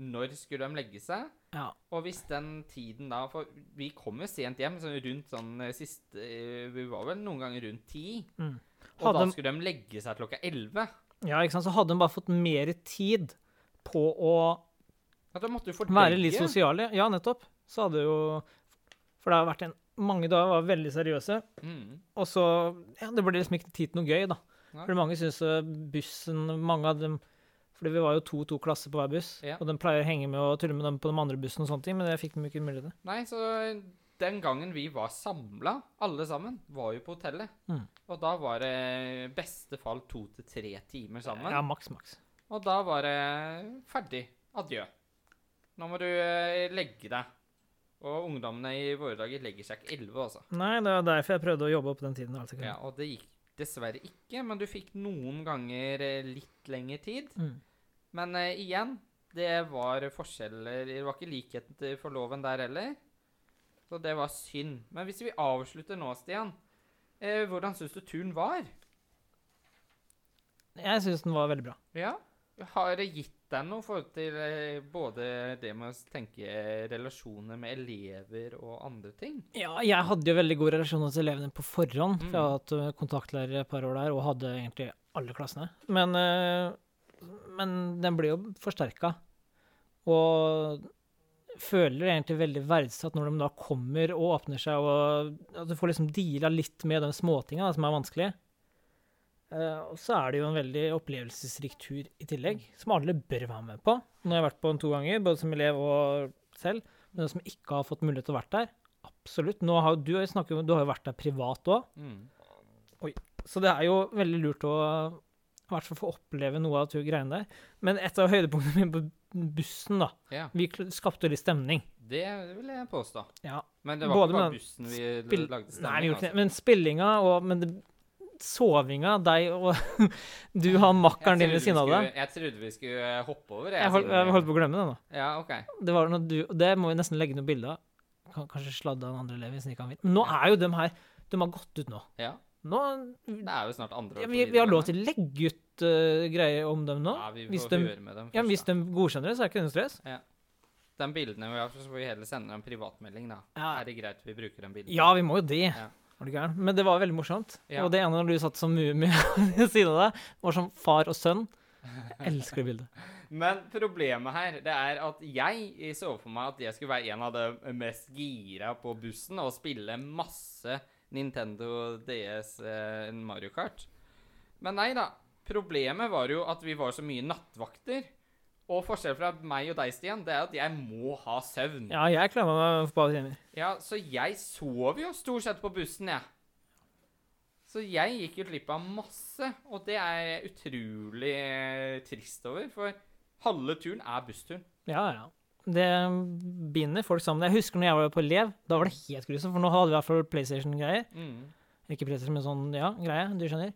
Speaker 1: når skulle de legge seg,
Speaker 2: Ja.
Speaker 1: og hvis den tiden da For vi kom jo sent hjem, sånn rundt sånn eh, siste eh, Vi var vel noen ganger rundt ti.
Speaker 2: Mm.
Speaker 1: Og
Speaker 2: Hadde
Speaker 1: da
Speaker 2: de-
Speaker 1: skulle de legge seg klokka elleve.
Speaker 2: ja, ikke sant. Så hadde de bare fått mer tid på å
Speaker 1: At de måtte jo
Speaker 2: være litt
Speaker 1: fordøye.
Speaker 2: sosiale. Ja, nettopp. Så hadde jo For det har vært en Mange dager var veldig seriøse.
Speaker 1: Mm.
Speaker 2: Og så Ja, det ble liksom ikke tid til noe gøy, da.
Speaker 1: Nei.
Speaker 2: For mange syns eh, bussen Mange av dem Fordi vi var jo to-to klasser på hver buss,
Speaker 1: Ja.
Speaker 2: og de pleier å henge med og tulle med dem på de andre bussen og sånne ting, men det fikk de jo ikke mulighet til.
Speaker 1: Nei, så den gangen vi var samla, alle sammen, var jo på hotellet.
Speaker 2: Mm.
Speaker 1: Og da var det beste fall to til tre timer sammen.
Speaker 2: Ja, maks, maks.
Speaker 1: Og da var det ferdig. Adjø. Nå må du eh, legge deg. Og ungdommene i våre dager legger seg ikke elleve, altså.
Speaker 2: Nei, det var derfor jeg prøvde å jobbe opp den tiden. Altså.
Speaker 1: Ja, og det gikk dessverre ikke, men du fikk noen ganger eh, litt lengre tid.
Speaker 2: Mm.
Speaker 1: Men eh, igjen, det var forskjeller Det var ikke likhet til- for loven der heller. Så det var synd. Men hvis vi avslutter nå, Stian, eh, hvordan syns du turen var?
Speaker 2: Jeg syns den var veldig bra.
Speaker 1: Ja? Har det gitt deg noe i forhold til eh, både det med å tenke eh, relasjoner med elever og andre ting?
Speaker 2: Ja, jeg hadde jo veldig gode relasjoner til elevene på forhånd,
Speaker 1: Mm.
Speaker 2: for jeg har hatt eh, kontaktlærer et par år der, og hadde egentlig alle klassene. Men, eh, men den ble jo forsterka. Og føler egentlig veldig verdsatt når de da kommer og åpner seg, og at du får liksom deala litt med de småtinga da, som er vanskelige. Eh, og så er det jo en veldig opplevelsesrik tur i tillegg, som alle bør være med på. Nå har jeg vært på den to ganger, både som elev og selv, men de som ikke har fått mulighet til å være der, absolutt. Nå har, jo- du, har jo snakket, om- du har jo vært der privat òg,
Speaker 1: Mm.
Speaker 2: så det er jo veldig lurt å i hvert fall få oppleve noe av de greiene der. Men et av høydepunktene mine på bussen, da
Speaker 1: Ja,
Speaker 2: Vi kl- skapte jo litt stemning.
Speaker 1: det vil jeg påstå.
Speaker 2: Ja,
Speaker 1: Men det var
Speaker 2: Både
Speaker 1: ikke bare
Speaker 2: med-
Speaker 1: bussen vi
Speaker 2: Spill-
Speaker 1: lagde
Speaker 2: Nei, vi
Speaker 1: stemning altså.
Speaker 2: gjorde ikke det. Men spillinga og men det, sovinga, deg og <laughs> Du har makkeren din ved siden av deg.
Speaker 1: Jeg trodde vi skulle eh, hoppe over.
Speaker 2: Jeg holdt, jeg holdt på å glemme det nå.
Speaker 1: Ja, ok.
Speaker 2: Det, var noe du, det må vi nesten legge noen bilder av. Kan, kanskje sladde av en andre elev hvis den ikke kan vinne. Men nå er jo dem her De har gått ut nå.
Speaker 1: Ja,
Speaker 2: nå
Speaker 1: det er jo snart andre
Speaker 2: ja,
Speaker 1: år
Speaker 2: vi,
Speaker 1: på
Speaker 2: vi har
Speaker 1: videregående.
Speaker 2: lov til å legge ut eh, greier om dem nå.
Speaker 1: Ja, vi får
Speaker 2: hvis de-
Speaker 1: høre med dem først.
Speaker 2: Ja, men Hvis
Speaker 1: da. Mm.
Speaker 2: de godkjenner det, så er det ikke noe stress.
Speaker 1: De bildene vi har, så får vi heller sende en privatmelding, da.
Speaker 2: Ja.
Speaker 1: Er det greit vi bruker den bilden?
Speaker 2: Ja, vi må jo det.
Speaker 1: Ja.
Speaker 2: Var du gæren? Men det var veldig morsomt.
Speaker 1: Ja.
Speaker 2: Og det ene når du satt som mumie <laughs> ved siden av deg, var som far og sønn.
Speaker 1: <laughs>
Speaker 2: Jeg elsker det bildet.
Speaker 1: Men problemet her, det er at jeg så for meg at jeg skulle være en av de mest gira på bussen og spille masse Nintendo DS eh, Mario Kart. Men nei da. Problemet var jo at vi var så mye nattvakter. Og forskjellen fra meg og deg, Stian, det er at jeg må ha søvn.
Speaker 2: Ja, jeg klemmer meg på alle timer.
Speaker 1: Ja, så jeg sov jo stort sett på bussen, jeg. Så jeg gikk jo glipp av masse, og det er jeg utrolig eh, trist over, for halve turen er bussturen.
Speaker 2: Ja, ja. Det binder folk sammen. Jeg husker når jeg var på elev, da var det helt grusomt, for nå hadde vi i hvert fall PlayStation-greier.
Speaker 1: Mm.
Speaker 2: Ikke PlayStation, men sånn, ja, greie, du skjønner.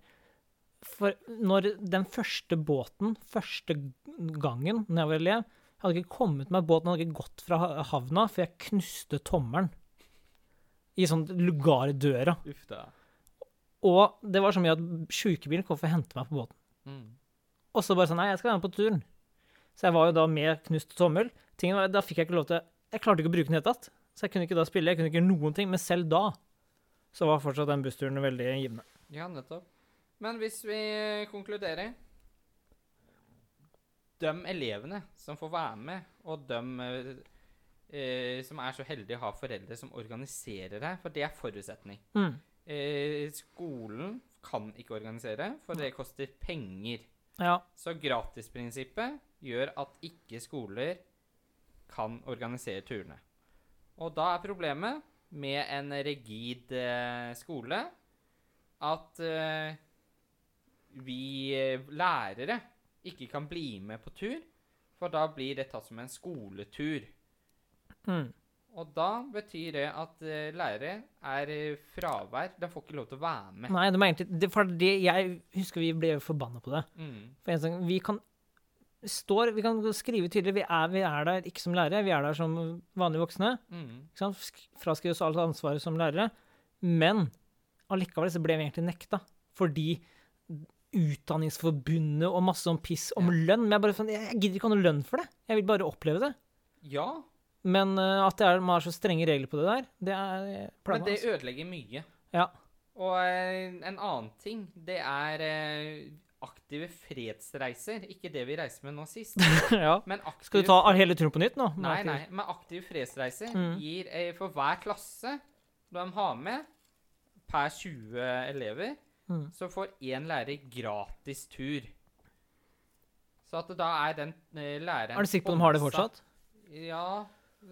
Speaker 2: For når den første båten, første gangen når jeg var elev, jeg hadde ikke kommet meg båten, jeg hadde ikke gått fra ha- havna, for jeg knuste tommelen i sånn lugar i døra.
Speaker 1: Uff da.
Speaker 2: Og det var så mye at sjukebilen kom for å hente meg på båten.
Speaker 1: Mm.
Speaker 2: Og så bare sånn, nei, jeg skal være med på turen. Så jeg var jo da med knust tommel. Tingen var, da fikk jeg ikke lov til, jeg klarte ikke å bruke den i det hele tatt. Så jeg kunne ikke da spille, jeg kunne ikke gjøre noen ting, men selv da, så var fortsatt den bussturen veldig givende.
Speaker 1: Ja, nettopp. Men hvis vi eh, konkluderer De elevene som får være med, og de eh, eh, som er så heldige å ha foreldre som organiserer det, for det er forutsetning.
Speaker 2: Mm.
Speaker 1: Eh, skolen kan ikke organisere, for det koster penger.
Speaker 2: Ja,
Speaker 1: Så gratisprinsippet gjør at ikke skoler kan organisere turene. Og da er problemet med en rigid eh, skole at eh, vi eh, lærere ikke kan bli med på tur, for da blir det tatt som en skoletur.
Speaker 2: Mm.
Speaker 1: Og da betyr det at eh, lærere er eh, fravær. De får ikke lov til å være med.
Speaker 2: Nei, det var egentlig det, For det jeg husker vi ble forbanna på det.
Speaker 1: Mm.
Speaker 2: For en sånn, vi kan står, vi kan skrive tydelig vi er, vi er der ikke som lærere, vi er der som vanlige voksne.
Speaker 1: Mm.
Speaker 2: Ikke sant? Sk- Fraskrive oss alt ansvaret som lærere. Men allikevel så ble vi egentlig nekta. Fordi Utdanningsforbundet og masse om piss om lønn. Men jeg bare sånn, jeg jeg gidder ikke ha noe lønn for det. Jeg vil bare oppleve det.
Speaker 1: Ja,
Speaker 2: Men eh, at det er, man har så strenge regler på det der, det er eh,
Speaker 1: men
Speaker 2: plaga.
Speaker 1: det
Speaker 2: Altså.
Speaker 1: ødelegger mye.
Speaker 2: Ja.
Speaker 1: Og eh, en annen ting, det er eh, aktive fredsreiser. Ikke det vi reiser med nå
Speaker 2: <laughs>
Speaker 1: sist.
Speaker 2: ja.
Speaker 1: Men aktive,
Speaker 2: altså. Skal du ta all- hele turen på nytt nå?
Speaker 1: Nei, nei. Men aktive fredsreiser
Speaker 2: Mm.
Speaker 1: gir eh, for hver klasse de har med, per 20 elever,
Speaker 2: Mm.
Speaker 1: så får én lærer gratis tur. Så at da er den eh, læreren
Speaker 2: Er du sikker på at de har det
Speaker 1: sponset.
Speaker 2: fortsatt?
Speaker 1: Ja,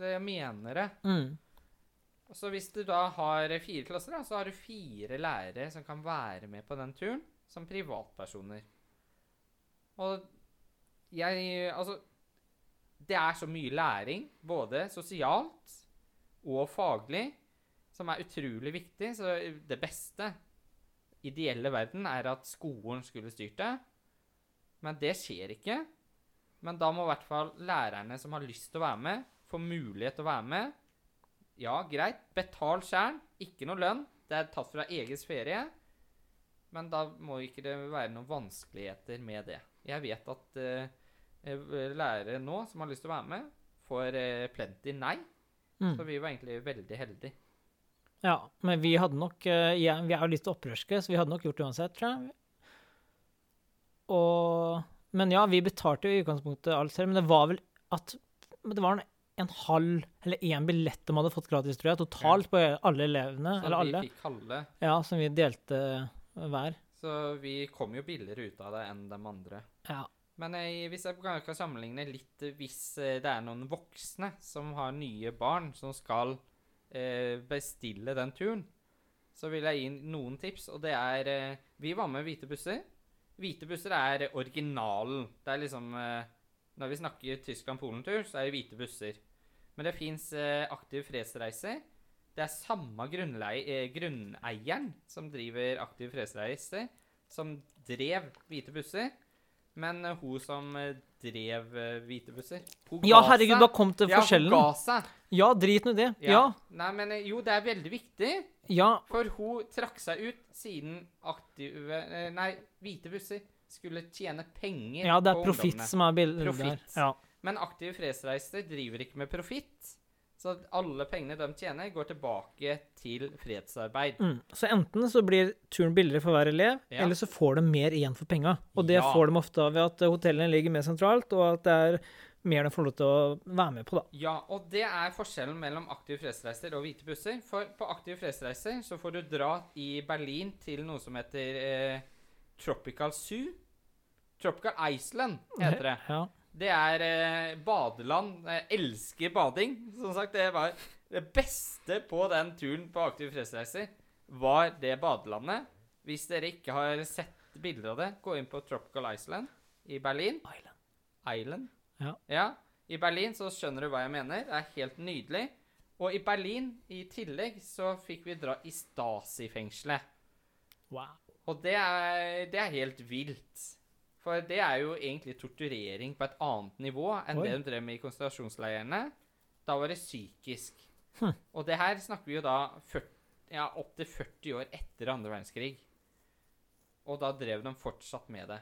Speaker 1: det jeg mener det.
Speaker 2: Mm.
Speaker 1: Så hvis du da har fire klasser, da, så har du fire lærere som kan være med på den turen, som privatpersoner. Og jeg Altså, det er så mye læring, både sosialt og faglig, som er utrolig viktig. Så det beste, ideelle verden, er at skolen skulle styrt det. Men det skjer ikke. Men da må i hvert fall lærerne som har lyst til å være med, få mulighet til å være med. Ja, greit. Betal sjæl. Ikke noe lønn. Det er tatt fra egens ferie. Men da må ikke det være noen vanskeligheter med det. Jeg vet at eh, eh, lærere nå som har lyst til å være med, får eh, plenty nei.
Speaker 2: Mm.
Speaker 1: Så vi var egentlig veldig heldige.
Speaker 2: Ja, men vi hadde nok eh, ja, Vi er jo litt opprørske, så vi hadde nok gjort det uansett, tror jeg. Og, men ja, vi betalte jo i utgangspunktet alt selv, men det var vel at men Det var en, en halv eller én billett de hadde fått gratis, tror jeg, totalt på alle elevene.
Speaker 1: Så
Speaker 2: eller
Speaker 1: vi
Speaker 2: alle.
Speaker 1: fikk halve.
Speaker 2: Ja, som vi delte eh, hver.
Speaker 1: Så vi kom jo billigere ut av det enn de andre.
Speaker 2: Ja.
Speaker 1: Men jeg, hvis jeg kan kan sammenligne litt eh, Hvis eh, det er noen voksne som har nye barn som skal eh, bestille den turen, så vil jeg gi noen tips, og det er eh, Vi var med Hvite busser. Hvite busser er originalen. Det er liksom eh, Når vi snakker Tyskland-Polen-tur, så er det hvite busser. Men det fins eh, Aktiv fredsreiser. Det er samme grunnlei, eh, grunneieren som driver Aktiv fredsreiser, som drev Hvite busser. Men eh, hun som eh, drev eh, hvite busser hun
Speaker 2: ja,
Speaker 1: ga
Speaker 2: herregud,
Speaker 1: seg.
Speaker 2: da kom til
Speaker 1: Ja, hun
Speaker 2: forskjellen.
Speaker 1: ga seg.
Speaker 2: Ja, drit nå i det. Ja.
Speaker 1: Nei, men eh, jo, det er veldig viktig,
Speaker 2: ja.
Speaker 1: for hun trakk seg ut siden aktive eh, Nei, hvite busser skulle tjene penger
Speaker 2: Ja, det er
Speaker 1: på
Speaker 2: profitt
Speaker 1: ungdommene.
Speaker 2: som er bildet der.
Speaker 1: Profitt.
Speaker 2: Ja.
Speaker 1: Men Aktive fredsreiser driver ikke med profitt. Så at alle pengene de tjener, går tilbake til fredsarbeid.
Speaker 2: Mm. Så enten så blir turen billigere for hver elev,
Speaker 1: Ja.
Speaker 2: eller så får de mer igjen for penga. Og det
Speaker 1: Ja.
Speaker 2: får de ofte av ved at hotellene ligger mer sentralt, og at det er mer de får lov til å være med på, da.
Speaker 1: Ja, og det er forskjellen mellom Aktive fredsreiser og Hvite busser. For på Aktive fredsreiser så får du dra i Berlin til noe som heter eh, Tropical Zoo. Tropical Iceland heter det.
Speaker 2: Ja.
Speaker 1: Det er eh, badeland. Jeg elsker bading. Som sagt, det var det beste på den turen på Aktiv fredsreiser, var det badelandet. Hvis dere ikke har sett bilder av det, gå inn på Tropical Island i Berlin.
Speaker 2: Island.
Speaker 1: Island.
Speaker 2: Ja.
Speaker 1: I Berlin så skjønner du hva jeg mener. Det er helt nydelig. Og i Berlin, i tillegg, så fikk vi dra i Stasi-fengselet.
Speaker 2: Wow.
Speaker 1: Og det er, det er helt vilt. For det er jo egentlig torturering på et annet nivå enn
Speaker 2: Oi.
Speaker 1: det de drev med i konsentrasjonsleirene. Da var det psykisk. Og det her snakker vi jo da 40, ja, opptil 40 år etter andre verdenskrig. Og da drev de fortsatt med det.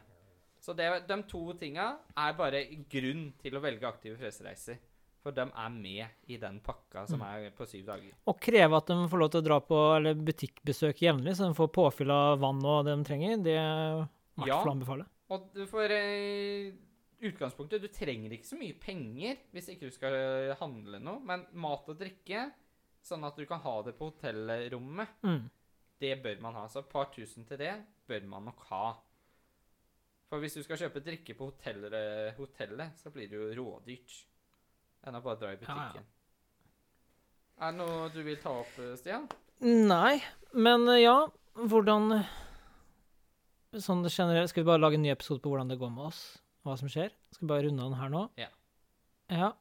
Speaker 1: Så det, de to tinga er bare grunn til å velge aktive fredsreiser. For de er med i den pakka som er på syv dager.
Speaker 2: Og kreve at de får lov til å dra på eller butikkbesøk jevnlig, så de får påfyll av vann og det de trenger, det er i hvert
Speaker 1: Ja.
Speaker 2: fall å anbefale.
Speaker 1: Og du får eh, utgangspunktet Du trenger ikke så mye penger hvis ikke du skal eh, handle noe, men mat og drikke, sånn at du kan ha det på hotellrommet,
Speaker 2: Mm.
Speaker 1: det bør man ha. Så et par tusen til det bør man nok ha. For hvis du skal kjøpe drikke på hotellet, hotellet så blir det jo rådyrt. Enn å bare dra i
Speaker 2: Ja, ja.
Speaker 1: butikken. Er det noe du vil ta opp, Stian?
Speaker 2: Nei, men eh, ja, hvordan
Speaker 5: sånn generelt, skal vi bare lage en ny episode på hvordan det går med oss? Hva som skjer? Skal vi bare runde den her nå?
Speaker 1: Ja.
Speaker 5: Ja.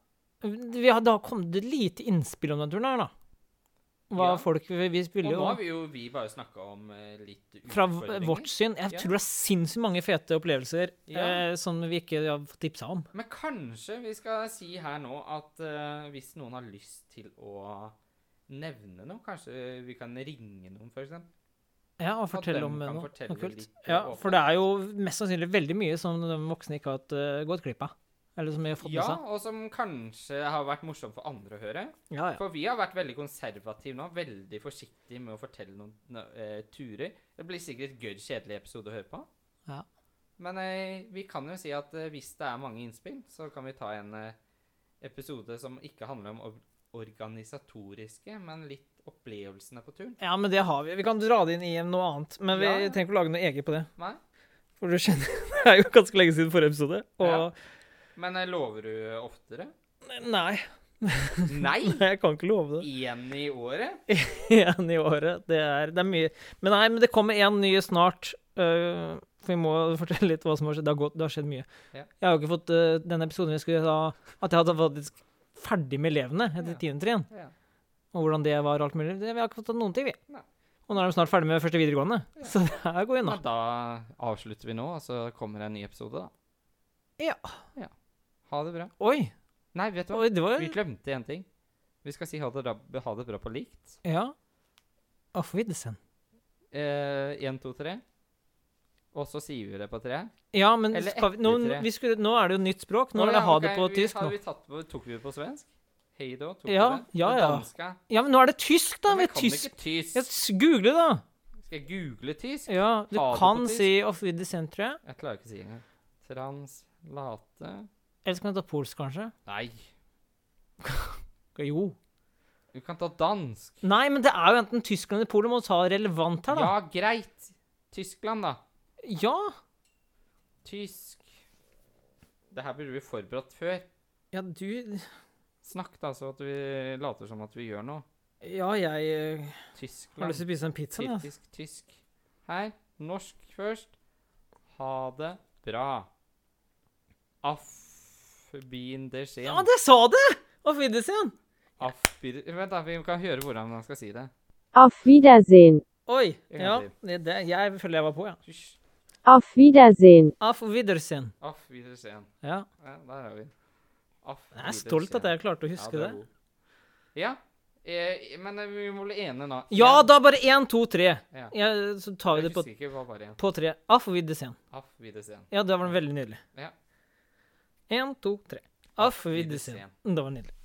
Speaker 5: Vi har, det har kommet et lite innspill om denne turen her, da. Hva
Speaker 1: Ja.
Speaker 5: folk vi, vi
Speaker 1: Og
Speaker 5: spiller
Speaker 1: nå
Speaker 5: jo
Speaker 1: har vi jo vi bare snakka om eh, litt
Speaker 5: fra v-
Speaker 1: utfordringer.
Speaker 5: vårt syn. Jeg
Speaker 1: Ja.
Speaker 5: tror det er sinnssykt mange fete opplevelser
Speaker 1: Ja.
Speaker 5: eh, som vi ikke har fått tipsa om.
Speaker 1: Men kanskje vi skal si her nå at eh, hvis noen har lyst til å nevne noe, kanskje vi kan ringe noen, f.eks.?
Speaker 5: Ja, og fortelle om
Speaker 1: dem kan
Speaker 5: noe,
Speaker 1: fortelle
Speaker 5: noe kult.
Speaker 1: litt, eh,
Speaker 5: Ja,
Speaker 1: åpent.
Speaker 5: for det er jo mest sannsynlig veldig mye som de voksne ikke har hatt, eh, gått glipp av. Eller som vi har fått med
Speaker 1: Ja,
Speaker 5: seg.
Speaker 1: og som kanskje har vært morsom for andre å høre.
Speaker 5: Ja, ja.
Speaker 1: For vi har vært veldig konservative nå, veldig forsiktige med å fortelle noen no- eh, turer. Det blir sikkert et gøy kjedelig episode å høre på.
Speaker 5: Ja.
Speaker 1: Men eh, vi kan jo si at eh, hvis det er mange innspill, så kan vi ta en eh, episode som ikke handler om or organisatoriske, men litt opplevelsene på turen.
Speaker 5: ja, men det har vi. Vi kan dra det inn i noe annet. Men vi
Speaker 1: Ja, ja.
Speaker 5: trenger ikke å lage noe eget på det.
Speaker 1: Nei?
Speaker 5: For du
Speaker 2: <laughs>
Speaker 5: kjenner Det er jo ganske lenge siden forrige episode. Og
Speaker 1: Ja. Men eh, lover du
Speaker 2: <laughs>
Speaker 1: oftere?
Speaker 5: nei,
Speaker 1: Nei!
Speaker 5: jeg kan ikke love det.
Speaker 1: Igjen i året?
Speaker 2: <laughs> igjen i året. Det er, det er mye. Men nei, men det kommer en ny snart. øh, for vi må fortelle litt hva som har skjedd. Det har, gått, det har skjedd mye.
Speaker 1: Ja.
Speaker 2: Jeg har jo ikke fått øh, denne episoden jeg skulle ha At jeg hadde faktisk ferdig med elevene etter
Speaker 1: Ja.
Speaker 2: tiende trinn.
Speaker 1: Ja.
Speaker 2: Og hvordan det var og alt mulig. Det, vi har ikke fått noen til, vi.
Speaker 1: Nei.
Speaker 2: Og nå er de snart ferdig med første videregående. Så det her går unna.
Speaker 1: Men da avslutter vi nå, og så kommer det en ny episode, da.
Speaker 2: Ja.
Speaker 1: ja. Ha det bra.
Speaker 2: Oi!
Speaker 1: Nei, vet du hva?
Speaker 2: oi det var
Speaker 1: Vi glemte en ting. Vi skal si ha det, ra- ha det bra på likt.
Speaker 2: Ja. Auf Wiedersehen.
Speaker 1: Én, Eh, to, tre. Og så sier vi det på tre.
Speaker 2: Ja, men
Speaker 1: Eller
Speaker 2: skal vi, nå,
Speaker 1: etter tre.
Speaker 2: vi skulle, nå er det jo nytt språk. Nå
Speaker 1: Å
Speaker 2: er det
Speaker 1: ja,
Speaker 2: ha
Speaker 1: ok,
Speaker 2: det på
Speaker 1: vi-
Speaker 2: tysk.
Speaker 1: har
Speaker 2: Nå.
Speaker 1: Vi tatt på, tok vi det på svensk? Hei da, tok
Speaker 2: Ja,
Speaker 1: vi det?
Speaker 2: ja,
Speaker 1: Og
Speaker 2: ja.
Speaker 1: Danska.
Speaker 2: Ja, men nå er det tysk, da!
Speaker 1: Men
Speaker 2: Vi
Speaker 1: jeg
Speaker 2: er
Speaker 1: kan
Speaker 2: tysk.
Speaker 1: ikke tysk.
Speaker 2: Ja, s- Google, da!
Speaker 1: Skal jeg google tysk?
Speaker 2: Ja,
Speaker 1: Ha
Speaker 2: du
Speaker 1: det på
Speaker 2: kan
Speaker 1: tysk.
Speaker 2: si off with the same, tror jeg.
Speaker 1: Jeg klarer ikke å si det engang. Translate
Speaker 2: Eller så kan du ta polsk, kanskje.
Speaker 1: Nei,
Speaker 2: Jo.
Speaker 1: du kan ta dansk.
Speaker 2: Nei, men det er jo enten Tyskland eller Polen. Må ta relevant her, da.
Speaker 1: Ja, greit. Tyskland, da.
Speaker 2: Ja.
Speaker 1: Tysk Det her burde vi forberedt før.
Speaker 2: Ja, du
Speaker 1: Snakk, da, så at vi later som at vi gjør noe.
Speaker 2: Ja, jeg eh, har
Speaker 1: Tyskland.
Speaker 2: lyst til å spise en pizza, jeg.
Speaker 1: Tyrkisk, tysk. Her. Norsk først. Ha det bra. Afbin det skjer.
Speaker 2: Ja, det sa det! Off with the same.
Speaker 1: Afbir... Vent, da. Vi kan høre hvordan man skal si det.
Speaker 6: Auf Wiedersehen.
Speaker 2: Oi.
Speaker 1: En gang
Speaker 2: Ja,
Speaker 1: til.
Speaker 2: det, det, jeg føler jeg var på, ja.
Speaker 1: Hysj.
Speaker 6: Auf Wiedersehen.
Speaker 2: Auf Wiedersehen.
Speaker 1: Afbin det skjer.
Speaker 2: Ja.
Speaker 1: Ja, der er vi. Afbin
Speaker 2: Jeg er stolt at jeg klarte å huske det.
Speaker 1: Ja. Eh, men vi må bli enige nå.
Speaker 2: Ja, da bare én, to, tre.
Speaker 1: Ja.
Speaker 2: Ja, så tar vi
Speaker 1: Jeg
Speaker 2: det på,
Speaker 1: husker ikke hva var igjen.
Speaker 2: på tre. Auf Wiedersehen.
Speaker 1: Afbidesen.
Speaker 2: Ja, det var veldig nydelig.
Speaker 1: Ja.
Speaker 2: Én, to, tre. Auf Wiedersehen. Det var nydelig.